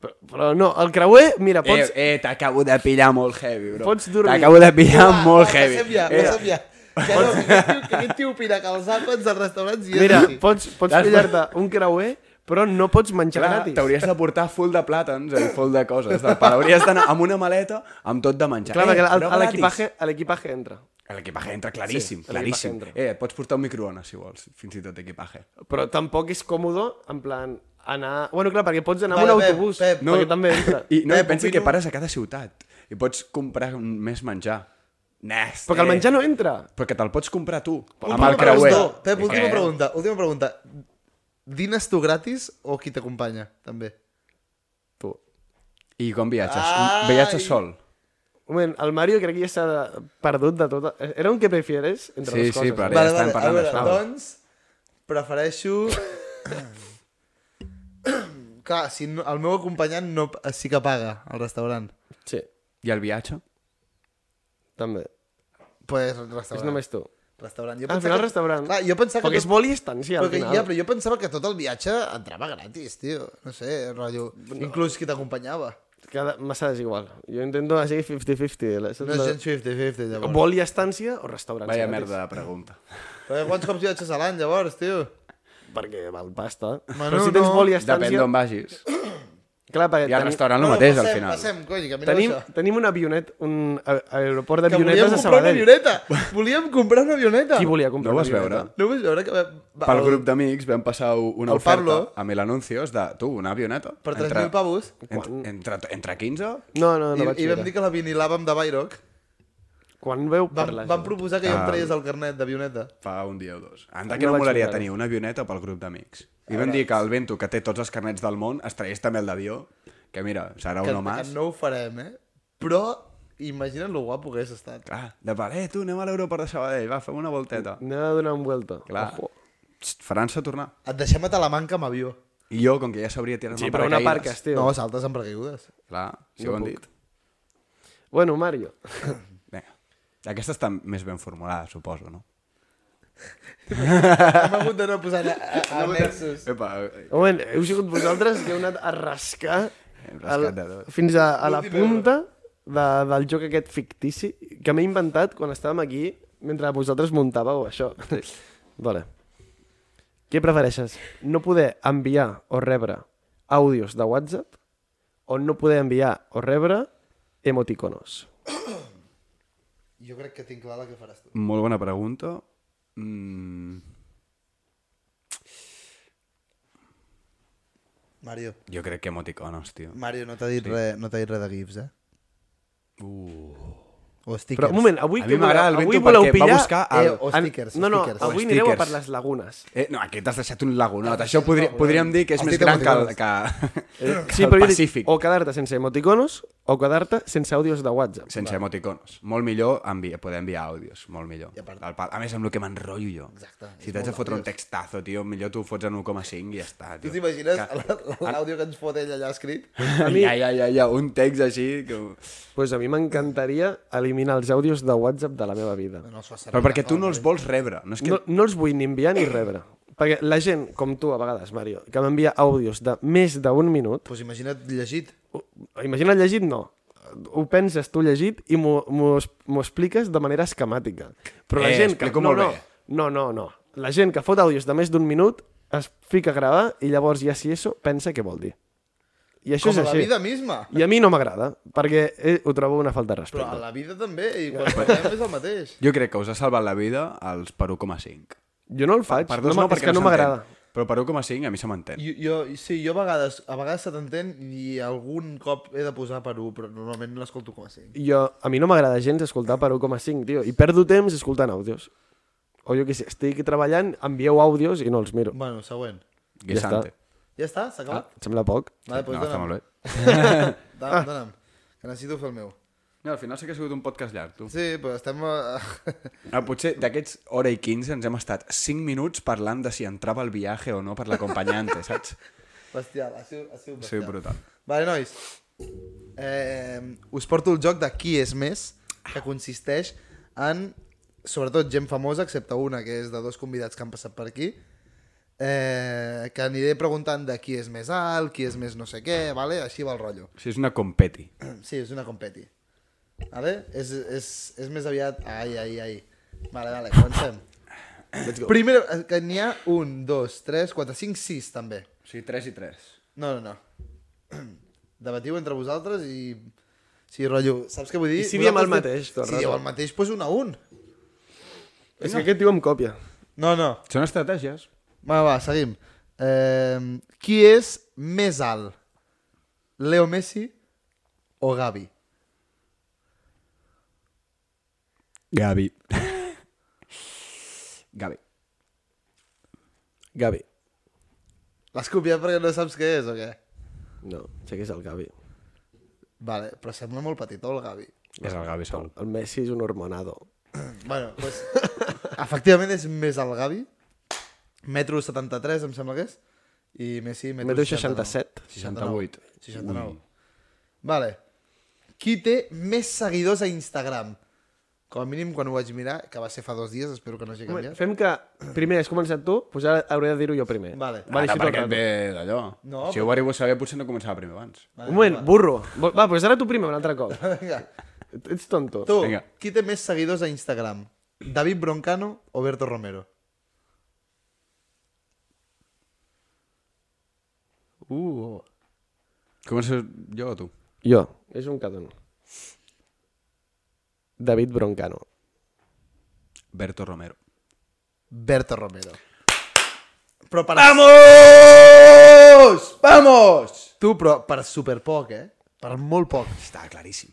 S3: Però, però no, el creuer, mira,
S5: Eh,
S3: pots...
S5: eh, t'acabo de pillar molt heavy, bro.
S3: Pots dormir.
S5: T'acabo de pillar
S2: Va,
S5: molt
S2: va,
S5: heavy.
S2: Passem ja,
S5: Eh,
S2: passem ja. Que no, que aquest tio- que aquest tio opina que els àpats dels restaurants
S1: eh,
S2: i és
S3: Mira,
S2: així.
S3: pots, pots
S5: T'has-
S3: pillar-te un creuer, però no pots menjar
S1: Clar,
S3: gratis.
S1: t'hauries de portar full de plàtans i full de coses del pare. Hauries d'anar amb una maleta amb tot de menjar. Eh,
S3: Clar, perquè al-
S1: però
S3: a
S1: gratis.
S3: l'equipaje- a l'equipaje entra.
S1: A L'equipaje entra claríssim,
S3: Sí,
S1: sí,
S3: a l'equipaje
S1: claríssim.
S3: entra.
S1: Eh, et pots portar un microones, si vols, fins i tot equipaje.
S3: Però tampoc és còmode, en plan, anar... Bueno, clar, perquè pots anar
S2: Vale,
S3: amb un
S2: Pep,
S3: autobús,
S2: Pep.
S3: perquè també entra.
S1: I no,
S2: Eh,
S1: eh, pensa
S2: opino-
S1: que pares a cada ciutat i pots comprar més menjar. Nes,
S3: Però que el menjar no entra.
S1: Però que te'l pots comprar tu, amb
S3: Última
S1: el creuer.
S2: Perdó, Pep, última
S1: Eh,
S2: pregunta, última pregunta. Dines tu gratis o qui t'acompanya, també?
S3: Tu.
S1: I com viatges?
S2: Ai.
S1: Viatges sol?
S3: Un moment, el Mario crec que ja s'ha perdut de tota... Era un que prefieres entre
S1: Sí,
S3: les coses.
S1: sí, però ara
S2: Vale,
S1: ja estan
S2: vale, a
S1: parlant
S2: veure,
S1: d'això.
S2: doncs, prefereixo... Clar, si no, el meu acompanyant no, sí que paga al restaurant.
S3: Sí,
S1: I el viatge?
S3: també.
S2: Pues
S3: És
S2: restaurant.
S3: només tu.
S2: Restaurant. Jo
S3: Al
S2: pensava
S3: final
S2: que-
S3: restaurant.
S2: Clar, jo pensava
S3: Perquè
S2: que...
S3: és vol i estància, al
S2: però que,
S3: final.
S2: ja, però jo pensava que tot el viatge entrava gratis, tio. No sé, rotllo... Inclús qui t'acompanyava.
S3: Cada... Massa desigual. Jo intento que sigui 50-50. la- saps
S2: No és
S3: la-
S2: gens 50-50, llavors.
S3: Vol i estància o restaurants
S1: Vaya
S3: gratis?
S1: merda de pregunta.
S2: Però quants cops viatges a l'any, llavors, tio?
S3: Perquè val pasta.
S2: Ma,
S3: però
S2: no,
S3: si tens
S2: no.
S3: vol i
S1: Depèn
S3: estància...
S1: d'on vagis.
S3: Eh, Clar, perquè
S1: I al
S3: tenim-
S1: restaurant el
S2: Bueno,
S1: mateix, al
S2: passem,
S1: final.
S2: Passem, cony, que mira
S3: Tenim,
S2: això.
S3: tenim un avionet, un a- aeroport
S2: Que
S3: d'avionetes
S2: volíem comprar
S3: a
S2: una
S3: Sabadell.
S2: avioneta. Volíem comprar una avioneta.
S3: Qui volia comprar
S1: No ho
S3: una
S1: vas veure?
S3: avioneta?
S2: No ho vaig veure que... Va,
S1: Pel grup d'amics vam passar una
S2: El
S1: oferta
S2: Pablo.
S1: amb l'anuncios de, tu, una avioneta.
S2: Per
S1: entre-
S2: 3.000 pavos.
S1: Ent, entre, entre 15?
S3: No, no, no
S2: I,
S3: vaig
S2: I vam
S3: mirar.
S2: dir que la vinilàvem de Bayrock.
S3: Quan veu
S2: Vam,
S3: parlar...
S2: vam
S3: Vam...
S2: proposar que jo em traies el carnet d'avioneta.
S1: Fa un dia o dos. Anda
S3: No
S1: que no
S3: vaig
S1: molaria
S3: mirar-ho.
S1: tenir una avioneta pel grup d'amics. I vam dir que el Bento, que té tots els carnets del món, es tragués també el d'avió, que mira, serà
S2: Que,
S1: un home.
S2: que no ho farem, eh? Però imagina't lo guapo que hagués estat.
S1: Clar, de part, eh, tu, anem a l'aeroport de Sabadell, va, fem una volteta.
S2: Mm,
S3: Anem a donar un vuelta.
S1: Clar,
S3: Ojo.
S1: Psst, França a tornar.
S2: Et deixem a Talamanca amb avió.
S1: I jo, com que ja sabria tirar-me
S3: Sí,
S1: amb
S3: però una
S1: paracaïdes-
S3: parques, tio.
S2: No, saltes amb precaigudes.
S1: Clar, si
S3: No
S1: ho han
S3: puc.
S1: dit.
S3: Bueno, Mario.
S1: Vinga. Aquesta està més ben formulada, suposo, no?
S2: Hem hagut d'anar posant a, a, a Nexus.
S1: Epa, eh,
S3: Un moment, heu sigut vosaltres que heu anat a rascar,
S1: Hem rascat de tot.
S3: fins a, a la punta de, del joc aquest fictici que m'he inventat quan estàvem aquí mentre vosaltres muntàveu això. Vale. Què prefereixes? No poder enviar o rebre àudios de WhatsApp o no poder enviar o rebre emoticonos?
S2: Jo crec que tinc clar la que faràs tu.
S1: molt bona pregunta. Mm,
S2: Mario.
S1: jo crec que emoticonos, tio.
S2: Mario, no t'ha dit, sí. res, no t'ha dit res de GIFs, eh? Uh. O stickers.
S3: Però, un moment, avui
S1: A
S3: què
S1: mi m'agrada el
S3: voleu? Avui
S1: Vento
S3: voleu
S1: perquè va
S3: pillar...
S1: buscar
S2: Eh,
S1: el...
S2: o
S3: En-
S2: stickers,
S3: No, no,
S2: o stickers.
S3: avui anireu a per
S1: stickers.
S3: les lagunes.
S1: Eh, no, aquí t'has deixat un lagunot. Això podri, podríem dir que és
S2: Has
S1: més
S2: dit
S1: gran que el,
S2: emoticonos.
S1: que, que
S3: Eh, Sí,
S1: el
S3: però jo dic,
S1: Pacífic,
S3: o quedar-te sense emoticonos o quedar-te sense àudios de WhatsApp.
S1: sense emoticonos. Molt millor envi poder enviar àudios, molt millor.
S2: I a part-
S1: El pa- A més, amb el que m'enrotllo jo.
S2: Exacte, és
S1: Si t'has de
S2: molt
S1: fotre un
S2: àudios.
S1: textazo, tio, millor tu ho fots en 1,5 i ja està,
S2: Tu
S1: tio.
S2: t'imagines
S1: Que-
S2: l'àudio que ens fot ell allà escrit?
S1: A mi... Ja, ja, ja, ja, un text així... Que...
S3: Pues a mi m'encantaria eliminar els àudios de WhatsApp de la meva vida.
S2: No, s'ho ha servit.
S1: Però perquè tu no els vols rebre. No és que...
S3: No, no els vull ni enviar ni rebre. Perquè la gent, com tu a vegades, Mario, que m'envia àudios de més d'un minut,
S2: Pues Doncs imagina't llegit.
S3: ho- imagina llegit, no. Ho penses tu llegit i m'ho- m'ho es- m'ho expliques de manera esquemàtica. Però la
S1: Eh,
S3: gent que...
S1: explico
S3: No,
S1: molt
S3: no,
S1: bé.
S3: no, no, no. La gent que fot àudios de més d'un minut es fica a gravar i llavors ja si eso pensa què vol dir. I
S2: Com
S3: això
S2: a
S3: és
S2: la
S3: així.
S2: vida misma.
S3: I a mi no m'agrada, perquè eh, ho trobo una falta
S2: Però
S3: de
S2: a
S3: respecte.
S2: la vida també, i quan parlem és el mateix.
S1: Jo crec que us ha salvat la vida als per 1,5.
S3: Jo no el faig,
S1: Per
S3: no,
S1: dos
S3: no,
S1: no,
S3: és
S1: perquè
S3: que no
S1: s'entén.
S3: m'agrada.
S1: Però per 1,5 a mi se m'entén.
S2: Jo, jo, sí, jo a vegades, a vegades se t'entén i algun cop he de posar per 1, però normalment l'escolto com a 5.
S3: jo, a mi no m'agrada gens escoltar per 1,5, tio, i perdo temps escoltant àudios. O jo què sé, estic treballant, envieu àudios i no els miro.
S2: Bueno, següent.
S1: Guisante.
S2: Ja està? S'ha
S3: Ah,
S2: acabat?
S3: et sembla poc?
S2: Ah, vale, doncs
S1: no, està
S2: dona'm.
S1: molt bé.
S2: Dona'm, dona'm. Que necessito fer el meu.
S1: No, al final sí que ha sigut un podcast llarg, tu.
S2: Sí, però estem... A...
S1: Ah, potser d'aquests hora i 15 ens hem estat 5 minuts parlant de si entrava el viatge o no per l'acompanyante, saps?
S2: Bestial, ha sigut, ha sigut
S1: Sí,
S2: bestial.
S1: brutal.
S2: Vale, nois. Eh, us porto el joc de qui és més, que consisteix en, sobretot, gent famosa, excepte una, que és de dos convidats que han passat per aquí, eh, que aniré preguntant de qui és més alt, qui és més no sé què, vale? així va el rotllo.
S1: Sí, és una competi.
S2: Sí, és una competi. Vale? És, és, és més aviat... Ai, ai, ai. Vale, vale, comencem. Let's go. Primer, eh, que n'hi ha un, dos, tres, quatre, cinc, sis, també.
S1: O sigui, 3 i 3.
S2: No, no, no. Debatiu entre vosaltres i... Sí, rotllo, saps què vull dir?
S3: I si diem el
S2: Vosaltres
S3: mateix, tot el
S2: Si dieu
S3: rato?
S2: el mateix, doncs un a un.
S3: És que aquest tio em copia.
S2: No, no.
S1: Són estratègies.
S2: Va, va, seguim. Eh, qui és més alt? Leo Messi o Gavi?
S1: Gavi. Gavi.
S3: Gavi.
S2: L'has copiat perquè no saps què és o què?
S3: No, sé que és el Gavi.
S2: Vale, però sembla molt petitó el Gavi.
S1: És el Gavi segur.
S3: El Messi és un hormonado.
S2: Bueno, pues, efectivament és més el Gavi. Metro 73, em sembla que és. I Messi, metro,
S3: Metro 67.
S1: 68.
S2: 69. Mm. Vale. Qui té més seguidors a Instagram? Com a mínim, quan ho vaig mirar, que va ser fa dos dies, espero que no hagi
S3: Home,
S2: canviat.
S3: Fem que primer has començat tu, doncs ara hauré de dir-ho jo primer.
S2: Vale.
S1: Vale, Ara,
S3: així tot el
S1: perquè et
S3: rato.
S1: ve d'allò.
S2: No,
S1: si ho arribo a saber, potser no començava primer abans.
S3: Un moment, burro. Va, doncs ara tu primer un altre cop.
S2: Vinga.
S3: Ets tonto.
S2: Tu,
S1: Vinga.
S2: qui té més seguidors a Instagram? David Broncano o Berto Romero?
S3: Uh.
S1: Començo jo o tu?
S3: Jo. És un cadon. David Broncano.
S1: Berto Romero.
S2: Berto Romero. Però per...
S1: Vamos! Vamos!
S2: Tu, però per super poc, eh? Per molt poc.
S1: Està claríssim.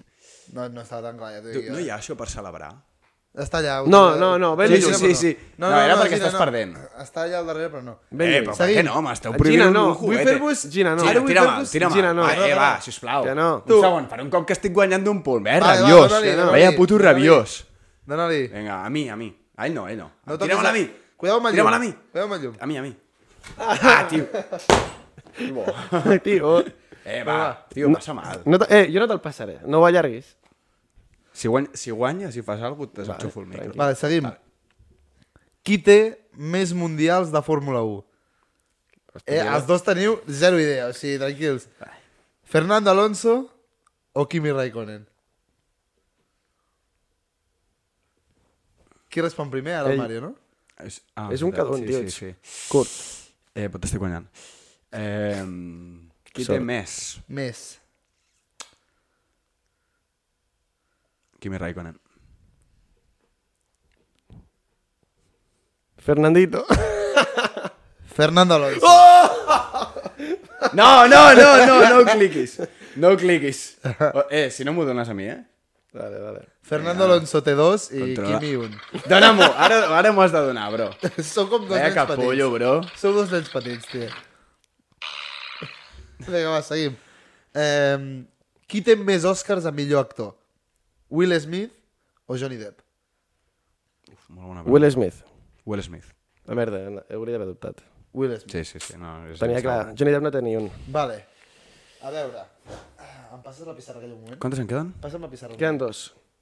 S2: No, no estava tan clar, ja t'ho
S1: Tu,
S2: dic.
S1: no
S2: eh?
S1: hi ha això per celebrar?
S2: Està allà. ho
S3: No,
S2: té-
S3: no, no, ve
S1: Sí,
S3: sí,
S1: sí, sí, sí. No, era perquè estàs perdent.
S2: Està allà al darrere, però no.
S3: Ben
S1: eh,
S3: lluny.
S1: però per
S2: Seguim.
S1: què no, home? Esteu
S3: Gina,
S1: prohibint
S3: no.
S1: un
S3: Vull
S1: juguete.
S3: fer-vos- Gina, no. Ara
S1: Gina,
S3: vull
S1: tira mà,
S3: fer-vus-
S1: tira mà.
S3: Gina, no.
S1: Va, eh, va,
S3: Gina.
S1: sisplau.
S3: Que no.
S1: Un segon, per un cop que estic guanyant d'un punt. Eh,
S2: Va, va,
S1: rabiós.
S2: dona-li,
S1: Vaya
S2: dona-li.
S1: puto rabiós.
S2: Dona-li.
S1: Vinga, a mi, a mi. A ell no, a ell no.
S2: No toquis
S1: Tira-me-la a mi.
S2: Cuidao amb el llum.
S1: Tira-me-la a mi.
S2: Cuidao amb el llum.
S1: A mi, a mi. Ah, tio.
S3: Tio,
S1: Eh, va, tio, passa mal.
S3: Oh. no te- eh, jo no te'l passaré, no ho allarguis.
S1: Si, guany, si guanyes i fas alguna cosa, t'enxufo el micro.
S2: Vale, seguim. Qui té més mundials de Fórmula 1? Eh, els dos teniu zero idea, o sigui, tranquils. Fernando Alonso o Kimi Raikkonen? Qui respon primer? Ara
S3: Ell.
S2: el Mario, no?
S1: És, ah,
S3: És un
S1: veritat,
S3: cadon,
S1: sí,
S3: tio,
S1: sí,
S3: ets.
S1: sí.
S3: Curt.
S1: Eh, però t'estic guanyant. Eh, qui té
S3: Sort.
S1: més?
S2: Més.
S1: Kimi Raikkonen.
S3: Fernandito.
S2: Fernando Alonso. Oh!
S1: No, no, no, no, no cliquis. No cliquis. O- Eh, si no m'ho dones a mi, eh?
S3: Vale, vale.
S2: Fernando Alonso té dos i
S1: Controla.
S2: Kimi un.
S1: Dóna-m'ho, ara, ara m'ho has de donar, bro.
S2: Sou com dos
S1: Vaya
S2: nens
S1: capullo,
S2: petits.
S1: bro.
S2: Sou dos nens petits, tio. Vinga, va, seguim. Eh, qui té més Oscars a millor actor? Will Smith o Johnny Depp?
S1: Uf, molt bona
S3: Will Smith.
S1: Will Smith.
S3: La merda, no, hauria d'haver dubtat.
S2: Will Smith.
S1: Sí, sí, sí. No, és
S3: Tenia clar, Johnny Depp no té ni un.
S2: Vale. A veure. Ah, Em passes la pissarra aquell moment?
S1: Quantes en queden?
S2: Passa'm la pissarra.
S3: Queden dos.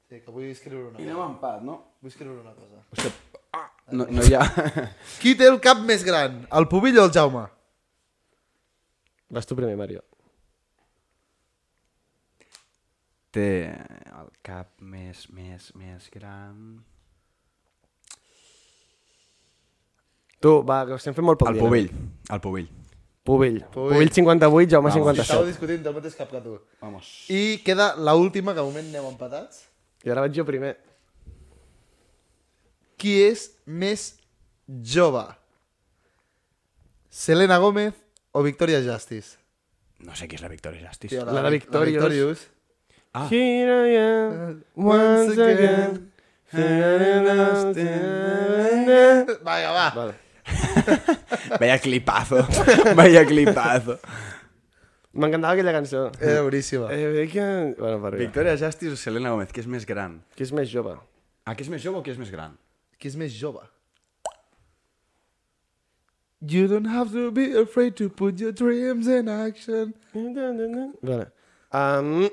S2: Sí, que vull escriure una
S5: Anem a empat, no?
S2: Vull escriure una cosa.
S1: No, no hi ha...
S2: Qui té el cap més gran? El Pubill o el Jaume?
S3: Vas tu primer, Mario.
S1: Té el cap més, més, més gran...
S3: Tu, va, que estem fent molt poc
S1: El
S3: dinar.
S1: Pobell. El Pobell.
S3: Pubill. Pubill 58, Jaume
S2: Estava
S3: 57.
S2: discutint del mateix cap que tu. Vamos. I queda l'última, que de moment anem empatats.
S3: I ara vaig jo primer.
S2: Qui és més jove? Selena Gómez o Victoria Justice?
S1: No sé qui és la Victoria Justice.
S2: Tio,
S1: Tio,
S3: la
S2: Vic-
S3: Victorious.
S2: Victorious.
S1: Ah.
S3: Here I am, Eh, once again.
S2: Vinga, va.
S3: Vale.
S1: Vaya clipazo. Vaya clipazo.
S3: M'encantava aquella cançó.
S2: Era boníssima.
S3: Eh, bé, que... Bueno, per arribar.
S1: Victoria Justice o Selena Gomez, qui és més gran?
S3: Qui és més jove?
S1: Ah, qui és més jove o qui és més gran?
S2: Qui és més jove? You don't have to be afraid to put your dreams in action.
S3: Vale. Um,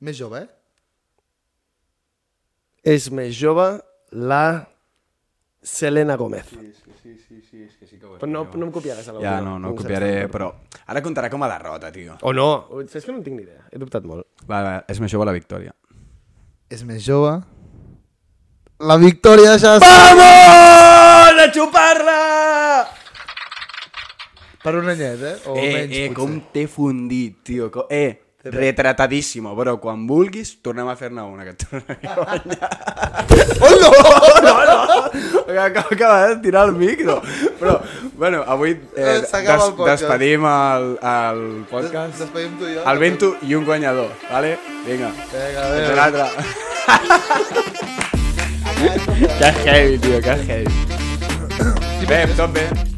S2: Més jove, eh?
S3: és més jove la Selena Gómez. Però no, no em copiaràs a l'última.
S1: Ja, no, no ho
S3: em saps
S1: copiaré,
S3: tant.
S1: però... Ara comptarà com a derrota, tio.
S3: O no, saps que no en tinc ni idea. He dubtat molt.
S1: Va, va, és més jove la Victoria.
S2: És més jove. La victòria ja és...
S1: Vamos! A xupar-la!
S2: Per un anyet, eh? O
S1: eh,
S2: menys,
S1: eh,
S2: potser.
S1: com t'he fundit, tio. Co... Eh, retratadíssimo, però quan vulguis tornem a fer-ne una que et tornaré a guanyar. oh, no! no, no! Acaba- Acaba de tirar el micro. Però, bueno, avui eh,
S2: S'acaba el podcast.
S1: despedim el, el podcast.
S2: Des- Despedim tu i jo.
S1: El vento i un guanyador, vale? Vinga.
S2: Vinga,
S1: Fins
S2: adéu.
S1: l'altre. que heavy, tio, que heavy. Bé, tot bé.